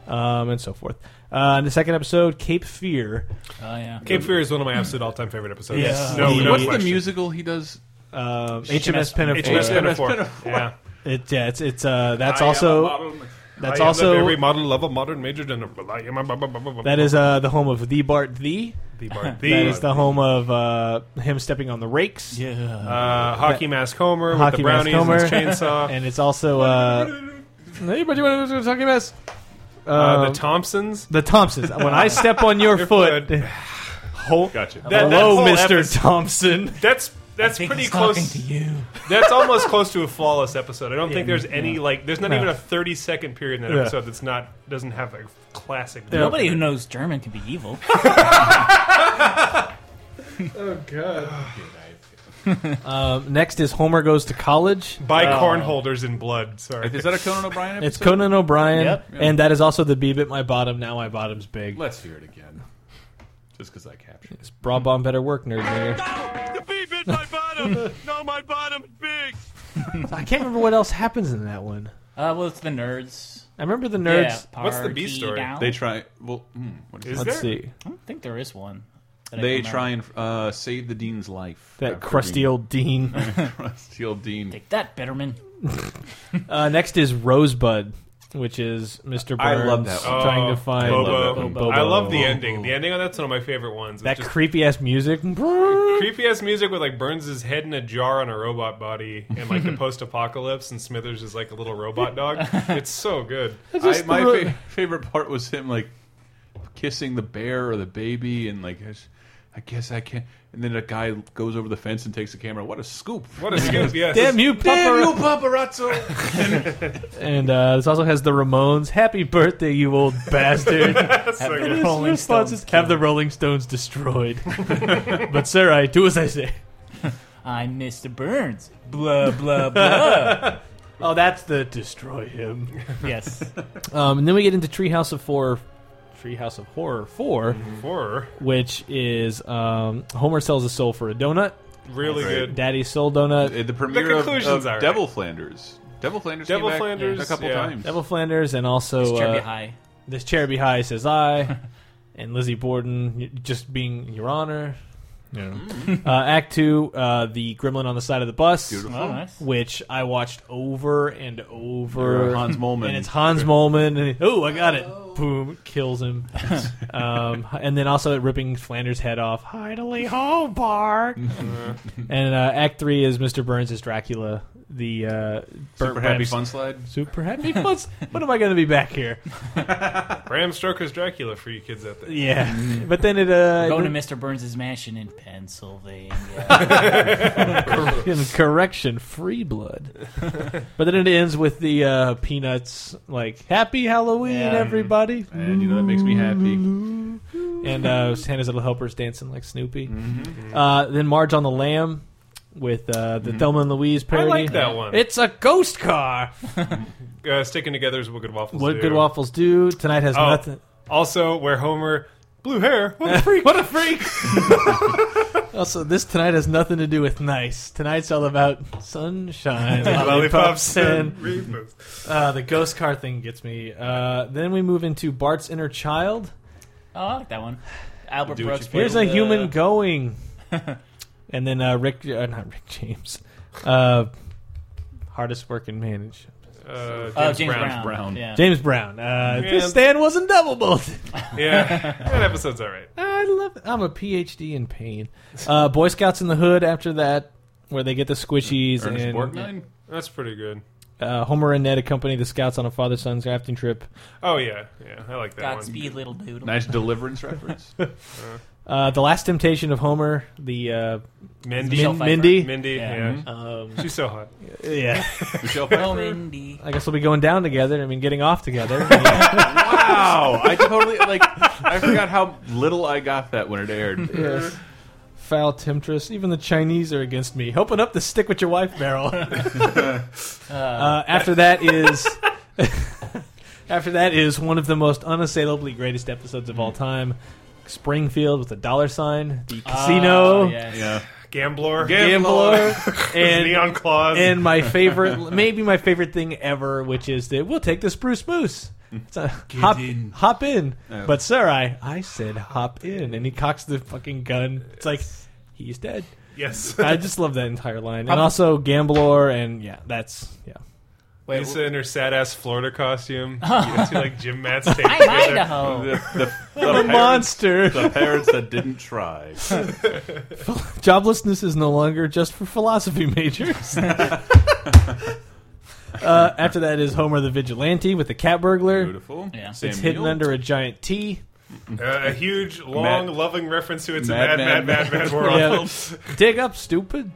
D: um, and so forth. Uh, and the second episode, Cape Fear.
E: Oh yeah.
F: Cape Fear is one of my absolute all-time favorite episodes.
D: Yes.
F: No, no
C: What's the
F: question.
C: musical he does?
D: Uh, HMS Pinafore.
F: HMS Pinafore. Yeah.
D: It, yeah, it's it's uh that's
F: I am a
D: also
F: modern-
D: that's
F: I am
D: also
F: a very modern love of modern major general. I am a bu- bu- bu- bu- bu-
D: that is uh the home of the Bart the
F: The Bart the.
D: that is the home of uh him stepping on the rakes yeah
F: uh, hockey mask Homer with
D: hockey
F: the brownies and
D: mask Homer
F: his chainsaw.
D: and it's also uh anybody want to talk about um,
F: Uh, the Thompsons.
D: the Thompsons when I step on your foot ho-
F: Gotcha. That- that
D: hello
F: whole
D: Mister
F: episode-
D: Thompson
F: That's that's
D: think
F: pretty
D: he's
F: close
D: talking to you.
F: That's almost close to a flawless episode. I don't
D: Yeah,
F: think there's any
D: yeah.
F: like there's not
D: No.
F: even a 30 second period in that
D: Yeah.
F: episode that's not doesn't have a classic.
E: Nobody who knows German can be evil.
F: Oh god.
D: um, next is Homer goes to college
F: By
D: Uh,
F: corn holders in blood. Sorry.
C: Is that a Conan O'Brien episode?
D: It's Conan O'Brien,
C: Yep.
D: and that is also the B bit my bottom. Now my bottom's big.
C: Let's hear it again. Just because I captured it.
D: Bra bomb better work, nerd. nigger.
X: no, my bottom's big.
D: I can't remember what else happens in that one.
E: Uh, well, it's the nerds.
D: I remember the nerds.
E: Yeah, What's the B party story? down.
C: They try. Well, hmm, what
E: Is
C: it?
D: Let's there? see.
E: I don't think there is one. that I
C: They
E: can
C: try and uh, save the dean's life.
D: That
C: after
D: crusty
C: being-
D: old dean.
C: crusty old dean.
E: Take that, Bitterman.
D: Uh, next is Rosebud, which is Mr. Burns
C: I love that one.
D: trying
F: Oh,
D: to find
F: Bobo.
D: Bobo.
F: I love the ending. The ending on that's one of my favorite ones. It's
D: That
F: just
D: creepy ass music.
F: creepy ass music with like Burns' his head in a jar on a robot body and like the post apocalypse and Smithers is like a little robot dog. It's so good.
C: I, my fa- favorite part was him like kissing the bear or the baby, and like, I s- I guess I can't. And then a guy goes over the fence and takes the camera. What a scoop!
F: What a scoop, yes.
D: Damn you,
C: Damn you,
D: And uh, this also has the Ramones. Happy birthday, you old bastard.
F: That's so
D: Happy-
F: good.
D: His
F: Rolling
D: response is, have the Rolling Stones destroyed. but, sir, I do as I say.
E: I'm Mr. Burns. Blah blah blah.
D: oh, that's the destroy him.
E: yes.
D: Um, and then we get into Treehouse of Horror, Treehouse of Horror Four,
F: Horror.
D: which is um, Homer sells a soul for a donut.
F: Really Great. good.
D: Daddy's soul donut.
C: The premiere of- of, Devil Flanders. Devil Flanders.
F: Devil
C: came back
F: Flanders,
C: a couple
F: yeah.
C: times.
D: Devil Flanders, and also
E: This chair be
D: uh,
E: high.
D: This chair be high says I, and Lizzie Borden y- just being Your Honor.
E: Mm.
D: uh, act two, uh, the gremlin on the side of the bus,
C: Beautiful. Oh, nice.
D: which I watched over and over.
C: You're Hans Moleman.
D: and it's Hans Molman. And oh, I got it! Boom, kills him. um, and then also ripping Flanders' head off. Idly Hobart. and uh, Act Three is Mr. Burns as Dracula. The uh,
C: Super happy fun slide.
D: Super happy fun. s- when am I going to be back here?
F: Bram Stoker's Dracula for you kids out there.
D: Yeah, but then it uh,
E: Go to
D: it-
E: Mr. Burns' mansion in Pennsylvania. Oh,
D: in correction, free blood. but then it ends with the uh, peanuts like Happy Halloween,
C: Yeah.
D: everybody.
C: And you know that makes me happy.
D: And uh, Santa's little helpers dancing like Snoopy.
F: Mm-hmm.
D: Uh, then Marge on the Lamb with uh, the Thelma and Louise parody.
F: Mm-hmm. like that one.
D: It's a ghost car.
F: Uh, sticking together is what good waffles
D: what
F: do.
D: good waffles do tonight has
F: Oh,
D: nothing.
F: Also, where Homer blue hair. What a freak!
D: what a freak! Also, this tonight has nothing to do with nice. Tonight's all about sunshine,
F: Lollipops
D: lollipops,
F: and
D: and
F: rainbows.
D: uh, the ghost car thing gets me. Uh, then we move into Bart's inner child.
E: Oh, I like that one. Albert
D: Do what
E: Brooks.
D: you can. Here's a
E: played, uh,
D: human going, and then uh, Rick, uh, not Rick James, uh, hardest working man. in show business.
F: Uh, Oh, James James Brown. Brown. Yeah.
D: James Brown. Uh,
F: Yeah.
D: This stand wasn't double bolted.
F: Yeah, that episode's all right.
D: I love. I'm a PhD in pain. Uh, Boy Scouts in the Hood. After that, where they get the squishies
F: Ernest
D: and
F: Borgnine? That's pretty good.
D: uh, Homer and Ned accompany the scouts on a father-son rafting trip.
F: Oh yeah, yeah, I like that one.
E: Godspeed, little doodle.
C: Nice deliverance reference.
D: Uh, the Last Temptation of Homer. The uh,
F: Mindy.
D: Min- Mindy.
F: Mindy, yeah.
D: Yeah.
F: She's so hot.
D: Yeah.
C: Michelle
E: Oh, Mindy.
D: I guess we'll be going down together. I mean, getting off together.
C: wow, I totally like. I forgot how little I got that when it aired.
D: Yes. Foul temptress. Even the Chinese are against me. Open up the stick with your wife barrel. uh, after that is. after that is one of the most unassailably greatest episodes of all
F: Mm-hmm.
D: time. Springfield with the dollar sign, the
E: Oh,
D: casino,
F: yes. Ah, Yeah. Gambler.
D: gambler, and
F: Neon Claws.
D: and my favorite, maybe my favorite thing ever, which is that we'll take the spruce moose. It's a hop in, hop in.
C: Oh.
D: But sir, I I said hop in, and he cocks the fucking gun. It's like he's dead.
F: Yes.
D: I just love that entire line,
F: Hop-
D: and also Gamblor, and yeah, that's yeah.
F: Lisa in her sad ass Florida costume. you see like Jim Matt's tape.
E: I'm
F: together.
E: Idaho.
C: The, the,
D: I'm a
C: parents-
D: monster.
C: The parents that didn't try.
D: Joblessness is no longer just for philosophy majors. uh, after that is Homer the Vigilante with the cat burglar.
C: Beautiful. Yeah.
D: It's
C: Samuel.
D: hidden under a giant T.
F: Uh, a huge, long,
D: Mad-
F: loving reference to it's
D: Mad,
F: a mad, mad, mad, mad, world.
D: Yeah. Dig up, stupid.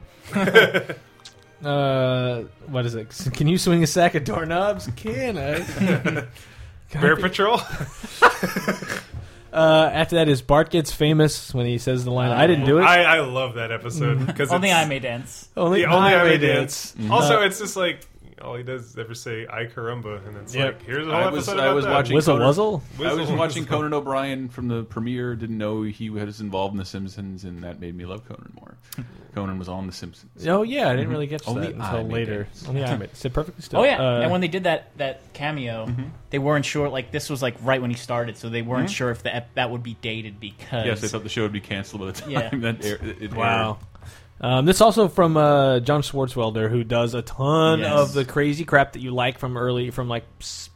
D: uh, what is it? Can you swing a sack of doorknobs? Can I? God
F: Bear
D: damn-
F: Patrol.
D: Uh, after that is Bart gets famous when he says the line, "I didn't do it." Mm-hmm.
F: I, I love that episode because
E: Only
F: it's-
E: I may dance.
D: Only
F: Yeah, only
D: I
F: I Mm-hmm. may
D: may
F: dance.
D: dance. Mhm.
F: Also,
D: Uh,
F: it's just like all he does is ever say "I caramba," and it's
D: Yep.
F: like here's a whole
C: I
F: episode
C: was,
F: about
C: I was
F: that.
C: watching Conan, I was
F: Whizzle
C: watching
F: Wuzzle.
C: Conan O'Brien from the premiere. Didn't know he was involved in The Simpsons, and that made me love Conan more. Conan was on The Simpsons.
D: Oh yeah, I didn't
C: Mhm.
D: really get to
C: Only
D: that
C: I
D: until
C: made
D: later.
C: it.
D: Only I made it. Sit perfectly still.
E: Oh yeah,
D: Uh, Mm-hmm.
E: and when they did that that cameo, they weren't sure. Like this was like right when he started, so they weren't
C: Mhm.
E: sure if the ep- that would be dated because
C: Yes, I thought the show would be canceled by the time
E: Yeah.
C: that air, it aired.
D: Wow. Um, this also from uh, John Swartzwelder, who does a ton
E: Yes.
D: of the crazy crap that you like from early, from like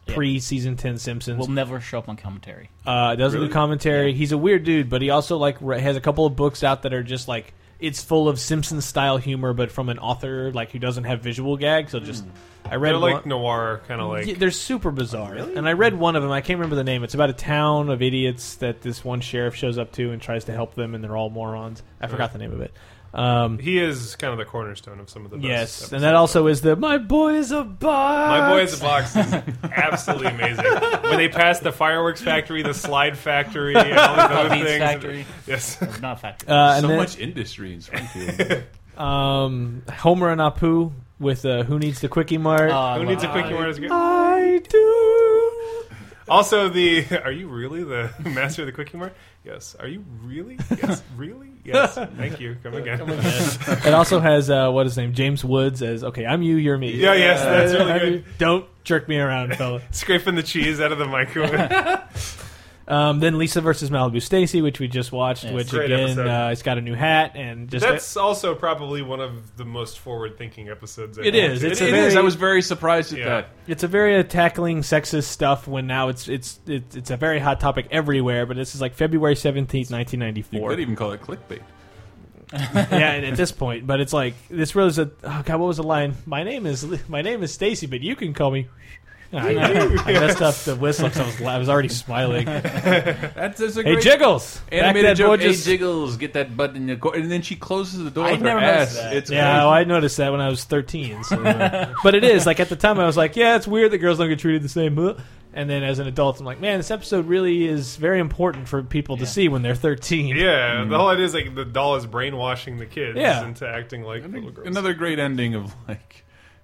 D: pre season ten Simpsons.
E: will never show up on commentary.
D: Uh, doesn't
E: Really?
D: do commentary. He's a weird dude, but he also like re- has a couple of books out that are just like it's full of Simpsons style humor, but from an author like who doesn't have visual gags. So just I read
F: Hmm. They're like
D: one-
F: noir, kind of like
D: Yeah, they're super bizarre. And I read one of them. I can't remember the name. It's about a town of idiots that this one sheriff shows up to and tries to help them, and they're all morons. I forgot the name of it. Um,
F: he is kind of the cornerstone of some of the best
D: yes,
F: episodes.
D: and that also is the my boy is a box.
F: My Boy is a Box is absolutely amazing. When they pass the fireworks factory, the slide factory, and all these other
E: Beats
F: things.
E: Factory.
F: Yes.
E: Not factory.
D: Uh, and
C: so
D: then-
C: much industry in Springfield.
D: Um, Homer and Apu with uh, who needs the quickie mart.
E: Oh,
F: Who needs a quickie word? is good.
D: I do.
F: Also, the are you really the master of the quickie mart? Yes. Are you really? Yes. Really? Yes. Thank you. Come again.
D: it also has uh, what is his name James Woods as okay. I'm you, you're me.
F: Yeah, yes, that's really
D: I'm
F: good.
D: you. Don't jerk me around, fella.
F: Scraping the cheese out of the microwave.
D: Um, then Lisa versus Malibu Stacy, which we just watched,
F: Yes.
D: which
F: Great
D: again
F: episode.
D: uh, it's got a new hat and just
F: That's also probably one of the most forward-thinking episodes. I've
D: It is.
F: watched.
D: It's a very- I was
C: very surprised at
F: Yeah.
C: that.
D: it's a very uh, tackling sexist stuff. When now it's it's it's, it's a very hot topic everywhere, but this is like February seventeenth, nineteen ninety
C: You
D: four.
C: could even call it clickbait.
D: yeah, and at this point, but it's like this really is a oh god, what was the line? My name is my name is Stacy, but you can call me. I, I messed up the whistle. 'cause I was la- I was already smiling.
C: That's, that's a
D: hey
C: great
D: Jiggles, Back
C: Animated
D: that
C: joke.
D: gorgeous-
C: Hey Jiggles, get that button in the corner, and then she closes the door
D: I'd
C: with
D: never
C: her ass.
D: noticed that.
C: It's
D: yeah, well, I noticed that when I was 13. So, uh, but it is like at the time I was like, yeah, it's weird that girls don't get treated the same. huh? And then as an adult, I'm like, man, this episode really is very important for people to see when they're 13.
F: Yeah, the whole idea is like the doll is brainwashing the kids
D: Mm. Yeah.
F: into acting like little girls.
C: another great ending of like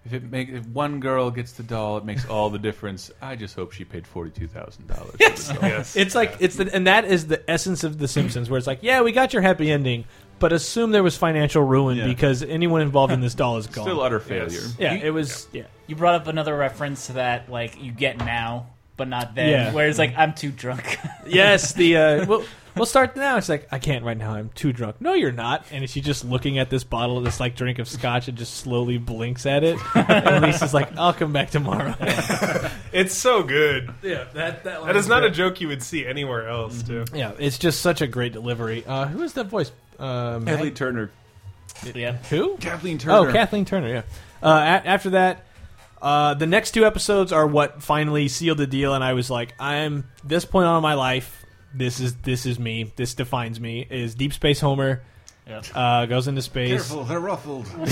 C: if it make if one girl gets the doll, it makes all the difference. I just hope she paid forty two thousand dollars.
D: Yes. It's like it's the, and that is the essence of the Simpsons, where it's like, yeah, we got your happy ending, but assume there was financial ruin because anyone involved in this doll is gone.
C: Still utter failure. Yes.
D: Yeah, it was. Yeah.
E: You brought up another reference to that, like you get now, but not then.
D: Yeah.
E: Whereas, like, I'm too drunk.
D: Yes, the uh, we'll, we'll start now. It's like I can't right now. I'm too drunk. No, you're not. And she's just looking at this bottle, this like drink of scotch, and just slowly blinks at it. and Lisa's like, "I'll come back tomorrow."
F: It's so good.
D: Yeah, that that,
F: that is not
D: great.
F: a joke you would see anywhere else, too.
D: yeah, it's just such a great delivery. Uh, who is that voice? Uh, Mag-
C: Kathleen Turner.
E: Yeah.
D: Who?
C: Kathleen Turner.
D: Oh, Kathleen Turner. Yeah. Uh, a- after that, uh, the next two episodes are what finally sealed the deal, and I was like, I'm this point on in my life. This is this is me. This defines me. Is Deep Space Homer uh, goes into space.
C: Careful, they're ruffled.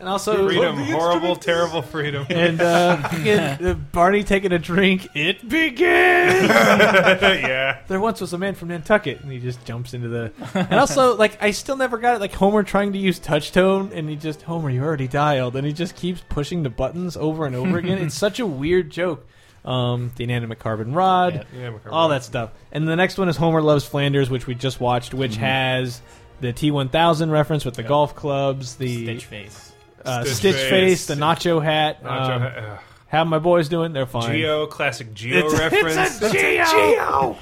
D: And also-
F: freedom,
D: Well, the
F: horrible, terrible freedom.
D: And uh, fucking, uh, Barney taking a drink. It begins.
F: Yeah.
D: There once was a man from Nantucket, and he just jumps into the. And also, like, I still never got it. Like Homer trying to use touchtone, and he just Homer, you already dialed, and he just keeps pushing the buttons over and over again. It's such a weird joke. Um, the inanimate carbon rod,
F: Yeah. Inanimate carbon
D: all that stuff. And the next one is Homer loves Flanders, which we just watched, which
F: Mm-hmm.
E: Mhm.
D: has the T1000 reference with the golf clubs, the
E: Stitch face.
D: uh,
F: Stitch
D: Stitch
F: face.
D: face, the Nacho hat.
F: Nacho
D: um,
F: hat, ugh.
D: How my boys doing? They're fine.
F: Geo, classic Geo
D: It's-
F: reference.
D: It's a Geo.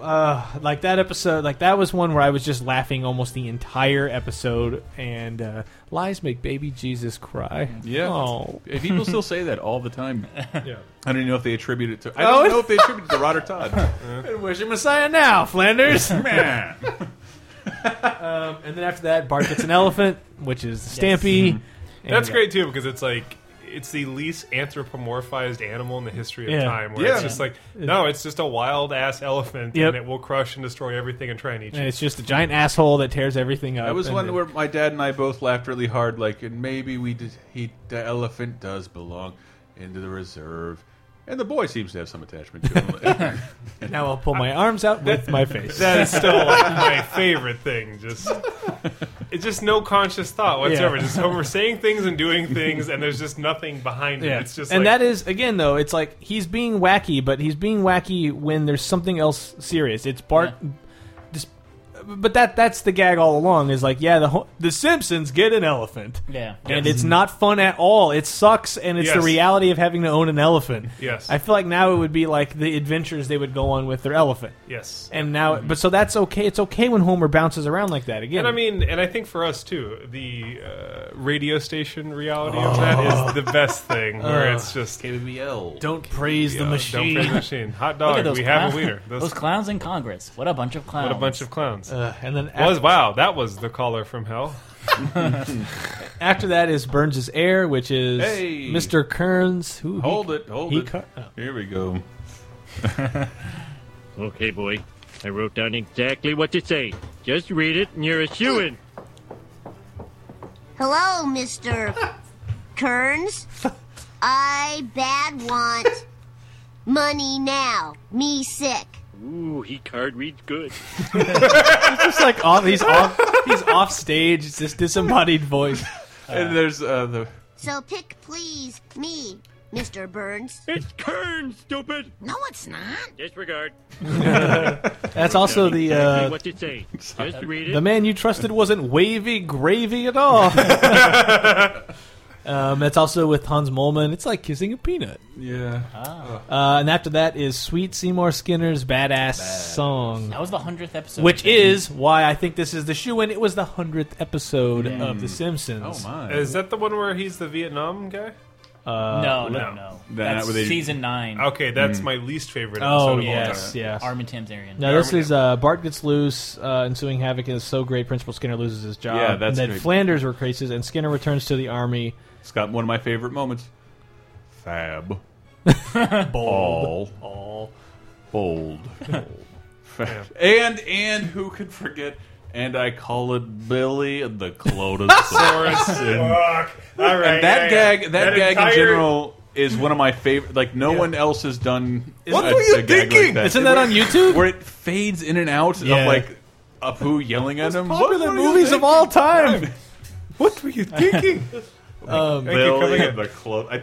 D: Uh, like that episode, like that was one where I was just laughing almost the entire episode. And uh, lies make baby Jesus cry.
C: Yeah.
D: Oh.
C: If people still say that all the time.
F: Yeah.
C: I don't even know if they attribute it to. I
D: Oh,
C: don't
D: it-
C: know if they attribute it to Rod or Todd.
D: And Where's your Messiah now, Flanders?
C: Man.
D: um, and then after that, Bart gets an elephant, which is the Stampy. And,
F: That's
D: uh,
F: great too because it's like it's the least anthropomorphized animal in the history of
D: Yeah.
F: time. Where
D: Yeah.
F: it's just like no, it's just a wild ass elephant,
D: Yep.
F: and it will crush and destroy everything and try and eat you.
D: And it's just a giant asshole that tears everything up.
C: That was
D: and
C: one
D: it-
C: where my dad and I both laughed really hard. Like, and maybe we did. He, the elephant does belong into the reserve, and the boy seems to have some attachment to him.
D: now I'll pull my arms out with my face.
F: That is still like my favorite thing. Just it's just no conscious thought whatsoever.
D: Yeah.
F: Just Homer saying things and doing things, and there's just nothing behind it. It's just
D: and
F: like,
D: that is again though it's like he's being wacky but he's being wacky when there's something else serious it's bart just but that that's the gag all along is like yeah the whole, the simpsons get an elephant
E: Yeah.
D: and
E: Yes.
D: it's not fun at all it sucks and it's the
E: Yes.
D: reality of having to own an elephant
E: Yes.
D: i feel like now it would be like the adventures they would go on with their elephant
F: Yes.
D: and now but so that's okay it's okay when homer bounces around like that again
F: Mm-hmm. And I mean, and I think for us too, the uh, radio station reality of that is the best thing. Where
D: Oh.
F: it's just
C: KBBL.
D: Don't praise the
F: Yeah, Don't
D: machine.
F: praise the machine. Hot
E: Look at
F: dog.
E: those
F: We have a
E: clown-
F: wiener.
E: Those, clowns in Congress. What a bunch of clowns.
F: What a bunch of clowns.
D: Uh, and then
F: was
D: af-
F: wow, that was the caller from hell.
D: After that is Burns' heir, which is
C: Hey.
D: Mr. Kearns. Who
C: hold
D: he,
C: it, hold
D: he
C: it.
D: cut-
C: Here we go.
A: Okay, boy. I wrote down exactly what to say. Just read it, and you're a shoo in.
R: Hello, Mr. Kearns. I bad want money now. Me sick.
A: Ooh, he card reads good.
D: He's just like off. He's off. He's off stage. It's this disembodied voice.
C: and there's uh, the
R: So pick, please, me, Mr. Burns.
A: It's Kern, stupid.
R: No, it's not.
A: Disregard.
D: That's also the
A: Exactly
D: uh,
A: what to say. Just read it.
D: the man you trusted wasn't wavy gravy at all. um, that's also with Hans Molman. It's like kissing a peanut.
C: yeah.
D: Uh, and after that is Sweet Seymour Skinner's Badass Song.
E: That was the 100th episode.
D: Which is why I think this is the shoe in. It was the 100th episode of
F: Mm.
D: The Simpsons.
F: Is that the one where he's the Vietnam guy?
D: Uh,
E: No, no, no. That's season 9.
F: Okay,
D: Mm.
F: that's my least favorite episode
D: Oh
F: of
D: yes,
F: all time.
D: yes.
E: Armin Tamsarian.
D: No, this is uh, Bart gets loose, uh, ensuing havoc is so great. Principal Skinner loses his job.
C: Yeah, that's
D: and then
C: great.
D: Flanders replaces, and Skinner returns to the army.
C: It's got one of my favorite moments. Fab.
D: Bold.
C: All. Bold. Fab. And and who could forget? And I call it Billy and the Clotosaurus. and,
F: Fuck. All right,
C: and that
F: yeah, yeah.
C: gag, that,
F: That
C: gag
F: entire-
C: in general is one of my favorite. Like no one else has done.
D: What
C: a-
D: were you
C: a gag like
D: thinking?
C: that.
D: Isn't that on YouTube?
C: Where it fades in and out
D: Yeah.
C: of like a poo yelling at him.
D: Popular
C: What were you
D: movies of all time.
F: What were you thinking?
D: um,
C: Billy and the Clo- I-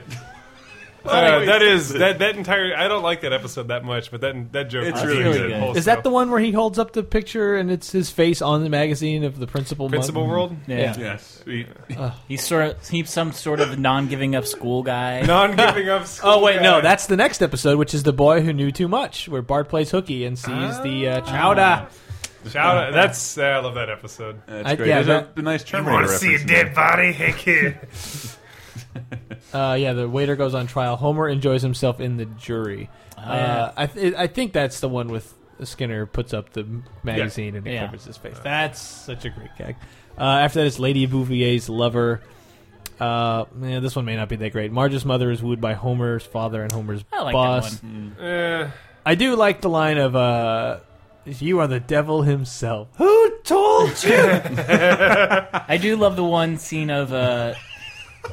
F: Uh, that is that that entire. I don't like that episode that much, but that that joke
C: It's
F: was
C: really
F: good.
C: good.
F: The whole
D: Is
F: stuff.
D: that the one where he holds up the picture and it's his face on the magazine of the principal? mon-
F: Principal World?
E: Yeah.
F: Yes. We-
E: He's sort of he's some sort of non-giving up school guy.
F: Non-giving up school
D: Oh wait, no,
F: guy.
D: that's the next episode, which is the boy who knew too much, where Bart plays hooky and sees the uh, chowda.
F: Shout out! That's uh, I love that episode.
D: That's I- great. yeah, There's a- that- a nice Terminator
F: wanna
D: reference in there.
F: Hey kid.
D: Uh, yeah, the waiter goes on trial. Homer enjoys himself in the jury.
E: yeah.
D: uh, I, th- I think that's the one with Skinner puts up the magazine and it
E: Yeah.
D: covers his face. That's such a great gag. Uh, after that, it's Lady Bouvier's lover. Uh, yeah, this one may not be that great. Marge's mother is wooed by Homer's father and Homer's
E: I like that
D: boss.
E: one. Mm.
F: Eh.
D: I do like the line of uh, "You are the devil himself." Who told you?
E: I do love the one scene of uh,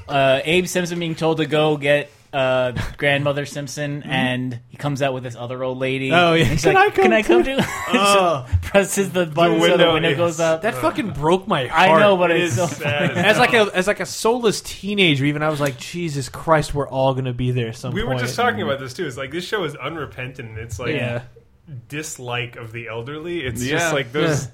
E: uh, Abe Simpson being told to go get uh, grandmother Simpson, and he comes out with this other old lady.
D: Mm-hmm. Oh, yeah.
E: And she's
D: Can
E: like,
D: I come
E: Can I come
D: too?"
E: too?
D: Oh.
E: She presses the button so the window goes up.
D: That fucking broke my
E: I
D: heart.
E: know, but It it's is so sad
D: sad.
E: funny.
D: As like a as like a soulless teenager, even I was like, Jesus Christ, we're all gonna be there at some
F: We were
D: point.
F: just talking about this too. It's like this show is unrepentant. It's like
D: Yeah.
F: dislike of the elderly. It's
D: Yeah.
F: just like those.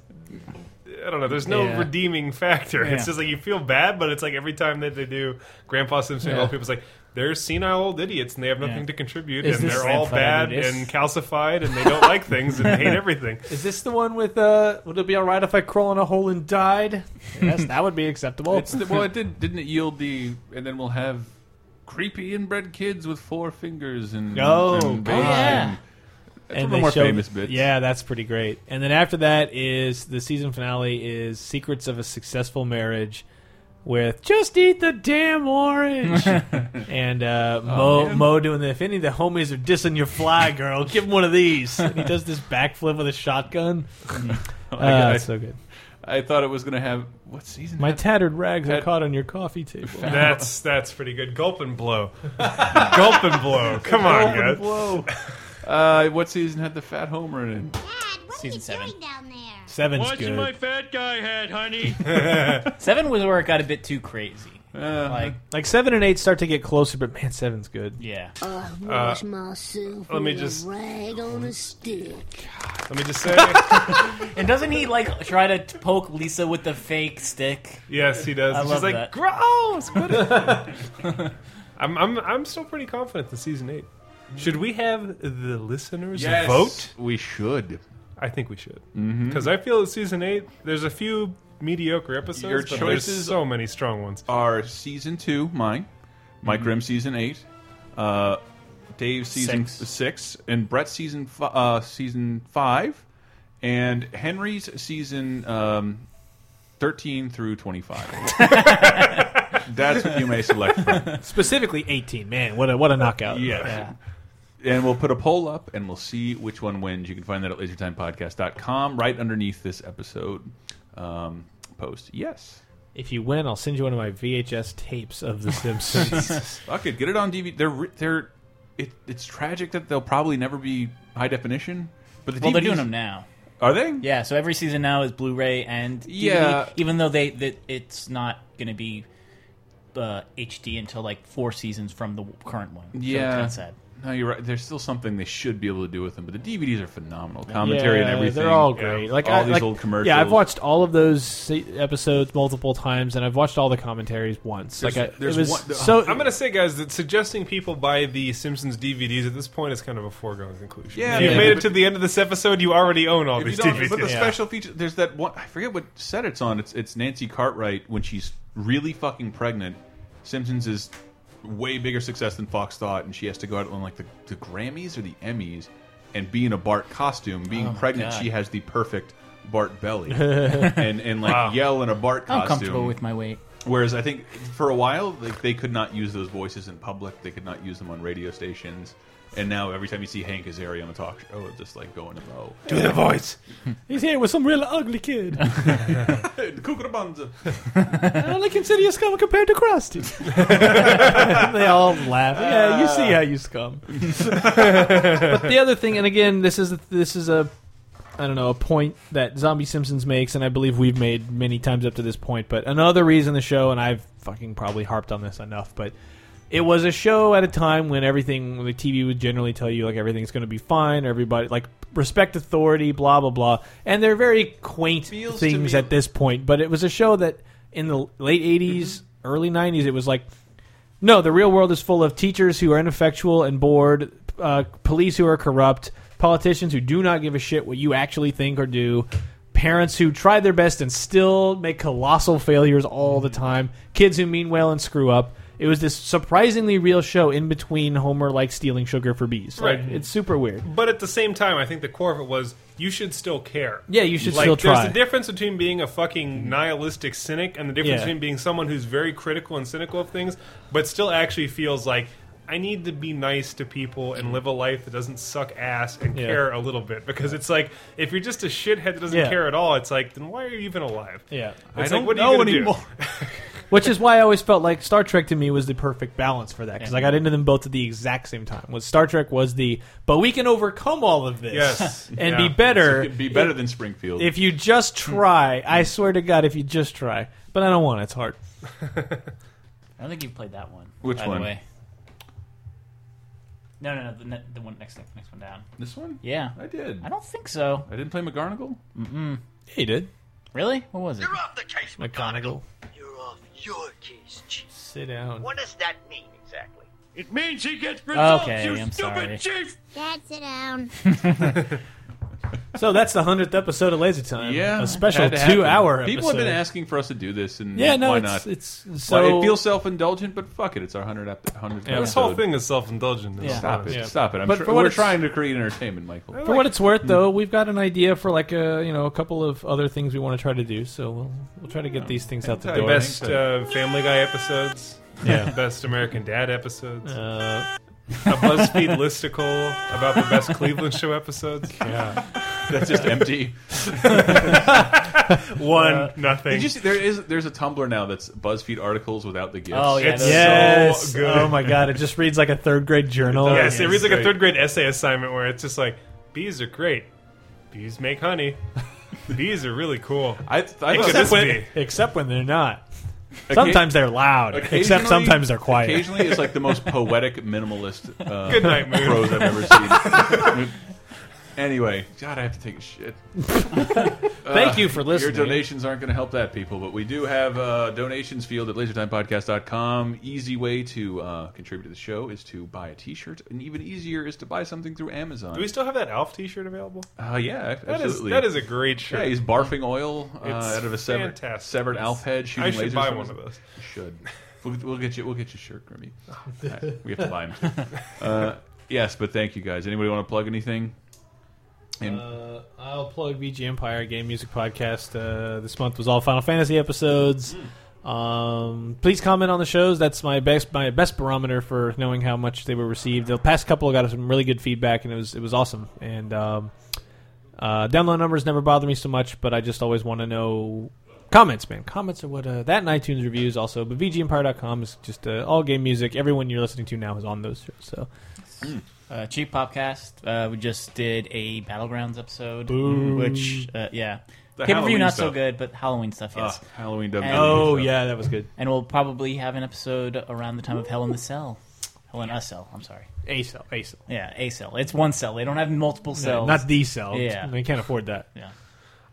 F: I don't know. There's no
D: Yeah.
F: redeeming factor.
D: Yeah.
F: It's just like you feel bad, but it's like every time that they do Grandpa Simpson, and
D: Yeah.
F: all people's like they're senile old idiots and they have nothing to contribute
D: Is
F: and
D: this-
F: they're all
D: Grandfather
F: bad
D: did this.
F: and calcified and they don't like things and hate everything.
D: Is this the one with uh? Would it be all right if I crawl in a hole and died? Yes, that would be acceptable.
C: It's the, well, it did didn't it yield the and then we'll have creepy inbred kids with four fingers and
D: Oh,
C: and
D: God.
C: bass
D: Yeah.
C: and- that's one of
D: they
C: the more
D: show-
C: famous bits.
D: Yeah, that's pretty great. And then after that is the season finale is Secrets of a Successful Marriage with Just Eat the Damn Orange and uh, Mo
C: Oh, man.
D: Mo doing the if any of the homies are dissing your fly girl, give him one of these. And he does this backflip with a shotgun.
C: Oh I-
D: Ah,
C: I-
D: it's so good.
C: I thought it was going to have what season?
D: My
C: had-
D: tattered rags are
C: had-
D: caught on your coffee table.
F: That's that's pretty good. Gulp and blow. Gulp and blow. Come on,
C: Gulp and
F: guys.
C: blow. Uh, what season had the fat Homer in it?
E: Season seven.
D: Seven's
A: Watching my fat guy head, honey.
E: seven was where it got a bit too crazy.
D: Uh-huh.
E: like
D: Like seven and eight start to get closer, but man, seven's good.
E: Yeah.
F: Uh,
I: myself
F: let me
I: with a
F: just-
I: rag on a stick.
F: Let me just say,
E: and doesn't he like try to t- poke Lisa with the fake stick?
F: yes, he does.
E: I
F: She's
E: love
F: like,
E: that.
F: gross. What- I'm, I'm, I'm still pretty confident in season eight. Should we have the listeners
C: Yes.
F: vote?
C: We should.
F: I think we should
C: Mhm.
F: because I feel that season eight. There's a few mediocre episodes.
C: Your
F: but there's
C: choices
F: so many strong ones.
C: Are season two mine, Mike Grimm season eight, uh, Dave season six, and Brett season fi uh, season five, and Henry's season um, thirteen through twenty five. That's what you may select from.
D: Specifically eighteen. Man, what a what a knockout.
C: Yeah. And we'll put a poll up and we'll see which one wins. You can find that at lasertimepodcast.com right underneath this episode um, post. Yes.
D: If you win, I'll send you one of my VHS tapes of The Simpsons.
C: Fuck it, get it on DVD. They're re- they're it, it's tragic that they'll probably never be high definition. But the
E: well, they're
C: DVDs
E: doing them now.
C: Are they?
E: Yeah, so every season now is Blu-ray and DVD,
C: Yeah.
E: even though they that it's not going to be uh, HD until like four seasons from the current one. So it's
C: Yeah.
E: kinda sad.
C: No, you're right. There's still something they should be able to do with them, but the DVDs are phenomenal. Commentary and
D: Yeah,
C: everything.
D: They're all great. Like
C: all
D: I-
C: these
D: like-
C: old commercials.
D: Yeah, I've watched all of those se- episodes multiple times, and I've watched all the commentaries once.
F: There's-
D: like I,
F: there's
D: it was
F: one-
D: so.
F: I'm gonna say, guys, that suggesting people buy the Simpsons DVDs at this point is kind of a foregone conclusion.
C: Yeah,
F: If you've
C: yeah.
F: made it
C: but-
F: to the end of this episode. You already own all
C: If
F: these
C: you don't-
F: DVDs.
C: But the special feature, there's that one. I forget what set it's on. It's it's Nancy Cartwright when she's really fucking pregnant. Simpsons is way bigger success than Fox thought, and she has to go out on like the, the Grammys or the Emmys and be in a Bart costume. Being
E: Oh my
C: pregnant,
E: God.
C: she has the perfect Bart belly and and like
E: Wow.
C: yell in a Bart costume.
E: I'm comfortable with my weight.
C: Whereas I think for a while, like they could not use those voices in public. They could not use them on radio stations. And now every time you see Hank Azaria on a talk show, it's just like going to Mo.
D: Do the voice. He's here with some real ugly kid.
C: Cucurabunza.
D: I only consider you scum compared to Krusty. they all laugh. Yeah, you see how you scum. but the other thing, and again, this is this is a I don't know a point that Zombie Simpsons makes, and I believe we've made many times up to this point. But another reason the show, and I've fucking probably harped on this enough, but it was a show at a time when everything when the TV would generally tell you like everything's going to be fine, everybody like respect authority, blah blah blah, and they're very quaint
F: Feels to
D: things
F: me-
D: at this point. But it was a show that in the late '80s, early '90s, it was like, no, the real world is full of teachers who are ineffectual and bored, uh, police who are corrupt, politicians who do not give a shit what you actually think or do. Parents who try their best and still make colossal failures all the time. Kids who mean well and screw up. It was this surprisingly real show in between Homer like stealing sugar for bees. Like,
F: Right.
D: it's super weird.
F: But at the same time, I think the core of it was you should still care.
D: Yeah, you should
F: like,
D: still try. Mm-hmm.
F: There's a difference between being a fucking nihilistic cynic and the difference
D: Yeah.
F: between being someone who's very critical and cynical of things, but still actually feels like I need to be nice to people and live a life that doesn't suck ass and
D: Mm-hmm. Yeah.
F: care a little bit. Because it's like if you're just a shithead that doesn't
D: Yeah.
F: care at all, it's like then why are you even alive?
D: Yeah.
F: it's
D: I
F: like,
D: don't
F: what are
D: know
F: you gonna do?
D: anymore. Which is why I always felt like Star Trek to me was the perfect balance for that because I got into them both at the exact same time. Was Star Trek was the but we can overcome all of this
C: Yes.
D: and
C: Yeah.
D: be better,
C: So it could be better than Springfield.
D: If you just try, I swear to God, if you just try. But I don't want it. it's hard.
E: I don't think you've played that one.
D: Which
E: by
D: one?
E: The way. No, no, no. The, ne- the one next, next one down.
C: This one?
E: Yeah,
C: I did.
E: I don't think so.
C: I didn't play McGarnagle.
E: Mm-mm.
D: Yeah, you did.
E: Really? What was it? You're off
K: the case,
D: McGonagall.
K: You're off your case, Chief.
D: Sit down.
K: What does that mean exactly? It means he gets results,
D: Okay,
K: you
D: I'm
K: stupid
D: sorry.
K: chief!
R: Dad, sit down.
D: So that's the hundredth episode of Laser Time.
C: Yeah,
D: a special
C: had to happen.
D: two-hour.
C: People have been
D: episode.
C: asking for us to do this, and
D: Yeah, no,
C: why
D: it's-
C: not?
D: it's-
C: Why-
D: so-
C: it feels self-indulgent, but fuck it, it's our hundred hundred.
F: Yeah, this whole thing is self-indulgent.
D: Yeah.
C: Stop it,
D: Yeah.
C: stop it. I'm
D: But
C: sure,
D: for what
C: we're
D: it's-
C: trying to create entertainment, Michael.
D: For what it's
C: Hmm.
D: worth, though, we've got an idea for like a you know a couple of other things we want to try to do. So we'll we'll try to get these things out the door.
F: best uh, Family Guy episodes.
D: Yeah.
F: best American Dad episodes.
D: Uh,
F: a BuzzFeed listicle about the best Cleveland Show episodes.
C: Yeah. That's just empty.
F: One,
C: Uh,
F: nothing.
C: Did you see? There is there's a Tumblr now that's BuzzFeed articles without the gifts.
E: Oh, yeah, It's those-
D: yes. Oh my god, it just reads like a third grade journal.
F: yes, it reads like a third grade essay assignment where it's just like, bees are great. Bees make honey. Bees are really cool.
C: I,
F: it could
D: except,
F: this
D: when,
F: be?
D: except when they're not. Sometimes they're loud. Except
C: Occasionally-
D: sometimes they're quiet.
C: Occasionally, it's like the most poetic minimalist uh,
F: Good night, Moon.
C: prose I've ever seen. anyway, God, I have to take a shit.
D: Thank you for listening.
C: Your donations aren't going to help that, people, but we do have a donations field at lasertimepodcast.com. Easy way to uh, contribute to the show is to buy a t shirt, and even easier is to buy something through Amazon.
F: Do we still have that Alf T-shirt available?
C: Uh, yeah, ac-
F: That is-
C: absolutely.
F: that is a great shirt.
C: Yeah, he's barfing oil uh,
F: It's
C: out of a severed,
F: fantastic.
C: severed
F: It's-
C: alf head. Shooting
F: I should
C: lasers
F: buy
C: from
F: one
C: his-
F: of those.
C: You should. We'll, we'll get you. We'll get you a shirt, Grimmy. Alright, we have to buy him. Uh, yes, but thank you guys. Anybody want to plug anything? And
D: Uh, I'll plug VG Empire Game Music Podcast. Uh, this month was all Final Fantasy episodes. Um, please comment on the shows. That's my best my best barometer for knowing how much they were received. The past couple got some really good feedback, and it was it was awesome. And um, uh, download numbers never bother me so much, but I just always want to know comments, man. Comments are what uh, that and iTunes reviews also. But VGEmpire.com is just uh, all game music. Everyone you're listening to now is on those shows. So
E: Uh, Cheap Popcast. Uh, we just did a Battlegrounds episode,
D: Boo.
E: which uh, yeah, pay per
D: The
E: view
D: Halloween
E: not so
D: stuff.
E: good, but Halloween stuff. Yes,
D: Ah, Halloween WWE Oh, stuff. yeah, that was good.
E: And we'll probably have an episode around the time of Hell in the Cell, Hell in a Cell. I'm sorry,
D: a cell, a cell.
E: Yeah, a cell. It's one cell. They don't have multiple cells.
D: not the cell.
E: Yeah,
D: they can't afford that.
E: Yeah.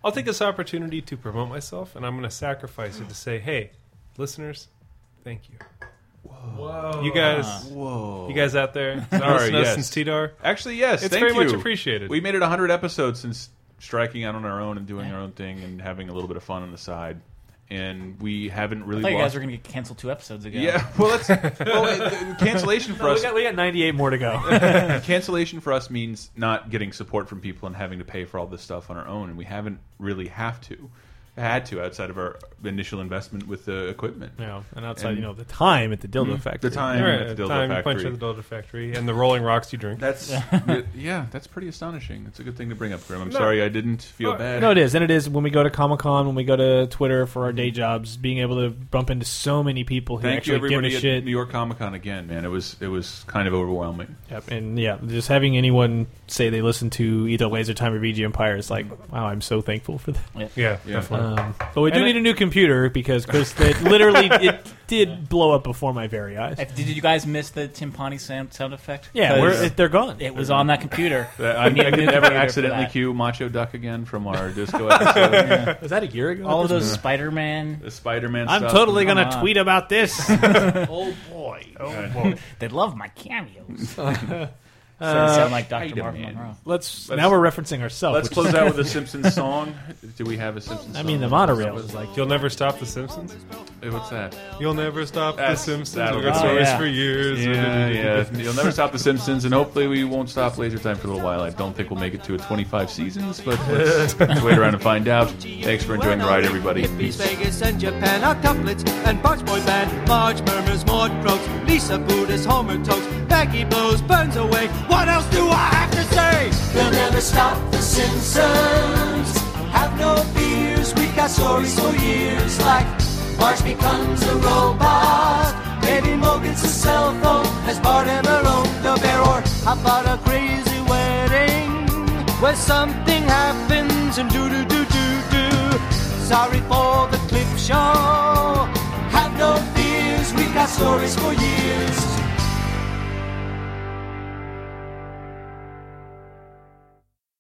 F: I'll take this opportunity to promote myself, and I'm going to sacrifice it to say, hey, listeners, thank you. Whoa. You guys,
C: Whoa.
F: you guys out there,
C: Sorry,
F: listening to us
C: yes.
F: since TDAR.
C: Actually, yes.
F: it's
C: thank
F: very much
C: you.
F: appreciated.
C: We made it 100 episodes since striking out on our own and doing our own thing and having a little bit of fun on the side. And we haven't
E: I
C: really.
E: thought you
C: lost-
E: guys were going to get canceled two episodes ago.
C: Yeah, well, that's well, it- cancellation for
D: No, we
C: us.
D: got- we got 98 more to go.
C: cancellation for us means not getting support from people and having to pay for all this stuff on our own, and we haven't really have to had to outside of our initial investment with the equipment.
D: Yeah, and outside, you know, the time at the dildo
E: Mm.
C: Mhm.
D: factory.
C: the time
F: Right,
C: at the dildo
F: time you punch
C: factory,
F: at the dildo factory, and the rolling rocks you drink.
C: That's yeah, that's pretty astonishing. It's a good thing to bring up, Grim. I'm sorry I didn't feel bad.
D: No, it is, and it is when we go to Comic Con, when we go to Twitter for
E: Mm.
D: our day jobs, being able to bump into so many people who
C: Thank you,
D: actually give
C: everybody
D: a
C: at
D: shit.
C: New York Comic Con again, man. It was it was kind of overwhelming.
D: Yep, and yeah, just having anyone say they listen to either Laser Time or VG Empire is like, wow, I'm so thankful for that.
E: Yeah,
F: Yeah, definitely.
D: Um, but we do
E: And
D: need a new computer because Chris, it literally it did blow up before my very eyes.
E: If- Did you guys miss the timpani sound, sound effect?
D: Yeah,
E: 'Cause
D: we're- it- they're gone.
E: It was on that computer.
C: I, I
E: We need a
C: could
E: new
C: never
E: computer for
C: accidentally
E: that.
C: cue Macho Duck again from our disco episode.
E: Yeah.
D: Was that a year ago?
E: All of those
C: Yeah.
E: Spider-Man.
C: The Spider-Man.
D: I'm
C: stuff.
D: totally
C: Come
D: gonna
C: on.
D: tweet about this.
E: oh boy!
D: Oh,
C: boy.
E: They love my cameos. Sorry,
D: Uh,
E: sound like Dr. Marvin
C: Spider-Man.
E: Monroe.
D: Let's- now we're referencing ourselves,
C: Let's
D: which
C: close
D: is-
C: out with a Simpsons song. Do we have a Simpsons?
D: I
C: song?
D: mean, the monorail was
F: like you'll never stop the Simpsons.
C: What's that?
F: You'll never stop
C: That's-
F: the Simpsons.
C: that'll
F: We've got
C: go.
F: stories for years.
C: Yeah, yeah. You'll never stop The Simpsons, and hopefully we won't stop Laser Time for a little while. I don't think we'll make it to 25 seasons, but let's wait around and find out. Thanks for enjoying the ride, everybody.
N: Hippies,
C: Peace.
N: Vegas, and Japan are couplets, and Box Boy Band, Marge murmurs more croaks, Lisa Buddhist, Homer tokes, Becky blows, burns away. What else do I have to say? They'll never stop the Simpsons. Have no fears, we've got stories for years, like Marge becomes a robot. Baby Mo gets a cell phone as Bart and Malone the bear, or how about a crazy wedding where something happens and do do do do do. Sorry for the clip show. Have no fears, we got stories for years.